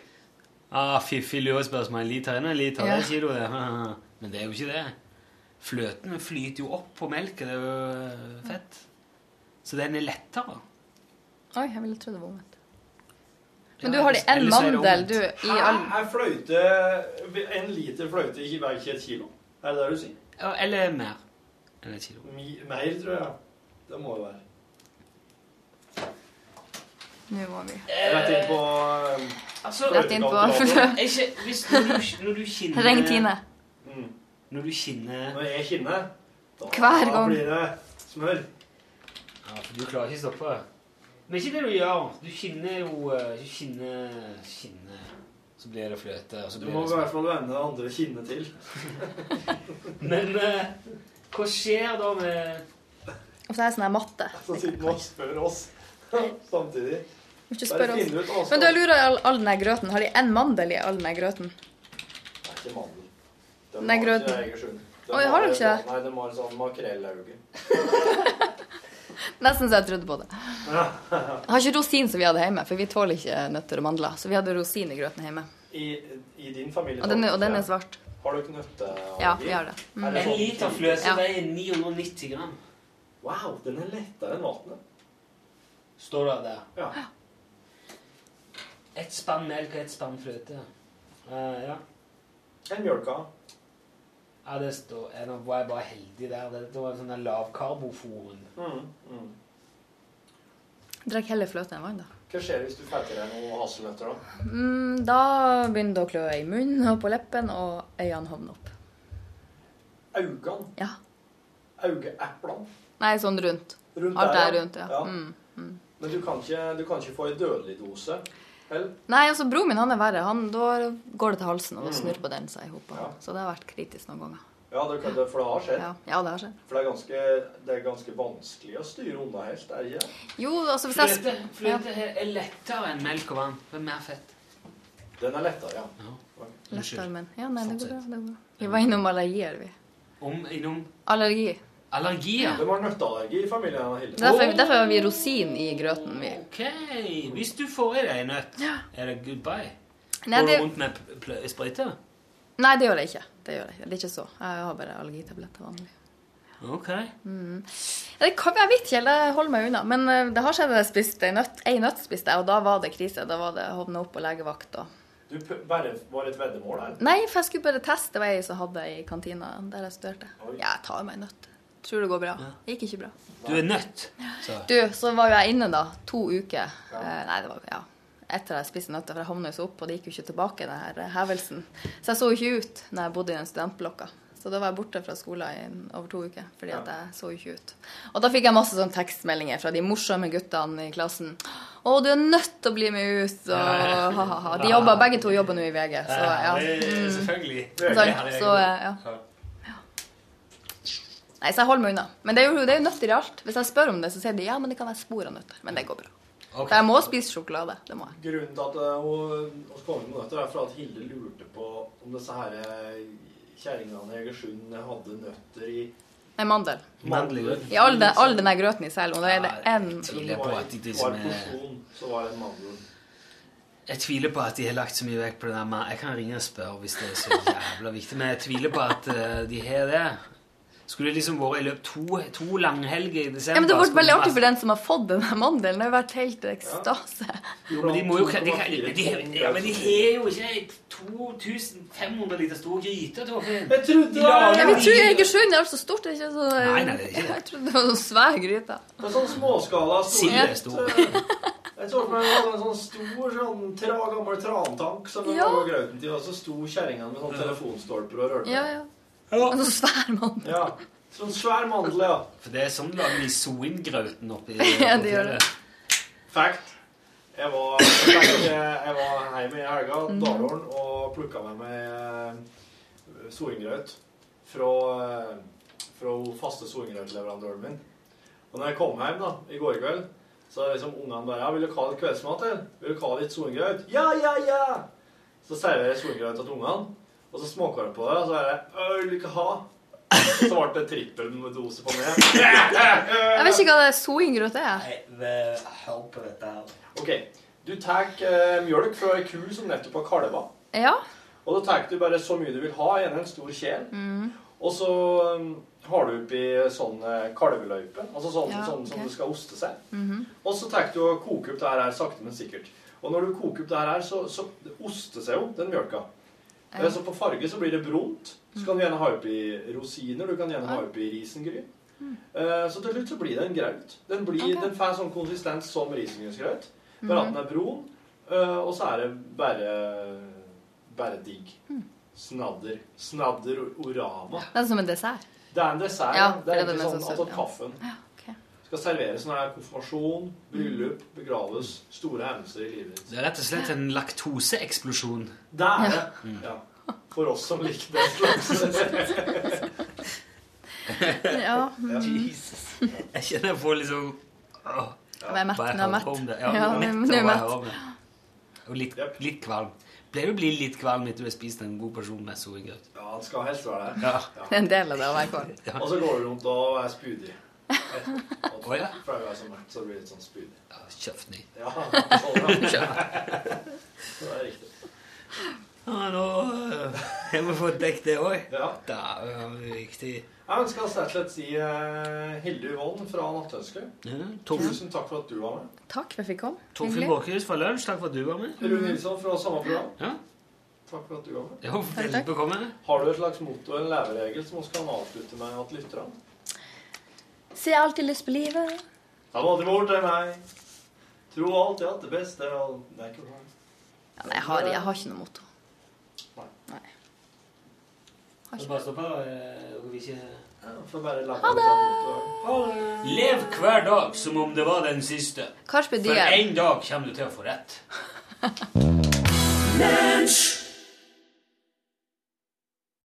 Speaker 2: ah, Fiffig lurespørsmål. En liter inn og en liter.
Speaker 6: Ja.
Speaker 2: Det er kilo, det. Men det er jo ikke det. Fløten flyter jo opp på melk, det er jo eh, fett. Så den er lettere.
Speaker 6: Oi, jeg ville trodd det var omvendt. Men du har det én
Speaker 2: Eller så er det
Speaker 6: mandel,
Speaker 2: omvendt.
Speaker 6: du, i all
Speaker 3: Er fløyte En liter fløyte ikke hver ikke et kilo? Er det det du sier?
Speaker 2: Ja, Eller mer enn et kilo.
Speaker 3: Mi, mer, tror jeg. Det må det være.
Speaker 6: Nå må vi
Speaker 3: Rett inn på um,
Speaker 2: Eh, Altså,
Speaker 6: rett inn på
Speaker 2: er
Speaker 3: Fløtekalkulator.
Speaker 2: ikke, hvis, når, du, når du kinner
Speaker 6: Ring Tine.
Speaker 3: mm.
Speaker 2: Når du kinner
Speaker 3: Når jeg kinner, da
Speaker 6: Hver gang.
Speaker 3: blir det smør.
Speaker 2: Ja, for du klarer ikke å stoppe. Men ikke det du gjør. Du kinner jo eh, Du kinner Kinner Så blir det fløte, og så
Speaker 3: Du
Speaker 2: blir
Speaker 3: må i
Speaker 2: det
Speaker 3: hvert fall vende det andre kinnet til.
Speaker 2: Men eh, hva skjer da med
Speaker 6: Og så er det sånn her matte.
Speaker 3: Så sitter man og spør oss samtidig.
Speaker 6: Må ikke
Speaker 3: Bare
Speaker 6: spørre oss.
Speaker 3: finne ut hva
Speaker 6: Men du, jeg lurer i all, all den her grøten. Har de én mandel i all den her grøten?
Speaker 3: Det er ikke mandel. Den
Speaker 6: Nei, grøten. Oi, har dere ikke det?
Speaker 3: Nei, de har sånn makrellauge.
Speaker 6: Nesten så jeg trodde på det. Jeg har ikke rosin som vi hadde hjemme, for vi tåler ikke nøtter og mandler. Så vi hadde rosin i grøten hjemme.
Speaker 3: I, I din familie
Speaker 6: Og den er, og den er svart.
Speaker 3: Har du ikke nøtteallergi?
Speaker 6: Ja, vi har det. Mm.
Speaker 2: En liter fløte
Speaker 6: Ja.
Speaker 2: veier 990 gram.
Speaker 3: Wow, den er lettere enn vannet.
Speaker 2: Står det der.
Speaker 3: Ja.
Speaker 2: Ett spann melk og ett spann fløte. Eh, ja.
Speaker 3: Enn mjølka.
Speaker 2: ja, det står eh, Nå var jeg bare heldig der. Det, det var en sånn der lavkarboforen.
Speaker 3: Mm, mm.
Speaker 6: Drakk heller fløte enn vann, da.
Speaker 3: Hva skjer hvis du får til deg noen hasselnøtter, da?
Speaker 6: Mm, da begynner det å klø i munnen og på leppen, og øynene hovner opp.
Speaker 3: Augene.
Speaker 6: Ja.
Speaker 3: Augeeplene.
Speaker 6: Nei, sånn rundt.
Speaker 3: Rundt
Speaker 6: Alt
Speaker 3: der,
Speaker 6: er rundt, ja.
Speaker 3: Ja.
Speaker 6: Mm.
Speaker 3: Men du kan, ikke, du kan ikke få ei dødelig dose. Vel?
Speaker 6: Nei, altså broren min han er verre. Han, da går det til halsen, og da snurper den seg i hop.
Speaker 3: Ja.
Speaker 6: Så det har vært kritisk noen ganger.
Speaker 3: Ja, det kan, for det har skjedd.
Speaker 6: Ja, ja det har skjedd.
Speaker 3: For det er, ganske, det er ganske vanskelig å styre unna helt, er det ikke? det?
Speaker 6: Jo, altså hvis jeg
Speaker 2: Fløte, fløte er- er lettere enn melk og vann. Det er mer fett.
Speaker 3: Den er lettere, ja.
Speaker 6: Lettere, men Ja, nei, det går
Speaker 2: Sånn
Speaker 6: bra.
Speaker 2: sett.
Speaker 6: Det går bra. Vi var innom allergier, vi.
Speaker 2: Om innom
Speaker 6: Allergi.
Speaker 2: allergier.
Speaker 3: De har nøtteallergi i familien av Hilde.
Speaker 6: Derfor, derfor har vi rosin i grøten, vi.
Speaker 2: OK. Hvis du får i deg en nøtt, er det goodbye.
Speaker 6: Nei,
Speaker 2: Går du
Speaker 6: det,
Speaker 2: rundt med p- pl- sprøyte?
Speaker 6: nei, det gjør jeg ikke. Det gjør jeg ikke. Det er ikke så. Jeg har bare allergitabletter vanlig.
Speaker 2: OK.
Speaker 6: Ja, Det kan, jeg vet ikke, helt, jeg holder meg unna. Men eh, det har skjedd at jeg spiste en nøtt. En nøtt spiste jeg, og da var det krise. Da var det hovna opp på legevakt og
Speaker 3: Du p- bare var et veddemål her.
Speaker 6: Nei, for jeg skulle bare teste. Det var ei som hadde i kantina der jeg studerte. Ja, jeg tar meg en nøtt. Tror det går bra. Det gikk ikke bra.
Speaker 2: Du er nøtt.
Speaker 6: Du, så var jo jeg inne da, to uker. Eh, nei, det var ja, etter jeg spiste nøtter, for jeg havna jo så opp, og det gikk jo ikke tilbake, den her eh, hevelsen. Så jeg så jo ikke ut når jeg bodde i den studentblokka. Så da var jeg borte fra skolen i en- over to uker, fordi at jeg så jo ikke ut. Og da fikk jeg masse sånn tekstmeldinger fra de morsomme guttene i klassen. 'Å, du er nødt til å bli med ut', og ha-ha-ha. De jobber, begge to jobber nå i VG, så ja. Mm.
Speaker 2: Selvfølgelig.
Speaker 6: Sånn, så eh, ja. ja. Nei, så jeg holder meg unna. Men det er jo, det er jo nøtter i alt. Hvis jeg spør om det, så sier de ja, men det kan være spor av nøtter. Men det går bra. For jeg må spise sjokolade. Det må jeg.
Speaker 3: Grunnen til at eh, hun oss kom med nøtter, er for at Hilde lurte på om disse her eh, kjerringene i Egersund hadde nøtter i
Speaker 6: Nei, mandel.
Speaker 2: Mandler.
Speaker 6: I all, den- all den her grøten i selv, og da er det én
Speaker 3: Om
Speaker 2: Tviler på
Speaker 3: var i-
Speaker 2: at de- de
Speaker 3: var
Speaker 2: som
Speaker 3: i
Speaker 2: er-
Speaker 3: porsjon, så var det en mandel.
Speaker 2: Jeg tviler på at de har lagt så mye vekt på det der med Jeg kan ringe og spørre hvis det er så jævla viktig, men jeg tviler på at eh, de har det. Skulle det liksom vært i løpet to, to langhelger i
Speaker 6: Ja,
Speaker 2: desember
Speaker 6: men Det har vært
Speaker 2: skulle
Speaker 6: veldig
Speaker 2: det
Speaker 6: artig for
Speaker 2: vært-
Speaker 6: den som har fått den her mandelen. Det har vært helt ekstase.
Speaker 2: Jo, men de må jo de, kan- de, de, ja, men de har jo ikke 2500 liter stor gryte, Torfinn.
Speaker 3: Jeg trodde
Speaker 2: De
Speaker 3: det var-
Speaker 2: lager
Speaker 6: Jeg vil tro
Speaker 2: jo-
Speaker 6: Egersund er alt så stort. Det er ikke så
Speaker 2: Nei, nei, det er ikke det.
Speaker 6: Jeg trodde det var noen svær gryte.
Speaker 3: Det er sånn småskala eh,
Speaker 2: Sild er stor.
Speaker 3: Jeg så for meg det var en sånn stor sånn tra, gammel trantank som ja.
Speaker 6: Ja.
Speaker 3: laga grøten til, og så sto kjerringene med sånn telefonstolper og rørte.
Speaker 6: Ja, ja. En sånn svær mandel.
Speaker 3: ja. Sånn svær mandel, ja.
Speaker 2: For det er sånn de lager de soingrauten oppi
Speaker 6: Ja, de gjør det.
Speaker 3: Fact. Jeg var, jeg fikk- jeg var hjemme i helga, Dalåren, og plukka med meg eh, soingrøt fra, eh, fra faste soingrøtleverandøren min. Og når jeg kom hjem da, i går kveld, så er liksom ungene bare ja, 'Vil dere ha litt kveldsmat, eller? Vil dere ha litt soingrøt?' 'Ja, ja, ja!' Så serverer jeg soingrøt til ungene, og så smaker de på det, og så er det 'Ø, vil du ikke ha?' Så ble det trippel med dose på meg.
Speaker 6: Jeg vet ikke hva det soingrøt er.
Speaker 2: Hør på dette her.
Speaker 3: OK. Du tar eh, mjølk fra ei ku som nettopp har kalva.
Speaker 6: Ja. Mm,
Speaker 3: Og da tar du bare så mye du vil ha i en stor kjel. Og så um, har du oppi sånn eh, kalveløype, altså sånn,
Speaker 6: Ja,
Speaker 3: sånn
Speaker 6: ok.
Speaker 3: som det skal oste seg.
Speaker 6: mm-hmm.
Speaker 3: Og så tar du og koker opp det her her sakte, men sikkert. Og når du koker opp det her her, så, så det oster seg jo den mjølka. Eh, Så på farge så blir det brunt. Så kan du gjerne ha oppi rosiner, du kan gjerne ha oppi risengryn. Eh, Så til slutt så blir det en graut. Den, blir,
Speaker 6: Ok.
Speaker 3: den får sånn konsistens som risengrynsgraut, bare at den er brun, eh, og så er det bare, bare digg. Snadder. Snadder orama.
Speaker 6: Det er som en dessert.
Speaker 3: Det er en dessert.
Speaker 6: Ja,
Speaker 3: det er
Speaker 6: det er
Speaker 3: egentlig
Speaker 6: den
Speaker 3: sånn
Speaker 6: som
Speaker 3: altså
Speaker 6: står, ja.
Speaker 3: kaffen skal serveres når det er konfirmasjon, bryllup, begraves, store hendelser i livet ditt.
Speaker 2: Det er rett og slett en laktoseeksplosjon.
Speaker 3: Det er det. Ja. For oss som liker den slags.
Speaker 6: Ja, mm.
Speaker 2: Jesus. Jeg kjenner jeg får liksom åh,
Speaker 6: Vær mett,
Speaker 2: bare jeg
Speaker 6: nå er mett.
Speaker 2: hører om det.
Speaker 6: Ja,
Speaker 2: Ja,
Speaker 6: nå-
Speaker 2: mett,
Speaker 6: nå er
Speaker 2: og bare
Speaker 6: mett.
Speaker 2: hører om det. Og litt,
Speaker 3: Yep.
Speaker 2: litt kvalm. Pleier du å bli litt kvalm etter du har spist en god porsjon med soingrøt?
Speaker 3: Ja, han skal helst være der.
Speaker 2: Ja.
Speaker 6: Det er en del av det å være kål.
Speaker 3: Og så går du rundt og er spydig. Og
Speaker 2: Å, ja.
Speaker 3: For jeg er så mett, så blir det litt sånn spydig.
Speaker 2: ja Kjeft ned.
Speaker 3: Ja, sånn, ja.
Speaker 2: Ja.
Speaker 3: Det er riktig.
Speaker 2: Ah, nå øh, Jeg må få dekket det òg.
Speaker 3: Ja.
Speaker 2: Da er det viktig.
Speaker 3: Jeg ønsker oss rett og slett si eh, Hilde Yvonne fra Natthønske.
Speaker 2: Ja, Torfinn
Speaker 3: Tusen takk for at du var med.
Speaker 6: Takk for at jeg fikk komme.
Speaker 2: Torfinn
Speaker 6: Hyggelig.
Speaker 2: Borchhus fra Lunsj, takk for at du var med.
Speaker 6: Mm.
Speaker 3: Rune Nilsson fra samme program.
Speaker 2: Ja,
Speaker 3: Takk for at du var med.
Speaker 2: jo, Veldig bekomme.
Speaker 3: Har du et slags motto eller en leveregel som vi kan avslutte med at lytterne?
Speaker 6: Se alltid lyst på livet.
Speaker 3: Han var til mor til meg. Tro alltid at det beste er all- Det er ikke bra.
Speaker 6: Ja, nei, jeg har, jeg har ikke noe motto.
Speaker 2: Bare stå på. øh, vi ikke
Speaker 3: Ja, Får bare lage ha det! Ha det!
Speaker 2: Lev hver dag som om det var den siste.
Speaker 6: Karpe
Speaker 2: For
Speaker 6: Diem.
Speaker 2: en dag kommer du til å få rett.